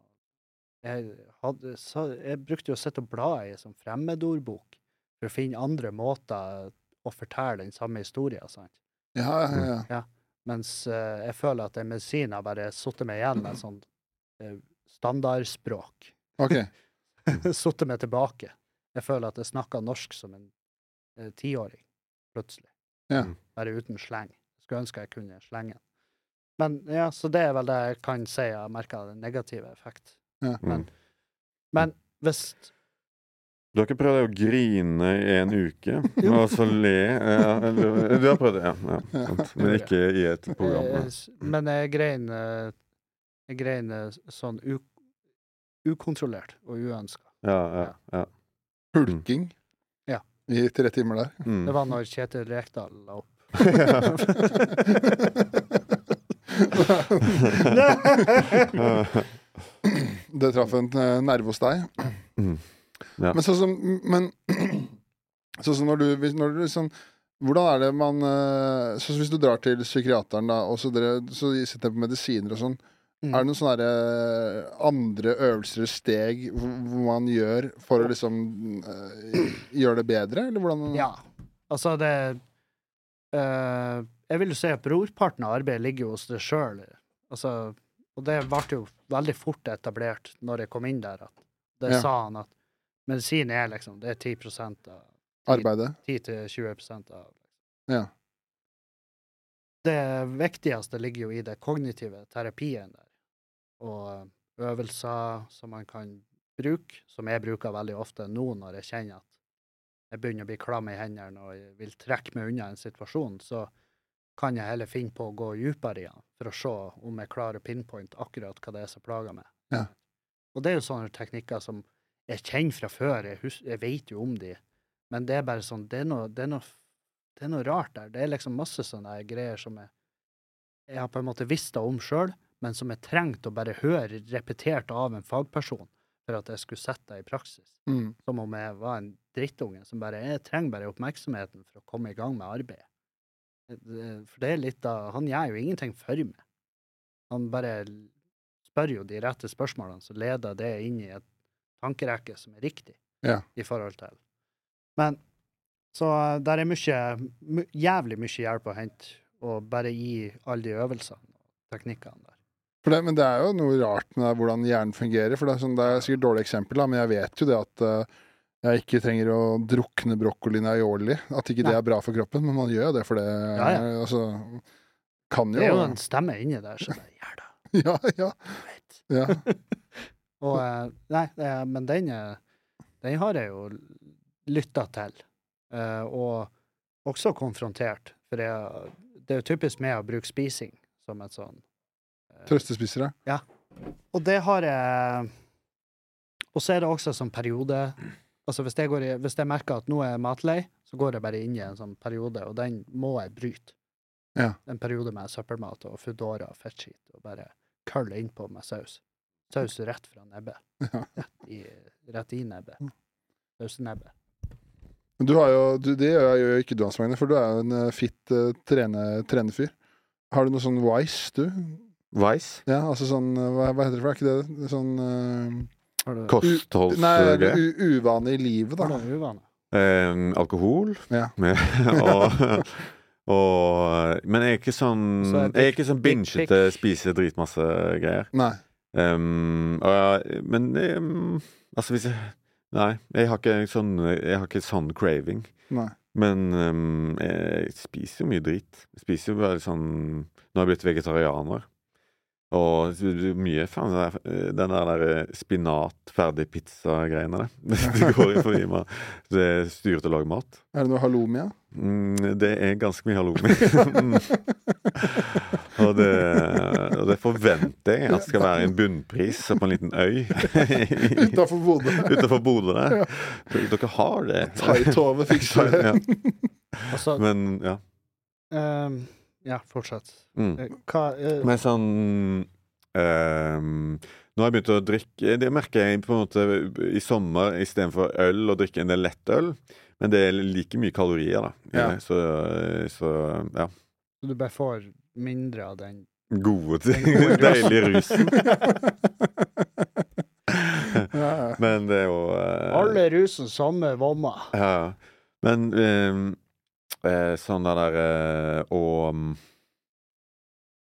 Speaker 2: Jeg, hadde, så, jeg brukte jo å sitte og bla i en sånn fremmedordbok for å finne andre måter å fortelle den samme historien, sant.
Speaker 1: Ja, ja, ja.
Speaker 2: Mens eh, jeg føler at den medisinen har bare sittet meg igjen med sånn eh, standardspråk.
Speaker 1: Ok.
Speaker 2: (laughs) sittet meg tilbake. Jeg føler at jeg snakker norsk som en eh, tiåring, plutselig.
Speaker 1: Ja.
Speaker 3: Mm.
Speaker 2: Bare uten sleng. Skulle ønske jeg kunne slengen. Men ja, så det er vel det jeg kan si jeg har merka den negative effekt.
Speaker 3: Mm.
Speaker 2: Hvis
Speaker 3: Du har ikke prøvd å grine i en
Speaker 2: (laughs)
Speaker 3: uke, og så le ja, eller- Du har prøvd det, ja. ja sant. Men ikke i et program.
Speaker 2: Eh,
Speaker 3: ja.
Speaker 2: s- Men jeg grein eh, Jeg grein eh, sånn u ukontrollert og uønska.
Speaker 3: Ja, ja, ja.
Speaker 1: Hulking.
Speaker 2: Ja.
Speaker 1: I tre timer der.
Speaker 3: Mm.
Speaker 2: Det var når Kjetil Rekdal la opp.
Speaker 1: det traff en eh, nerve hos deg.
Speaker 3: Mm. Ja.
Speaker 1: Men sånn som Men (clears throat) sånn som når du, hvis- når du liksom hvordan er det man eh, Sånn som Hvis du drar til psykiateren, da, og så, dere, så sitter dere på medisiner og sånn,
Speaker 2: Mm.
Speaker 1: er det noen sånne der, eh, andre øvelser eller steg hvor- hvor man gjør for å liksom eh, gjøre det bedre, eller hvordan
Speaker 2: Ja. Altså, det eh, Jeg vil jo si at brorparten av arbeidet ligger jo hos deg sjøl. Altså, og det ble jo veldig fort etablert når jeg kom inn der. At det
Speaker 1: Ja.
Speaker 2: sa han at medisin er liksom Det er 10 av
Speaker 1: arbeidet?
Speaker 2: 10-20 av liksom.
Speaker 1: Ja.
Speaker 2: Det viktigste ligger jo i det kognitive terapien der, og øvelser som man kan bruke, som jeg bruker veldig ofte nå når jeg kjenner at jeg begynner å bli klam i hendene og jeg vil trekke meg unna en situasjon, så kan jeg heller finne på å gå dypere i den for å se om jeg klarer å pinpointe akkurat hva det er som plager meg.
Speaker 1: Ja.
Speaker 2: Og det er jo sånne teknikker som jeg kjenner fra før, jeg, hus jeg vet jo om de, men det er bare sånn, det er noe, det er noe, det er noe rart der. Det er liksom masse sånne her greier som jeg, jeg har på en måte visst det om sjøl, men som jeg trengte å bare høre repetert av en fagperson for at jeg skulle sette det i praksis.
Speaker 1: Mm.
Speaker 2: Som om jeg var en drittunge som bare Jeg trenger bare oppmerksomheten for å komme i gang med arbeidet. Det- For det er litt av Han gjør jo ingenting for meg. Han bare spør jo de rette spørsmålene, så leder det inn i et tankerekke som er riktig
Speaker 1: Ja.
Speaker 2: i forhold til. Men så eh, der er mye, my, jævlig mye hjelp å hente, og bare gi alle de øvelsene og teknikkene der.
Speaker 1: For det, men det er jo noe rart med hvordan hjernen fungerer. For det er, sånn, det er sikkert et dårlig eksempel, da, men jeg vet jo det at eh, jeg ikke trenger å drukne brokkolien aioli. At ikke det
Speaker 2: Nei.
Speaker 1: er bra for kroppen, men man gjør jo det for det.
Speaker 2: Ja, ja.
Speaker 1: Altså, kan
Speaker 2: Det er
Speaker 1: jo
Speaker 2: jo en stemme inni der som bare gjør det.
Speaker 1: (laughs) Ja, ja.
Speaker 2: Right.
Speaker 1: ja.
Speaker 2: Og, eh, nei, eh, men den, eh, den har jeg jo lytta til, eh, og også konfrontert. For jeg, det er jo typisk meg å bruke spising som et sånn
Speaker 1: Trøstespisere.
Speaker 2: Og det har jeg Og så er det også sånn periode Altså hvis jeg, går i, hvis jeg merker at nå er jeg matlei, så går jeg bare inn i en sånn periode, og den må jeg bryte.
Speaker 1: Ja.
Speaker 2: En periode med søppelmat og Foodora og fettskit, og bare kølle innpå med saus. Saus rett fra nebbet.
Speaker 1: Ja.
Speaker 2: Rett i, rett i nebbet. Sausenebbet.
Speaker 1: Men du har jo, du, det gjør jeg jo ikke du, Hans Magne, for du er jo en eh, fitt eh, trene, trenefyr. Har du noe sånn wise, du?
Speaker 3: Vice?
Speaker 1: Ja, altså sånn eh, Hva, hva heter det for noe? Er ikke det sånn eh,
Speaker 2: Har du,
Speaker 1: Nei,
Speaker 3: Kostholdsgreier.
Speaker 1: u, uvane i livet,
Speaker 2: har du
Speaker 1: da.
Speaker 2: noen uvaner?
Speaker 3: Eh, alkohol.
Speaker 1: Ja.
Speaker 3: (laughs) Med, og, og Men jeg er ikke sånn
Speaker 2: Så er det
Speaker 3: Jeg er ikke sånn
Speaker 2: big
Speaker 3: bingete,
Speaker 2: pic.
Speaker 3: spise dritmasse greier.
Speaker 1: Nei.
Speaker 3: Ehm, og jeg- men ehm, altså hvis jeg Nei, jeg har ikke sånn, jeg har ikke sånn craving.
Speaker 1: nei.
Speaker 3: Men ehm, jeg spiser jo mye drit. Jeg spiser jo bare sånn Nå har jeg blitt vegetarianer. Og så blir det mye faen den der, eh, den der, der spinat-ferdig-pizza-greiene. Det (laughs) Det går jo forbi meg. Det er styret til å lage mat.
Speaker 1: Er det noe halloumi, ja?
Speaker 3: Mm, det er ganske mye halloumi. (laughs) Mm. (laughs) og, det, og det forventer jeg at skal være en bunnpris på en liten
Speaker 1: (laughs)
Speaker 3: øy
Speaker 1: Utafor Bodø.
Speaker 3: utafor Bodø der. Dere har det.
Speaker 1: Taitove fikser det.
Speaker 3: Ja,
Speaker 2: Altså,
Speaker 3: men ja.
Speaker 2: ehm, ja, fortsett.
Speaker 3: Mm.
Speaker 2: Eh, Hva eh,
Speaker 3: Men sånn ehm, Nå har jeg begynt å drikke Det merker jeg på en måte i sommer istedenfor øl, å drikke en del lettøl. Men det er like mye kalorier, da. Eh,
Speaker 1: Ja.
Speaker 3: Så, så ja.
Speaker 2: Du bare får mindre av den
Speaker 3: Gode ting. (laughs) Deilig rusen.
Speaker 1: ja, ja.
Speaker 3: Men det er jo eh,
Speaker 2: Alle rusen samme vomma.
Speaker 3: ja, ja. Men eh, eh, sånn det der eh, Og mm,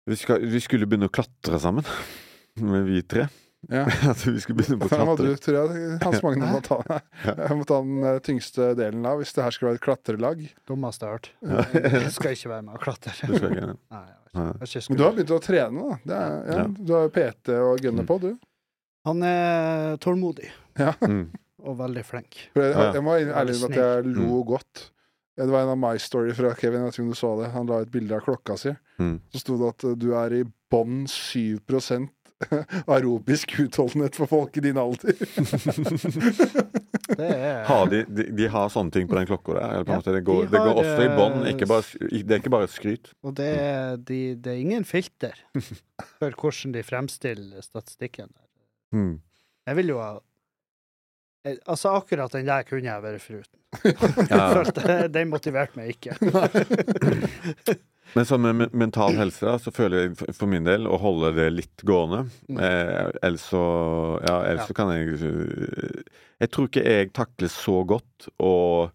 Speaker 3: vi, skal, vi skulle begynne å klatre sammen, (laughs) med vi tre.
Speaker 1: Ja.
Speaker 3: (laughs) At vi skulle begynne på
Speaker 1: Den må du,
Speaker 3: klatre.
Speaker 1: tror jeg, Hans Magne må ta,
Speaker 3: Ja.
Speaker 1: jeg må ta den eh, tyngste delen av, hvis det her skal være et klatrelag.
Speaker 2: Dummeste jeg har hørt.
Speaker 3: (laughs) Ja.
Speaker 2: Jeg skal ikke være med og klatre.
Speaker 3: Du skal
Speaker 2: Nei, jeg
Speaker 3: ikke-
Speaker 2: vet ikke.
Speaker 3: nei.
Speaker 2: Jeg synes
Speaker 1: Men du
Speaker 2: jeg
Speaker 1: har
Speaker 2: skulle-
Speaker 1: begynt å trene, da. Det er, ja,
Speaker 3: Ja.
Speaker 1: Du har jo PT og gunner på, du.
Speaker 2: Han er tålmodig
Speaker 3: Mm.
Speaker 2: og veldig flink.
Speaker 1: For jeg,
Speaker 3: Ja. Mm.
Speaker 1: jeg må være ærlig med at jeg lo godt. Det var en av my story fra Kevin. Jeg vet ikke om du så det. Han la et bilde av klokka si.
Speaker 3: Mm.
Speaker 1: Så sto det at eh, du er i bånn 7 (laughs) aerobisk utholdenhet for folk i din alder.
Speaker 2: Det er
Speaker 3: (laughs) Har de, de, de har sånne ting på den klokka der? Eller på en
Speaker 2: Ja,
Speaker 3: måte, det,
Speaker 2: de
Speaker 3: går, det
Speaker 2: har,
Speaker 3: går også i bånn.
Speaker 2: eh,
Speaker 3: ikke bare sk- i- Det er ikke bare et skryt.
Speaker 2: Og det er, de, det er ingen filter for hvordan de fremstiller statistikken. (laughs)
Speaker 3: Mm.
Speaker 2: Jeg vil jo ha Eh, Altså, akkurat den der kunne jeg vært foruten. (laughs)
Speaker 3: Ja.
Speaker 2: Følte- Den motiverte meg
Speaker 3: (laughs)
Speaker 2: ikke.
Speaker 3: Men som med men- mental helse da, så føler jeg f- for min del å holde det litt gående.
Speaker 2: Mm.
Speaker 3: Eh, ellers så Ja,
Speaker 2: Ja.
Speaker 3: ellers så kan jeg eh, Jeg tror ikke jeg takler så godt å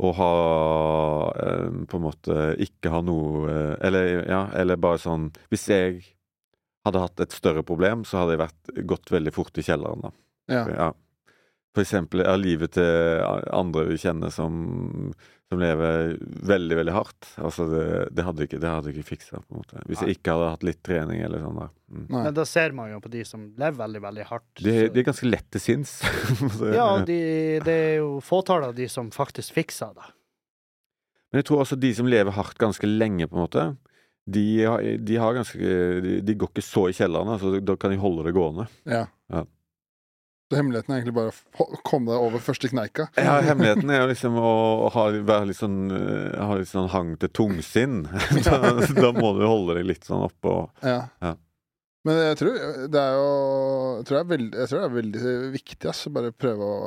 Speaker 3: å ha eh, på en måte ikke ha noe eh, Eller ja, eller bare sånn Hvis jeg hadde hatt et større problem, så hadde jeg vært, gått veldig fort i kjelleren, da.
Speaker 1: Ja.
Speaker 3: Ja. For eksempel er livet til andre vi kjenner som, som lever veldig, veldig hardt. Altså, det, det hadde ikke, det hadde ikke fiksa, på en måte. Hvis jeg ikke hadde hatt litt trening eller sånn der. Mm.
Speaker 1: Nei.
Speaker 2: Men da ser man jo på de som lever veldig, veldig hardt.
Speaker 3: De,
Speaker 2: så-
Speaker 3: de er ganske lett til sinns. (laughs) Så-
Speaker 2: Ja, de, det er jo fåtallet av de som faktisk fikser det.
Speaker 3: Men jeg tror også de som lever hardt ganske lenge, på en måte, de, har- de, har ganske, de, de går ikke så i kjelleren. Altså, da kan de holde det gående.
Speaker 1: Ja.
Speaker 3: Ja.
Speaker 1: Så hemmeligheten er egentlig bare å få- komme deg over første kneika.
Speaker 3: Ja, hemmeligheten er jo liksom å ha, være litt sånn, eh, ha litt sånn hang til tungsinn. (laughs) da, da må du holde deg litt sånn oppe og
Speaker 1: Ja.
Speaker 3: Ja.
Speaker 1: Men jeg tror det er jo jeg tror det er, veld, jeg tror det er veldig viktig, ass. å Bare prøve å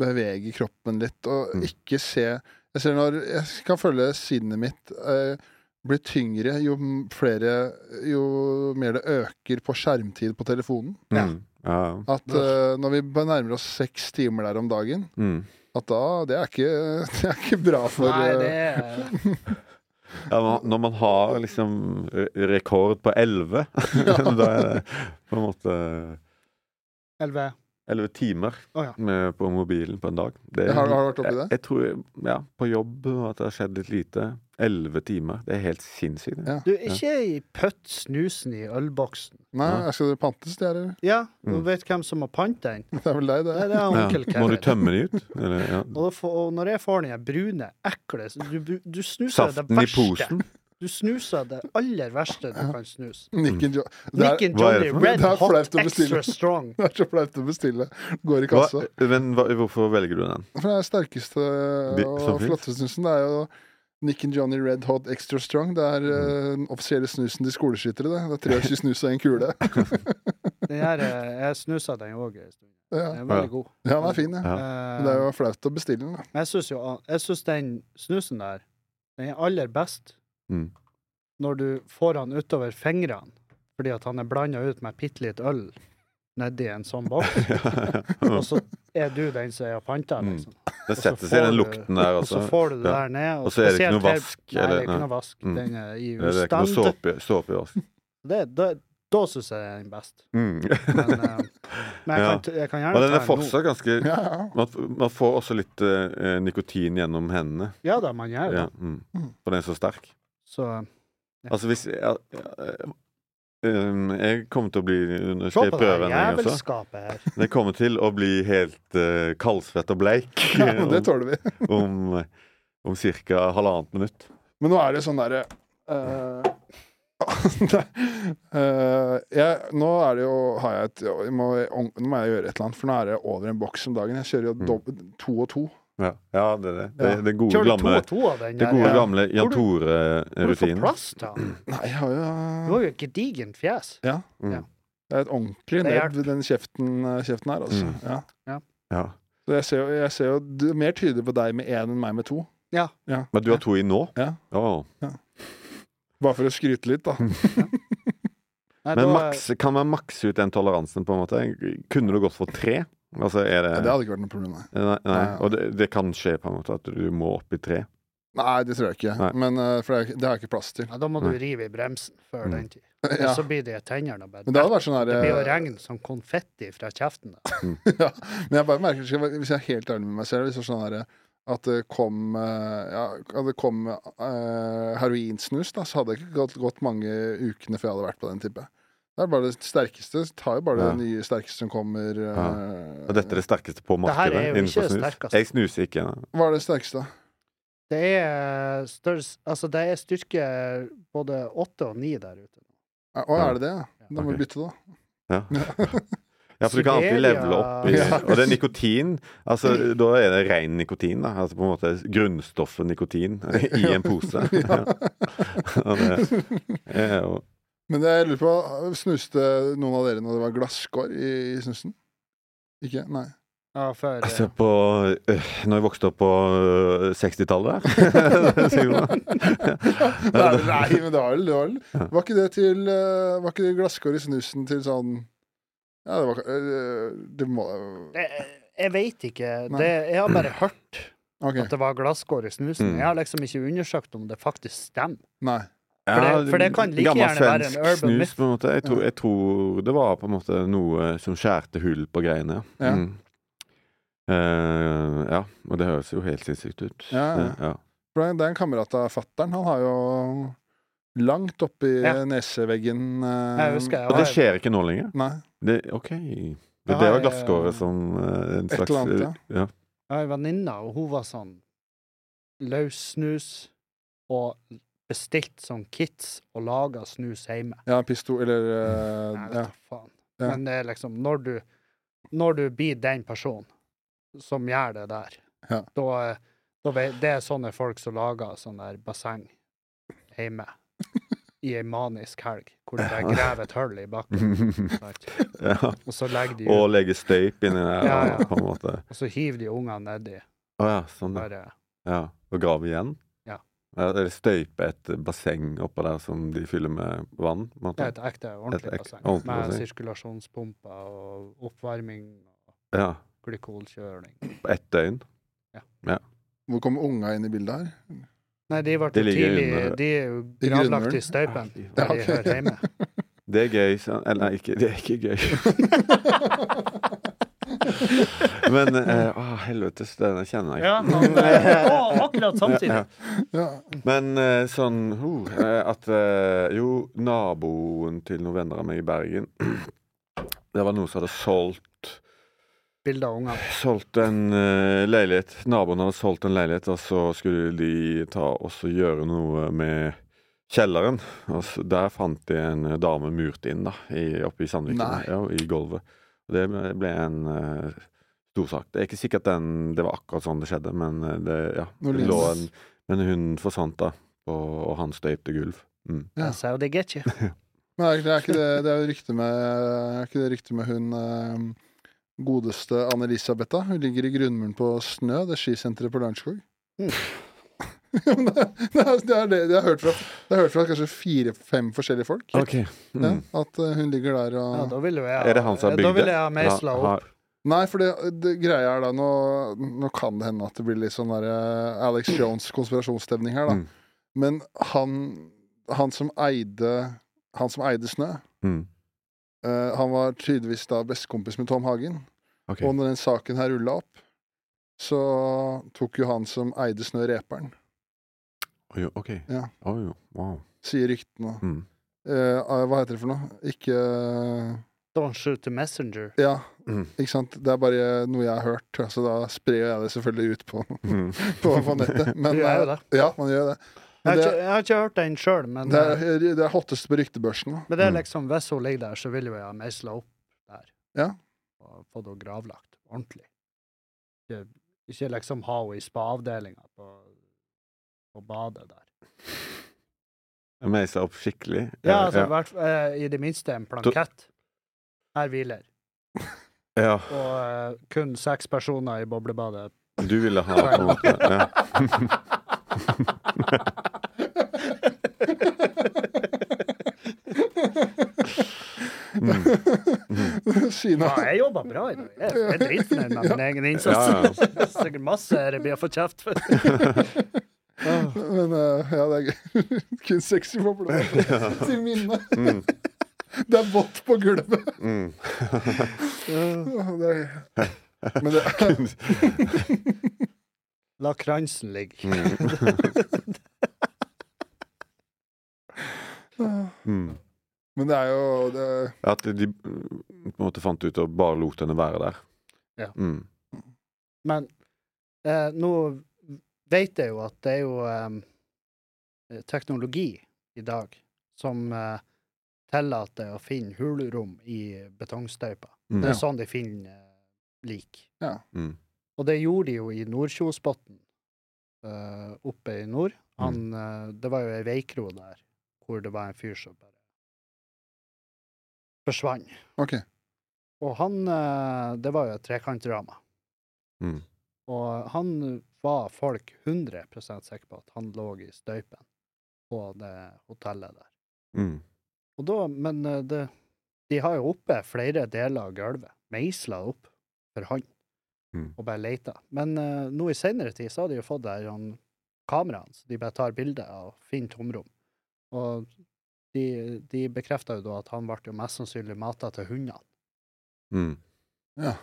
Speaker 1: bevege kroppen litt, og
Speaker 3: Mm.
Speaker 1: ikke se Jeg ser når Jeg kan føle sinnet mitt eh, blir tyngre jo m- flere Jo mer det øker på skjermtid på telefonen.
Speaker 2: Ja.
Speaker 3: Mm. Ja.
Speaker 1: At eh, når vi bare nærmer oss seks timer der om dagen,
Speaker 3: Mm.
Speaker 1: at da Det er ikke, (laughs) det er ikke bra for
Speaker 2: Nei, det
Speaker 3: (laughs)
Speaker 1: eh,
Speaker 2: er
Speaker 3: ja, man- Når man har liksom re- (laughs) rekord på 11, da er det på en måte
Speaker 2: 11.
Speaker 3: Elleve timer
Speaker 2: Å, ja.
Speaker 3: med, på mobilen på en dag. Det,
Speaker 1: (laughs) Har, har du vært oppi
Speaker 3: jeg,
Speaker 1: det?
Speaker 3: jeg tror ja, på jobb og at det har skjedd litt lite. Elleve timer. Det er helt sinnssykt. det.
Speaker 1: Ja.
Speaker 2: Du, ikke i pøtt snusen i ølboksen.
Speaker 1: Nei, skal det pantes, det? Eller?
Speaker 2: Ja, du
Speaker 3: Mm.
Speaker 2: vet hvem som har panta den?
Speaker 1: Det er vel deg, det.
Speaker 2: Det er det
Speaker 3: Ja.
Speaker 2: onkel
Speaker 3: Må
Speaker 2: Kevin.
Speaker 3: du tømme de ut? Eller, ja.
Speaker 2: Og, da får, og når jeg får den her brune, ekle Du, du- du snuser det
Speaker 3: Saften i
Speaker 2: verste.
Speaker 3: posen?
Speaker 2: Du snuser det aller verste du kan snuse.
Speaker 3: Mm.
Speaker 1: Nick and Jo- Det er,
Speaker 2: Nick and
Speaker 3: hva er det
Speaker 2: Johnny
Speaker 3: for
Speaker 1: noe?
Speaker 2: Red
Speaker 1: Det er
Speaker 2: Hot
Speaker 1: flaut å bestille.
Speaker 2: Extra Strong.
Speaker 1: (laughs) det er så flaut å bestille. Går i
Speaker 3: Hva,
Speaker 1: kassa.
Speaker 3: men hva, hvorfor velger du
Speaker 2: (laughs)
Speaker 3: den?
Speaker 1: For det er sterkeste
Speaker 3: Bi- som
Speaker 1: og
Speaker 3: finnes.
Speaker 1: flotteste snusen. Det er jo Nick and Johnny Red Hot Extra Strong. Det
Speaker 3: Mm.
Speaker 1: er eh, den offisielle snusen til skoleskyttere. Det, det er
Speaker 3: (laughs)
Speaker 1: tre års i snus og en kule.
Speaker 2: Den her, eh, jeg snusa den òg en stund.
Speaker 1: Ja,
Speaker 2: Den er
Speaker 3: Ja.
Speaker 2: veldig god. Eh,
Speaker 1: Ja, den er fin, ja.
Speaker 3: Ja.
Speaker 1: Men det er jo flaut å bestille den. da.
Speaker 2: Men jeg syns jo Jeg synes den snusen der, den er aller best
Speaker 3: Mm.
Speaker 2: når du får han utover fingrene, fordi at han er blanda ut med bitte litt øl nedi en sånn
Speaker 3: (laughs)
Speaker 2: boks, og så er du den som er panta,
Speaker 3: Mm.
Speaker 2: liksom.
Speaker 3: Det
Speaker 2: så
Speaker 3: setter seg i
Speaker 2: får
Speaker 3: den
Speaker 2: du-
Speaker 3: lukten der,
Speaker 2: Og så
Speaker 3: altså.
Speaker 2: får du det
Speaker 3: ja.
Speaker 2: der ned.
Speaker 3: Og så er det ikke
Speaker 2: spesielt
Speaker 3: noe
Speaker 2: her-
Speaker 3: vask,
Speaker 2: Nei, det er
Speaker 3: eller-
Speaker 2: ikke noe vask.
Speaker 3: Mm.
Speaker 2: Den er i
Speaker 3: Det er ikke noe
Speaker 2: ustand.
Speaker 3: såpe, såpe i oss.
Speaker 2: Det- Da, da syns jeg den er best. Men,
Speaker 3: Mm. (laughs)
Speaker 2: eh, men jeg,
Speaker 3: Ja.
Speaker 2: kan, t- jeg kan gjerne
Speaker 3: Og den
Speaker 2: ta
Speaker 3: er fortsatt ganske
Speaker 1: Ja,
Speaker 3: (laughs)
Speaker 1: ja.
Speaker 3: man, man får også litt eh, nikotin gjennom hendene.
Speaker 2: nå. Ja da, man gjør det.
Speaker 3: Ja, mm. For den er så sterk.
Speaker 2: Så eh,
Speaker 3: Altså hvis jeg, eh, um, jeg kommer til å bli
Speaker 2: se
Speaker 3: Skal
Speaker 2: på
Speaker 3: jeg
Speaker 2: det her
Speaker 3: prøve den, jeg også?
Speaker 2: jævelskapet her.
Speaker 3: Jeg kommer til å bli helt eh, kaldsvett og
Speaker 2: (laughs)
Speaker 3: bleik
Speaker 1: ja, men det tåler vi.
Speaker 3: om, eh, om ca. halvannet minutt.
Speaker 1: Men nå er det sånn derre eh, (laughs) eh, jeg, nå er det jo har jeg et, jeg må, Nå må jeg gjøre et eller annet, for nå er det over en boks om dagen. Jeg kjører
Speaker 3: Mm.
Speaker 1: jo dobb- to og to.
Speaker 3: Ja, ja det er det. Det,
Speaker 1: Ja.
Speaker 3: det gode,
Speaker 2: Kjører du to
Speaker 3: gamle,
Speaker 2: og to av den
Speaker 3: det gode
Speaker 2: ja.
Speaker 3: gamle
Speaker 2: Hvor
Speaker 3: Jan
Speaker 2: du- Hvor du får
Speaker 3: Tore-rutinen.
Speaker 2: plass til den?
Speaker 1: Nei, jeg har
Speaker 2: Du
Speaker 1: jo
Speaker 2: har jo et gedigent fjes.
Speaker 3: Mm.
Speaker 1: Det er et ordentlig
Speaker 2: Det
Speaker 1: nebb
Speaker 2: hjelper.
Speaker 1: ved den kjeften, kjeften her, altså.
Speaker 3: Mm.
Speaker 1: Ja.
Speaker 3: Ja.
Speaker 1: Så jeg ser jo, jeg ser jo det er mer tydelig på deg med én enn meg med to.
Speaker 3: Men du har to i nå?
Speaker 1: Ja.
Speaker 3: Å.
Speaker 1: Bare for å skryte litt,
Speaker 3: (laughs)
Speaker 1: da.
Speaker 2: Nei,
Speaker 3: Men
Speaker 2: da-
Speaker 3: makse, kan man makse ut den toleransen, på en måte? Kunne du gått for tre? Altså, er det,
Speaker 1: Det hadde ikke vært noe problem, nei.
Speaker 3: Nei, nei.
Speaker 1: Nei.
Speaker 3: Og det, det kan skje på en måte at du må opp i tre.
Speaker 1: Nei, det tror jeg ikke.
Speaker 3: Nei.
Speaker 1: Men eh, for det, er- det har jeg ikke plass til. (laughs)
Speaker 2: ja, da må du rive i bremsen før
Speaker 3: Mm.
Speaker 2: den tid.
Speaker 1: Ja.
Speaker 2: Så blir det i tennene. og bare-
Speaker 1: Men det hadde vært sånn
Speaker 2: Det blir jo
Speaker 1: her eh,
Speaker 2: regn som konfetti fra kjeften. da.
Speaker 1: ja. Men jeg bare merker, skal jeg være- hvis jeg er helt ærlig med meg selv, hvis det er sånn her eh, at det kom, eh, ja, at det kom eh, heroinsnus, da, så hadde jeg ikke gått, gått mange ukene før jeg hadde vært på den, tipper jeg. Det er bare det sterkeste. Det Tar jo bare
Speaker 3: Ja.
Speaker 1: det nye sterkeste som kommer. eh,
Speaker 3: Og dette er det sterkeste på
Speaker 2: Det her
Speaker 3: markedet.
Speaker 2: er jo
Speaker 3: innenfor
Speaker 2: ikke det
Speaker 3: snus.
Speaker 2: sterkeste.
Speaker 3: Jeg snuser ikke. Nei.
Speaker 1: Hva er det sterkeste?
Speaker 2: Det er størrelse Altså, det er styrke både åtte og ni der ute.
Speaker 1: Eh, Å, er det det? ja? Da må
Speaker 3: Ok.
Speaker 1: vi bytte, da.
Speaker 3: Ja, for du kan alltid
Speaker 2: Siberia.
Speaker 3: levele opp. I,
Speaker 1: Ja.
Speaker 3: Og det er nikotin. Altså, da er det ren nikotin. Da. Altså på en måte grunnstoffet nikotin (laughs)
Speaker 2: (laughs)
Speaker 3: i en
Speaker 1: (laughs)
Speaker 3: pose. Ja. Og det er jo
Speaker 1: Men jeg lurer på, snuste noen av dere når det var glasskår i, i snusen? Ikke?
Speaker 3: (laughs)
Speaker 1: Nei.
Speaker 2: Ja, for
Speaker 3: Altså,
Speaker 2: eh,
Speaker 3: på øh, Når jeg vokste opp på øh, 60-tallet, der (laughs)
Speaker 2: (laughs)
Speaker 3: sier du
Speaker 1: (laughs) Nei, nei men det var vel det. Var, vel. var ikke det til eh, Var ikke det glasskår i snusen til sånn Ja, det var eh, Det må
Speaker 2: det, Jeg veit ikke.
Speaker 1: Nei.
Speaker 2: Det, jeg har bare hørt
Speaker 1: OK.
Speaker 2: at det var glasskår i snusen.
Speaker 3: Mm.
Speaker 2: Jeg har liksom ikke undersøkt om det faktisk stemmer.
Speaker 1: Nei.
Speaker 3: Ja,
Speaker 2: For det- for det kan like
Speaker 3: gammel
Speaker 2: gjerne være en
Speaker 3: svensk
Speaker 2: urban
Speaker 3: snus,
Speaker 2: myth.
Speaker 3: På en måte. Jeg, tror, jeg tror det var på en måte noe som skjærte hull på greiene.
Speaker 1: Ja.
Speaker 3: Mm. Eh, ja, og det høres jo helt sinnssykt ut.
Speaker 1: Ja, ja.
Speaker 3: Det- ja.
Speaker 1: For det er en kamerat av fattern. Han har jo langt oppi
Speaker 2: Ja.
Speaker 1: neseveggen eh,
Speaker 2: Jeg husker jeg
Speaker 3: Og det
Speaker 2: var,
Speaker 3: skjer ikke nå lenger?
Speaker 1: Nei.
Speaker 3: Det, OK. Det,
Speaker 2: Ja,
Speaker 3: det var
Speaker 2: jeg-
Speaker 3: glasskåret som eh, en
Speaker 1: Et
Speaker 3: slags
Speaker 1: eller annet,
Speaker 3: ja. (laughs)
Speaker 2: jeg har en venninne, og hun var sånn løs snus og bestilt sånn kits og laga snus hjemme.
Speaker 1: Ja, pistol Eller eh,
Speaker 2: Nei,
Speaker 1: ja.
Speaker 2: vet du faen.
Speaker 1: Ja.
Speaker 2: Men det er liksom når du, når du blir den personen som gjør det der,
Speaker 1: Ja.
Speaker 2: da, da vet, Det er sånne folk som lager sånn der basseng
Speaker 1: (laughs)
Speaker 2: hjemme i ei manisk helg, hvor de bare graver et hull i
Speaker 1: (laughs)
Speaker 2: bakken. sant?
Speaker 3: ja.
Speaker 2: Og så legger de
Speaker 3: Og
Speaker 2: ut,
Speaker 3: legge støyp inni der,
Speaker 2: Ja, ja.
Speaker 3: på en måte.
Speaker 2: og så hiver de ungene nedi.
Speaker 3: Å ja, sånn, ja.
Speaker 2: Bare
Speaker 3: ja. Og grave igjen?
Speaker 2: Ja.
Speaker 3: Eller støype et basseng oppå der som de fyller med vann?
Speaker 2: det
Speaker 3: På en måte.
Speaker 2: er et ekte,
Speaker 3: Et
Speaker 2: ordentlig
Speaker 3: ek-
Speaker 2: basseng.
Speaker 3: ordentlig
Speaker 2: Med
Speaker 3: basseng.
Speaker 2: sirkulasjonspumper og oppvarming og
Speaker 3: Ja.
Speaker 2: glykolkjøling.
Speaker 3: På ett døgn?
Speaker 1: Hvor kommer unga inn i bildet her?
Speaker 2: Nei, de ble
Speaker 3: De
Speaker 2: jo
Speaker 3: ligger
Speaker 2: tidlig
Speaker 3: under-
Speaker 2: De er jo
Speaker 1: I
Speaker 2: gravlagt
Speaker 1: grunnmuren.
Speaker 2: i støypen
Speaker 1: Ja,
Speaker 2: når de
Speaker 1: ok.
Speaker 2: hører
Speaker 3: (laughs)
Speaker 2: hjemme. (laughs)
Speaker 3: Det er gøy, sånn. Eller nei, ikke, det er ikke gøy. Men eh, å, helvetes, den kjenner jeg.
Speaker 2: Ja, han, eh, å, akkurat
Speaker 3: (laughs)
Speaker 2: samtidig.
Speaker 1: Ja.
Speaker 3: Men eh, sånn ho, eh, at eh, Jo, naboen til noen venner av meg i Bergen (clears throat) Det var noen som hadde solgt
Speaker 2: Bilder av ungene.
Speaker 3: Solgt en eh, leilighet. Naboen hadde solgt en leilighet, og så skulle de ta og så gjøre noe med kjelleren. Og så, der fant de en eh, dame murt inn, da, i, oppe i Sandviken.
Speaker 1: Nei.
Speaker 3: Ja, I gulvet. Og det ble ble en eh, stor sak. Det er ikke sikkert den, det var akkurat sånn det skjedde, men eh, det, ja,
Speaker 1: Nå
Speaker 3: det lå
Speaker 1: leser-
Speaker 3: en Men hun forsvant, da. Og, og han støypte gulv. Mm.
Speaker 1: Ja.
Speaker 2: Jeg sa jo det er ikke.
Speaker 1: Men er det, det er ikke det, det er jo rykte med Er ikke det rykte med hun eh, godeste Anne-Elisabeth, da? Hun ligger i grunnmuren på Snø, det skisenteret på Lørenskog.
Speaker 2: Mm.
Speaker 1: (laughs) Ja, men det, det, er- det er det jeg har hørt fra, det har jeg hørt fra kanskje fire-fem forskjellige folk. Ja,
Speaker 3: Mm.
Speaker 1: at eh, hun ligger der og
Speaker 2: Ja, da ville jo jeg,
Speaker 3: Er det han som har
Speaker 2: da
Speaker 3: bygd
Speaker 2: ville
Speaker 3: det?
Speaker 2: jeg ha meisla
Speaker 3: Ja,
Speaker 2: opp.
Speaker 3: har-
Speaker 1: Nei, for det, det greia er da nå, nå kan det hende at det blir litt sånn der eh, Alex
Speaker 3: (clears throat)
Speaker 1: Jones konspirasjonsstemning her, da.
Speaker 3: Mm.
Speaker 1: Men han, han som eide Han som eide Snø,
Speaker 3: Mm.
Speaker 1: eh, han var tydeligvis da bestekompis med Tom Hagen.
Speaker 3: ok.
Speaker 1: Og når den saken her rulla opp, så tok jo han som eide Snø, reperen,
Speaker 3: Oi, ok.
Speaker 1: Ja.
Speaker 3: Oi, wow.
Speaker 1: sier ryktene.
Speaker 3: Mm.
Speaker 1: Eh, ah, hva heter det for noe? Ikke eh,
Speaker 2: Don't shoot the messenger.
Speaker 1: Ja,
Speaker 3: Mm.
Speaker 1: ikke sant? Det er bare noe jeg har hørt, så da sprer jeg det selvfølgelig ut på,
Speaker 3: Mm.
Speaker 1: (laughs) på, på nettet. Men,
Speaker 2: Du (laughs) gjør jo
Speaker 1: eh,
Speaker 2: det.
Speaker 1: Ja, man gjør det.
Speaker 2: Jeg
Speaker 1: Men
Speaker 2: har
Speaker 1: det,
Speaker 2: ikke, jeg har ikke hørt den sjøl, men,
Speaker 1: det,
Speaker 2: eh,
Speaker 1: er, det er hottest på ryktebørsen. da.
Speaker 2: men det er
Speaker 3: Mm.
Speaker 2: liksom, hvis hun ligger der, så vil jo jeg ha meisla opp der.
Speaker 1: Ja.
Speaker 2: Og fått henne gravlagt ordentlig. Ikke, ikke liksom ha henne i spa-avdelinga på, på badet der.
Speaker 3: (laughs) Jeg meiser opp skikkelig.
Speaker 2: Ja, altså, hvert- eh, I det minste en plankett. Her hviler.
Speaker 3: ja.
Speaker 2: Og eh, kun seks personer i boblebadet.
Speaker 3: Du ville ha på en måte
Speaker 2: (laughs)
Speaker 3: ja. (laughs)
Speaker 1: (laughs)
Speaker 3: mm.
Speaker 1: Kina.
Speaker 2: Ja, jeg jobber bra i dag. Jeg jeg er dritfornøyd med min egen innsats.
Speaker 3: Ja, ja.
Speaker 2: Det er Sikkert masse jeg blir fått kjeft for.
Speaker 1: (laughs) Men eh, ja, det er gøy. (laughs) kun sexy
Speaker 3: (laughs)
Speaker 1: bobler til minne.
Speaker 3: Mm.
Speaker 1: Det er vått på gulvet.
Speaker 3: Mm.
Speaker 1: Ja,
Speaker 2: Mm.
Speaker 1: Det er, men det,
Speaker 3: (laughs)
Speaker 1: (laughs)
Speaker 2: La kransen ligge.
Speaker 3: (laughs) Mm.
Speaker 1: men det er jo det,
Speaker 3: At de mm, på en måte fant ut og bare lot henne være der.
Speaker 2: Ja.
Speaker 3: Mm.
Speaker 2: Men eh, nå vet jeg jo at det er jo eh, teknologi i dag som eh, tillater å finne hulrom i betongstøyper.
Speaker 3: Mm.
Speaker 2: Det er sånn de finner eh, lik.
Speaker 3: Mm.
Speaker 2: Og det gjorde de jo i Nordkjosbotn, eh, oppe i nord. Han, eh, det var jo ei veikro der hvor det var en fyr som bare forsvant.
Speaker 1: OK.
Speaker 2: Og han eh, Det var jo et trekantdrama.
Speaker 3: Mm.
Speaker 2: Og han var folk 100 sikre på at han lå i støypen på det hotellet der.
Speaker 3: Mm.
Speaker 2: Og da, men eh, det, de har jo oppe flere deler av gulvet, meisla opp for hånd,
Speaker 3: Mm.
Speaker 2: og bare leita. Men eh, nå i senere tid så har de jo fått der han, kameraene, så de bare tar bilder og finner tomrom. Og de, de bekrefta jo da at han ble jo mest sannsynlig mata til hundene,
Speaker 3: Mm.
Speaker 1: Ja.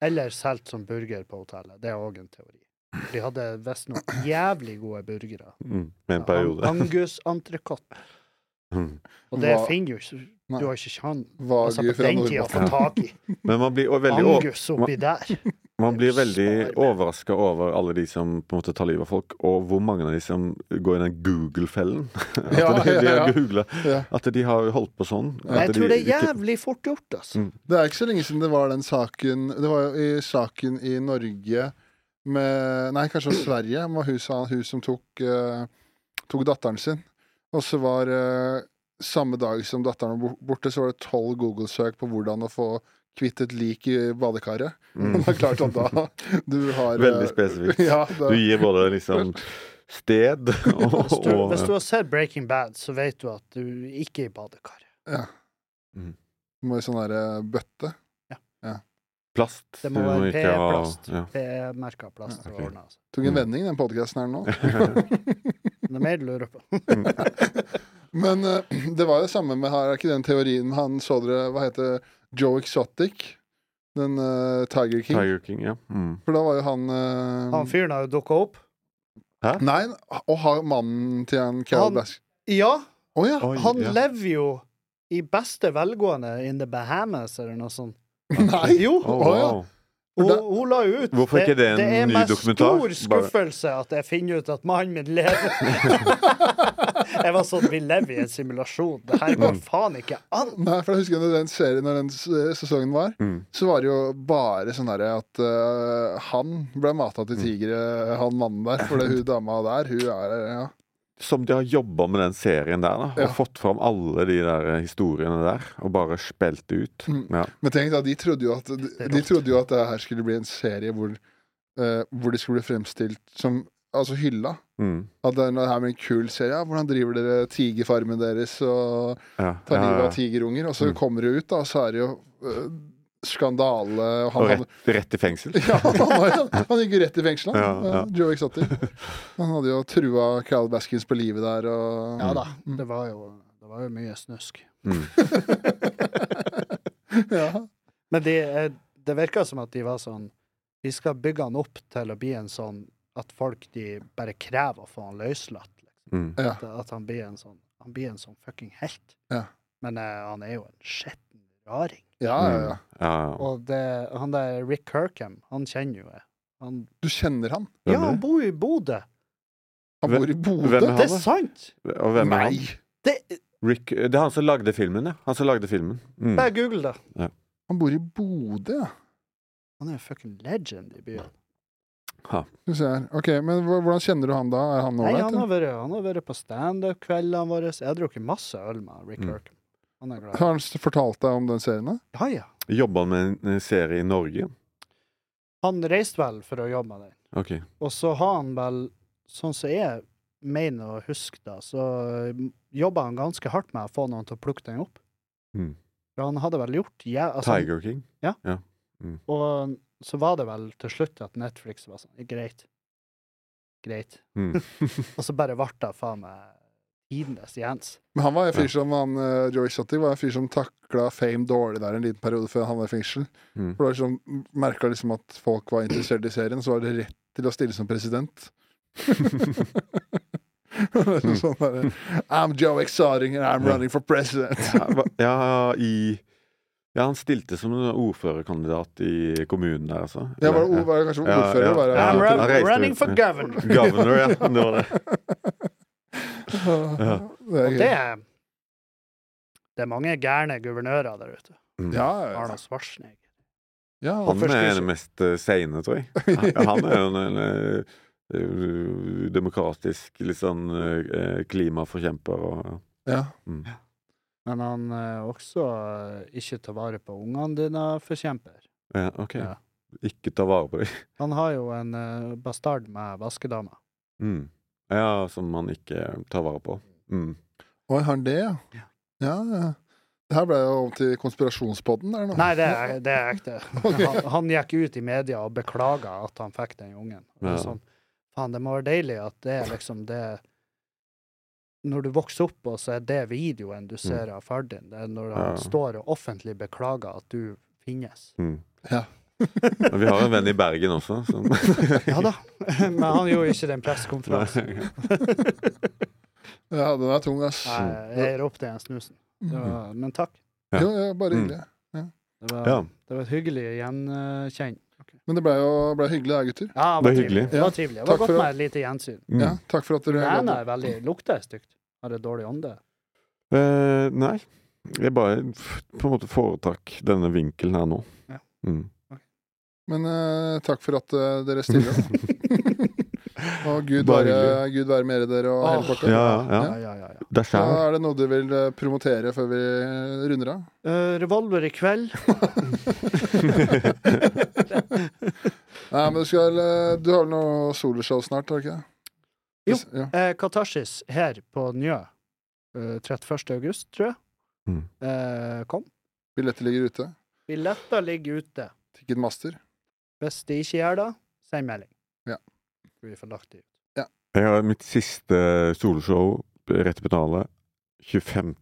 Speaker 2: eller solgt som burger på hotellet. Det er òg en teori. De hadde visstnok jævlig gode burgere.
Speaker 3: Mm. Med en
Speaker 2: Ang-
Speaker 3: periode.
Speaker 2: Angus-entrecôte.
Speaker 3: Mm.
Speaker 2: Og det
Speaker 1: Hva-
Speaker 2: finner jo ikke
Speaker 1: Nei.
Speaker 2: Du har ikke sjanse altså,
Speaker 1: Vagu
Speaker 2: på
Speaker 1: fra
Speaker 2: den tida å få
Speaker 1: Nordbakken.
Speaker 2: tak i.
Speaker 3: Men man blir, og veldig, over-
Speaker 2: Angus oppi der.
Speaker 3: man blir veldig
Speaker 2: Svar.
Speaker 3: overraska over alle de som på en måte tar livet av folk, og hvor mange av de som går i den Google-fellen. (laughs) At
Speaker 1: Ja,
Speaker 3: de, de
Speaker 1: ja, ja.
Speaker 3: har googlet
Speaker 1: Ja.
Speaker 3: At de har holdt på sånn.
Speaker 2: Men
Speaker 3: at
Speaker 2: jeg tror det
Speaker 3: de
Speaker 2: er
Speaker 3: ikke-
Speaker 2: jævlig fort gjort, altså.
Speaker 3: Mm.
Speaker 1: Det er ikke så lenge siden det var den saken Det var jo i saken i Norge med Nei, kanskje det var Sverige. Det var hun, sa- hun som tok, eh, tok datteren sin. Og så var eh, samme dag som datteren var bor- borte, så var det tolv Google-søk på hvordan å få kvitt et lik i badekaret.
Speaker 3: Mm.
Speaker 1: (laughs) Det er klart at da du har eh, (laughs)
Speaker 3: Veldig spesifikt.
Speaker 2: (laughs)
Speaker 3: (laughs)
Speaker 1: Ja,
Speaker 3: Du
Speaker 1: det,
Speaker 3: gir både liksom
Speaker 1: (laughs)
Speaker 3: sted og,
Speaker 2: Hvis du,
Speaker 3: og
Speaker 2: hvis du har sett Breaking Bad, så vet du at du ikke er i badekaret.
Speaker 1: du må i sånn derre bøtte.
Speaker 3: plast.
Speaker 2: Det må
Speaker 3: Du
Speaker 2: være
Speaker 3: ikke ha-
Speaker 2: PE-plast.
Speaker 3: ja.
Speaker 2: PE-merka plast.
Speaker 3: Ja,
Speaker 2: og
Speaker 3: ok.
Speaker 2: ordnet, altså.
Speaker 1: Tok en
Speaker 3: Mm.
Speaker 1: vending, den podkasten her nå.
Speaker 3: (laughs)
Speaker 2: Det er mer du lurer på.
Speaker 1: Men eh, (clears throat) det var jo det samme med her, er ikke den teorien med han så dere, hva heter det, Joe Exotic? Den eh, Tiger (laughs) King.
Speaker 3: Tiger King, ja. Mm.
Speaker 1: For da var jo han eh,
Speaker 2: Han fyren har jo dukka opp.
Speaker 1: Nei, og har mannen til han Carol
Speaker 2: Han-
Speaker 1: Bask
Speaker 2: Ja,
Speaker 1: Å ja!
Speaker 3: Oi,
Speaker 2: han
Speaker 3: ja.
Speaker 2: lever jo i beste velgående in the Bahamas, eller noe sånt.
Speaker 1: Nei!
Speaker 2: Jo!
Speaker 3: Å,
Speaker 1: Å, ja.
Speaker 3: Oh, wow.
Speaker 2: Og
Speaker 1: Da-
Speaker 2: hun la jo ut
Speaker 3: Hvorfor er ikke det en ny dokumentar?
Speaker 2: Det er med stor skuffelse at jeg finner ut at mannen min
Speaker 3: (laughs)
Speaker 2: lever. jeg var sånn Vi lever i en simulasjon. Det her
Speaker 3: Mm.
Speaker 2: går faen ikke an.
Speaker 1: Nei, for jeg husker når den serien Når den s- sesongen var,
Speaker 3: Mm.
Speaker 1: så var det jo bare sånn derre at eh, han ble mata
Speaker 3: Mm.
Speaker 1: til tigre, han mannen der. For
Speaker 3: (laughs)
Speaker 1: det hun dama der, hun er ja.
Speaker 3: Som de har jobba med den serien der, da. Og
Speaker 1: Ja.
Speaker 3: fått fram alle de der eh, historiene der. Og bare spilt det ut.
Speaker 1: Mm.
Speaker 3: Ja.
Speaker 1: Men tenk da, de trodde jo at
Speaker 2: er
Speaker 1: De
Speaker 2: rått.
Speaker 1: trodde jo at det her skulle bli en serie hvor, eh, hvor det skulle bli fremstilt som Altså hylla.
Speaker 3: Mm.
Speaker 1: At det er noe her med en kul serie. Ja, hvordan driver dere tigerfarmen deres og
Speaker 3: Ja.
Speaker 1: tar livet
Speaker 3: ja. Mm.
Speaker 1: av tigerunger? Og så kommer det ut, da, og så er det jo eh, skandale. og
Speaker 3: Og
Speaker 1: Han, hadde, (laughs)
Speaker 3: rett, rett i fengsel.
Speaker 1: ja, han, var- han gikk jo rett i fengsel, han.
Speaker 3: Ja, ja.
Speaker 1: eh, Joe Exotic. Han hadde jo trua Carl Baskins på livet der og
Speaker 2: Ja da, det var jo, det var jo mye snusk.
Speaker 3: Mm.
Speaker 1: (laughs) Ja.
Speaker 2: Men de, eh, det virka som at de var sånn Vi skal bygge han opp til å bli en sånn at folk de bare krever å få han løslatt.
Speaker 3: Mm.
Speaker 1: Ja.
Speaker 2: At, at han blir en sånn Han blir en sånn fucking helt.
Speaker 1: Ja.
Speaker 2: Men eh, han er jo en skitten raring.
Speaker 1: ja, ja, ja.
Speaker 3: Ja,
Speaker 1: (laughs)
Speaker 3: ja.
Speaker 2: Og det, han der Rick Kirkham, han kjenner jo jeg. Han,
Speaker 1: Du kjenner han.
Speaker 3: Hvem
Speaker 2: ja,
Speaker 3: er
Speaker 2: han
Speaker 3: det?
Speaker 2: bor jo i Bodø.
Speaker 1: Han
Speaker 3: Hvem-
Speaker 1: bor i Bodø.
Speaker 3: hvem er
Speaker 2: Det er
Speaker 3: da?
Speaker 2: sant!
Speaker 3: Og hvem er han?
Speaker 1: Nei!
Speaker 2: Det,
Speaker 3: Rick, eh, det er han som lagde filmen, ja. Han som lagde filmen. Mm.
Speaker 2: bare google det.
Speaker 1: Han bor i Bodø, ja.
Speaker 2: Han er jo fucking legend i byen.
Speaker 1: Skal vi se her. Ok, men hva- hvordan kjenner du han da? Er han
Speaker 2: Nei, han
Speaker 1: ålreit?
Speaker 2: har
Speaker 1: eller?
Speaker 2: vært, han har vært på standup-kveldene våre. Jeg har drukket masse øl med Rick
Speaker 3: Mm.
Speaker 2: Kirkham. Han er glad.
Speaker 1: Har han s- fortalt deg om den serien? da?
Speaker 2: Ja, ja.
Speaker 3: Jobba han med en eh, serie i Norge?
Speaker 2: Han reiste vel for å jobbe med den.
Speaker 3: Ok.
Speaker 2: Og så har han vel, sånn som jeg mener å huske da, så mm, jobba han ganske hardt med å få noen til å plukke den opp.
Speaker 3: Mm.
Speaker 2: For han hadde vel gjort ja, altså,
Speaker 3: Tiger King?
Speaker 2: Og så var det vel til slutt at Netflix var sånn Greit. Greit.
Speaker 3: Mm.
Speaker 2: Og så bare ble det faen meg tidenes Jens.
Speaker 1: Men han var en fyr
Speaker 3: Ja.
Speaker 1: som han, eh, Joey Shetty var en fyr som takla fame dårlig der en liten periode før han var i fengsel.
Speaker 3: Mm.
Speaker 1: For det var liksom, merka liksom at folk var interessert i serien, så var det rett til å stille som president. (laughs) Det er liksom sånn der, I'm Joe Exotic and I'm running for president.
Speaker 3: Ja, hva- ja, i Ja, han stilte som en ordførerkandidat i kommunen der, altså.
Speaker 1: Jeg var,
Speaker 3: Eller-
Speaker 1: o- var jeg kanskje
Speaker 3: Ja,
Speaker 1: ordfører,
Speaker 3: ja.
Speaker 1: var
Speaker 3: Ja,
Speaker 2: I'm
Speaker 1: jeg. (laughs)
Speaker 3: han reiste
Speaker 2: run- running
Speaker 3: ut.
Speaker 2: for governor.
Speaker 3: Governor, ja. Det var det. Ja.
Speaker 1: Det er
Speaker 2: Og det
Speaker 1: gøy.
Speaker 2: er Det er mange gærne guvernører der ute.
Speaker 3: Mm.
Speaker 1: Ja, ja, ja.
Speaker 2: Arnold Schwarzenegger.
Speaker 1: ja.
Speaker 3: Han
Speaker 2: Første-
Speaker 3: er den mest eh, seine, tror jeg. Han- Han er jo en, en eh, eh, demokratisk litt sånn eh, klimaforkjemper og
Speaker 1: ja.
Speaker 3: mm.
Speaker 2: Men han er også eh, ikke ta vare på ungene dine, forkjemper.
Speaker 3: ja, OK.
Speaker 2: Ja.
Speaker 3: Ikke ta vare på dem.
Speaker 2: Han har jo en eh, bastard med vaskedama.
Speaker 3: Mm. Ja, som man ikke tar vare på. Mm.
Speaker 1: Oi, har han det, ja?
Speaker 2: Ja.
Speaker 1: Ja, ja. Det her ble jo om til konspirasjonspodden der nå.
Speaker 2: Nei, det er, det er (laughs) ekte.
Speaker 1: Ok.
Speaker 2: Han, han gikk ut i media og beklaga at han fikk den ungen. Og det er
Speaker 3: Ja.
Speaker 2: Sånn, Faen, det må være deilig at det er liksom det Når du vokser opp, og så er det videoen du ser av far din, det er når han
Speaker 3: Ja.
Speaker 2: står og offentlig beklager at du finnes.
Speaker 3: Mm.
Speaker 1: Ja.
Speaker 3: Men vi har en venn i Bergen også. Som...
Speaker 2: Ja da, (laughs) men han gjorde ikke den pressekonferansen.
Speaker 1: Ja, den er tung, ass. Mm.
Speaker 2: Nei, Jeg ropte igjen snusen. Det var, men takk.
Speaker 3: Ja.
Speaker 1: Jo, ja, bare hyggelig.
Speaker 2: Det var,
Speaker 3: (laughs) Mm. Ja.
Speaker 2: det var et hyggelig gjenkjenn.
Speaker 1: Men det ble jo ble hyggelig, da, gutter.
Speaker 2: Ja,
Speaker 3: Det var
Speaker 2: trivelig.
Speaker 3: hyggelig.
Speaker 2: Det var trivelig. Det
Speaker 1: Takk
Speaker 2: var
Speaker 1: for
Speaker 2: godt
Speaker 1: at-
Speaker 2: med et lite gjensyn.
Speaker 3: Mm.
Speaker 1: Ja, takk for at dere
Speaker 2: Ræna er veldig Lukter stygt. Har det dårlig ånde?
Speaker 3: Eh, nei. Jeg bare f- på en måte foretrakk denne vinkelen her nå.
Speaker 2: Ja.
Speaker 3: Mm.
Speaker 1: Men eh, takk for at eh, dere stiller opp.
Speaker 3: (laughs)
Speaker 1: og Gud
Speaker 3: Bare
Speaker 1: være, Gud være med dere og hele pakka.
Speaker 3: Ja, ja.
Speaker 2: Ja, ja, ja, ja.
Speaker 3: Det er
Speaker 1: Så
Speaker 3: skjær.
Speaker 1: er det noe du vil eh, promotere før vi runder av?
Speaker 2: Eh, revolver i kveld.
Speaker 1: Nei, men du skal eh, Du har vel noe soloshow snart, har du ikke det?
Speaker 2: Jo.
Speaker 1: Hvis- Ja.
Speaker 2: Eh, Katarsis her på Njø. eh, 31. august, tror jeg.
Speaker 3: Mm.
Speaker 2: Eh, kom.
Speaker 1: Billetter ligger ute.
Speaker 2: Billetter ligger ute.
Speaker 1: Ticketmaster.
Speaker 2: Hvis de ikke gjør det, send melding.
Speaker 1: Ja.
Speaker 2: Vi får lagt det ut.
Speaker 3: Jeg har mitt siste soloshow, Rett i petalet, 25.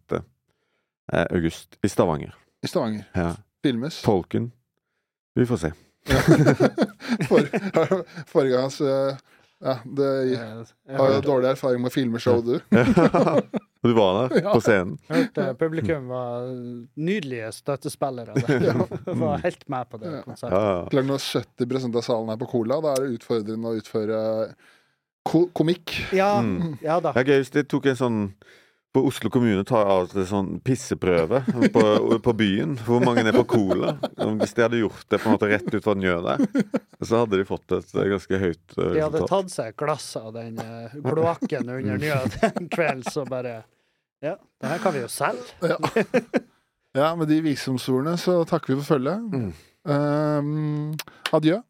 Speaker 3: eh, august i Stavanger.
Speaker 1: I Stavanger.
Speaker 3: Ja.
Speaker 1: Filmes.
Speaker 3: Tolken. Vi får se. (laughs)
Speaker 2: (laughs)
Speaker 1: (laughs)
Speaker 2: Eh,
Speaker 1: For, (laughs) forrige gang så Ja, det jeg har jo dårlig erfaring med å filme show, du.
Speaker 3: Og du var der,
Speaker 1: Ja.
Speaker 3: på scenen.
Speaker 2: Hørte publikum var nydelige
Speaker 1: (laughs)
Speaker 2: støttespillere.
Speaker 1: Ja.
Speaker 2: der. Var helt med på
Speaker 1: Ja.
Speaker 2: det
Speaker 3: Ja,
Speaker 2: konsertet.
Speaker 3: ja.
Speaker 1: Klart når 70 av salen er på cola, da er det utfordrende å utføre eh, ko komikk.
Speaker 2: Ja,
Speaker 3: Mm.
Speaker 2: ja da.
Speaker 3: Ja, Gaus, de tok en sånn på Oslo kommune tar av og til sånn pisseprøve på, på byen. Hvor mange er på Cola? Hvis de hadde gjort det på en måte rett ut fra Njø der, så hadde de fått et eh, ganske høyt eh,
Speaker 2: De hadde
Speaker 3: resultat.
Speaker 2: tatt seg et glass av den eh, kloakken
Speaker 1: Mm.
Speaker 2: under Njø den kvelden, så bare Ja, det her kan vi jo selge.
Speaker 1: Ja. ja, med de visdomsordene så takker vi for følget.
Speaker 3: Mm.
Speaker 1: Um, adjø.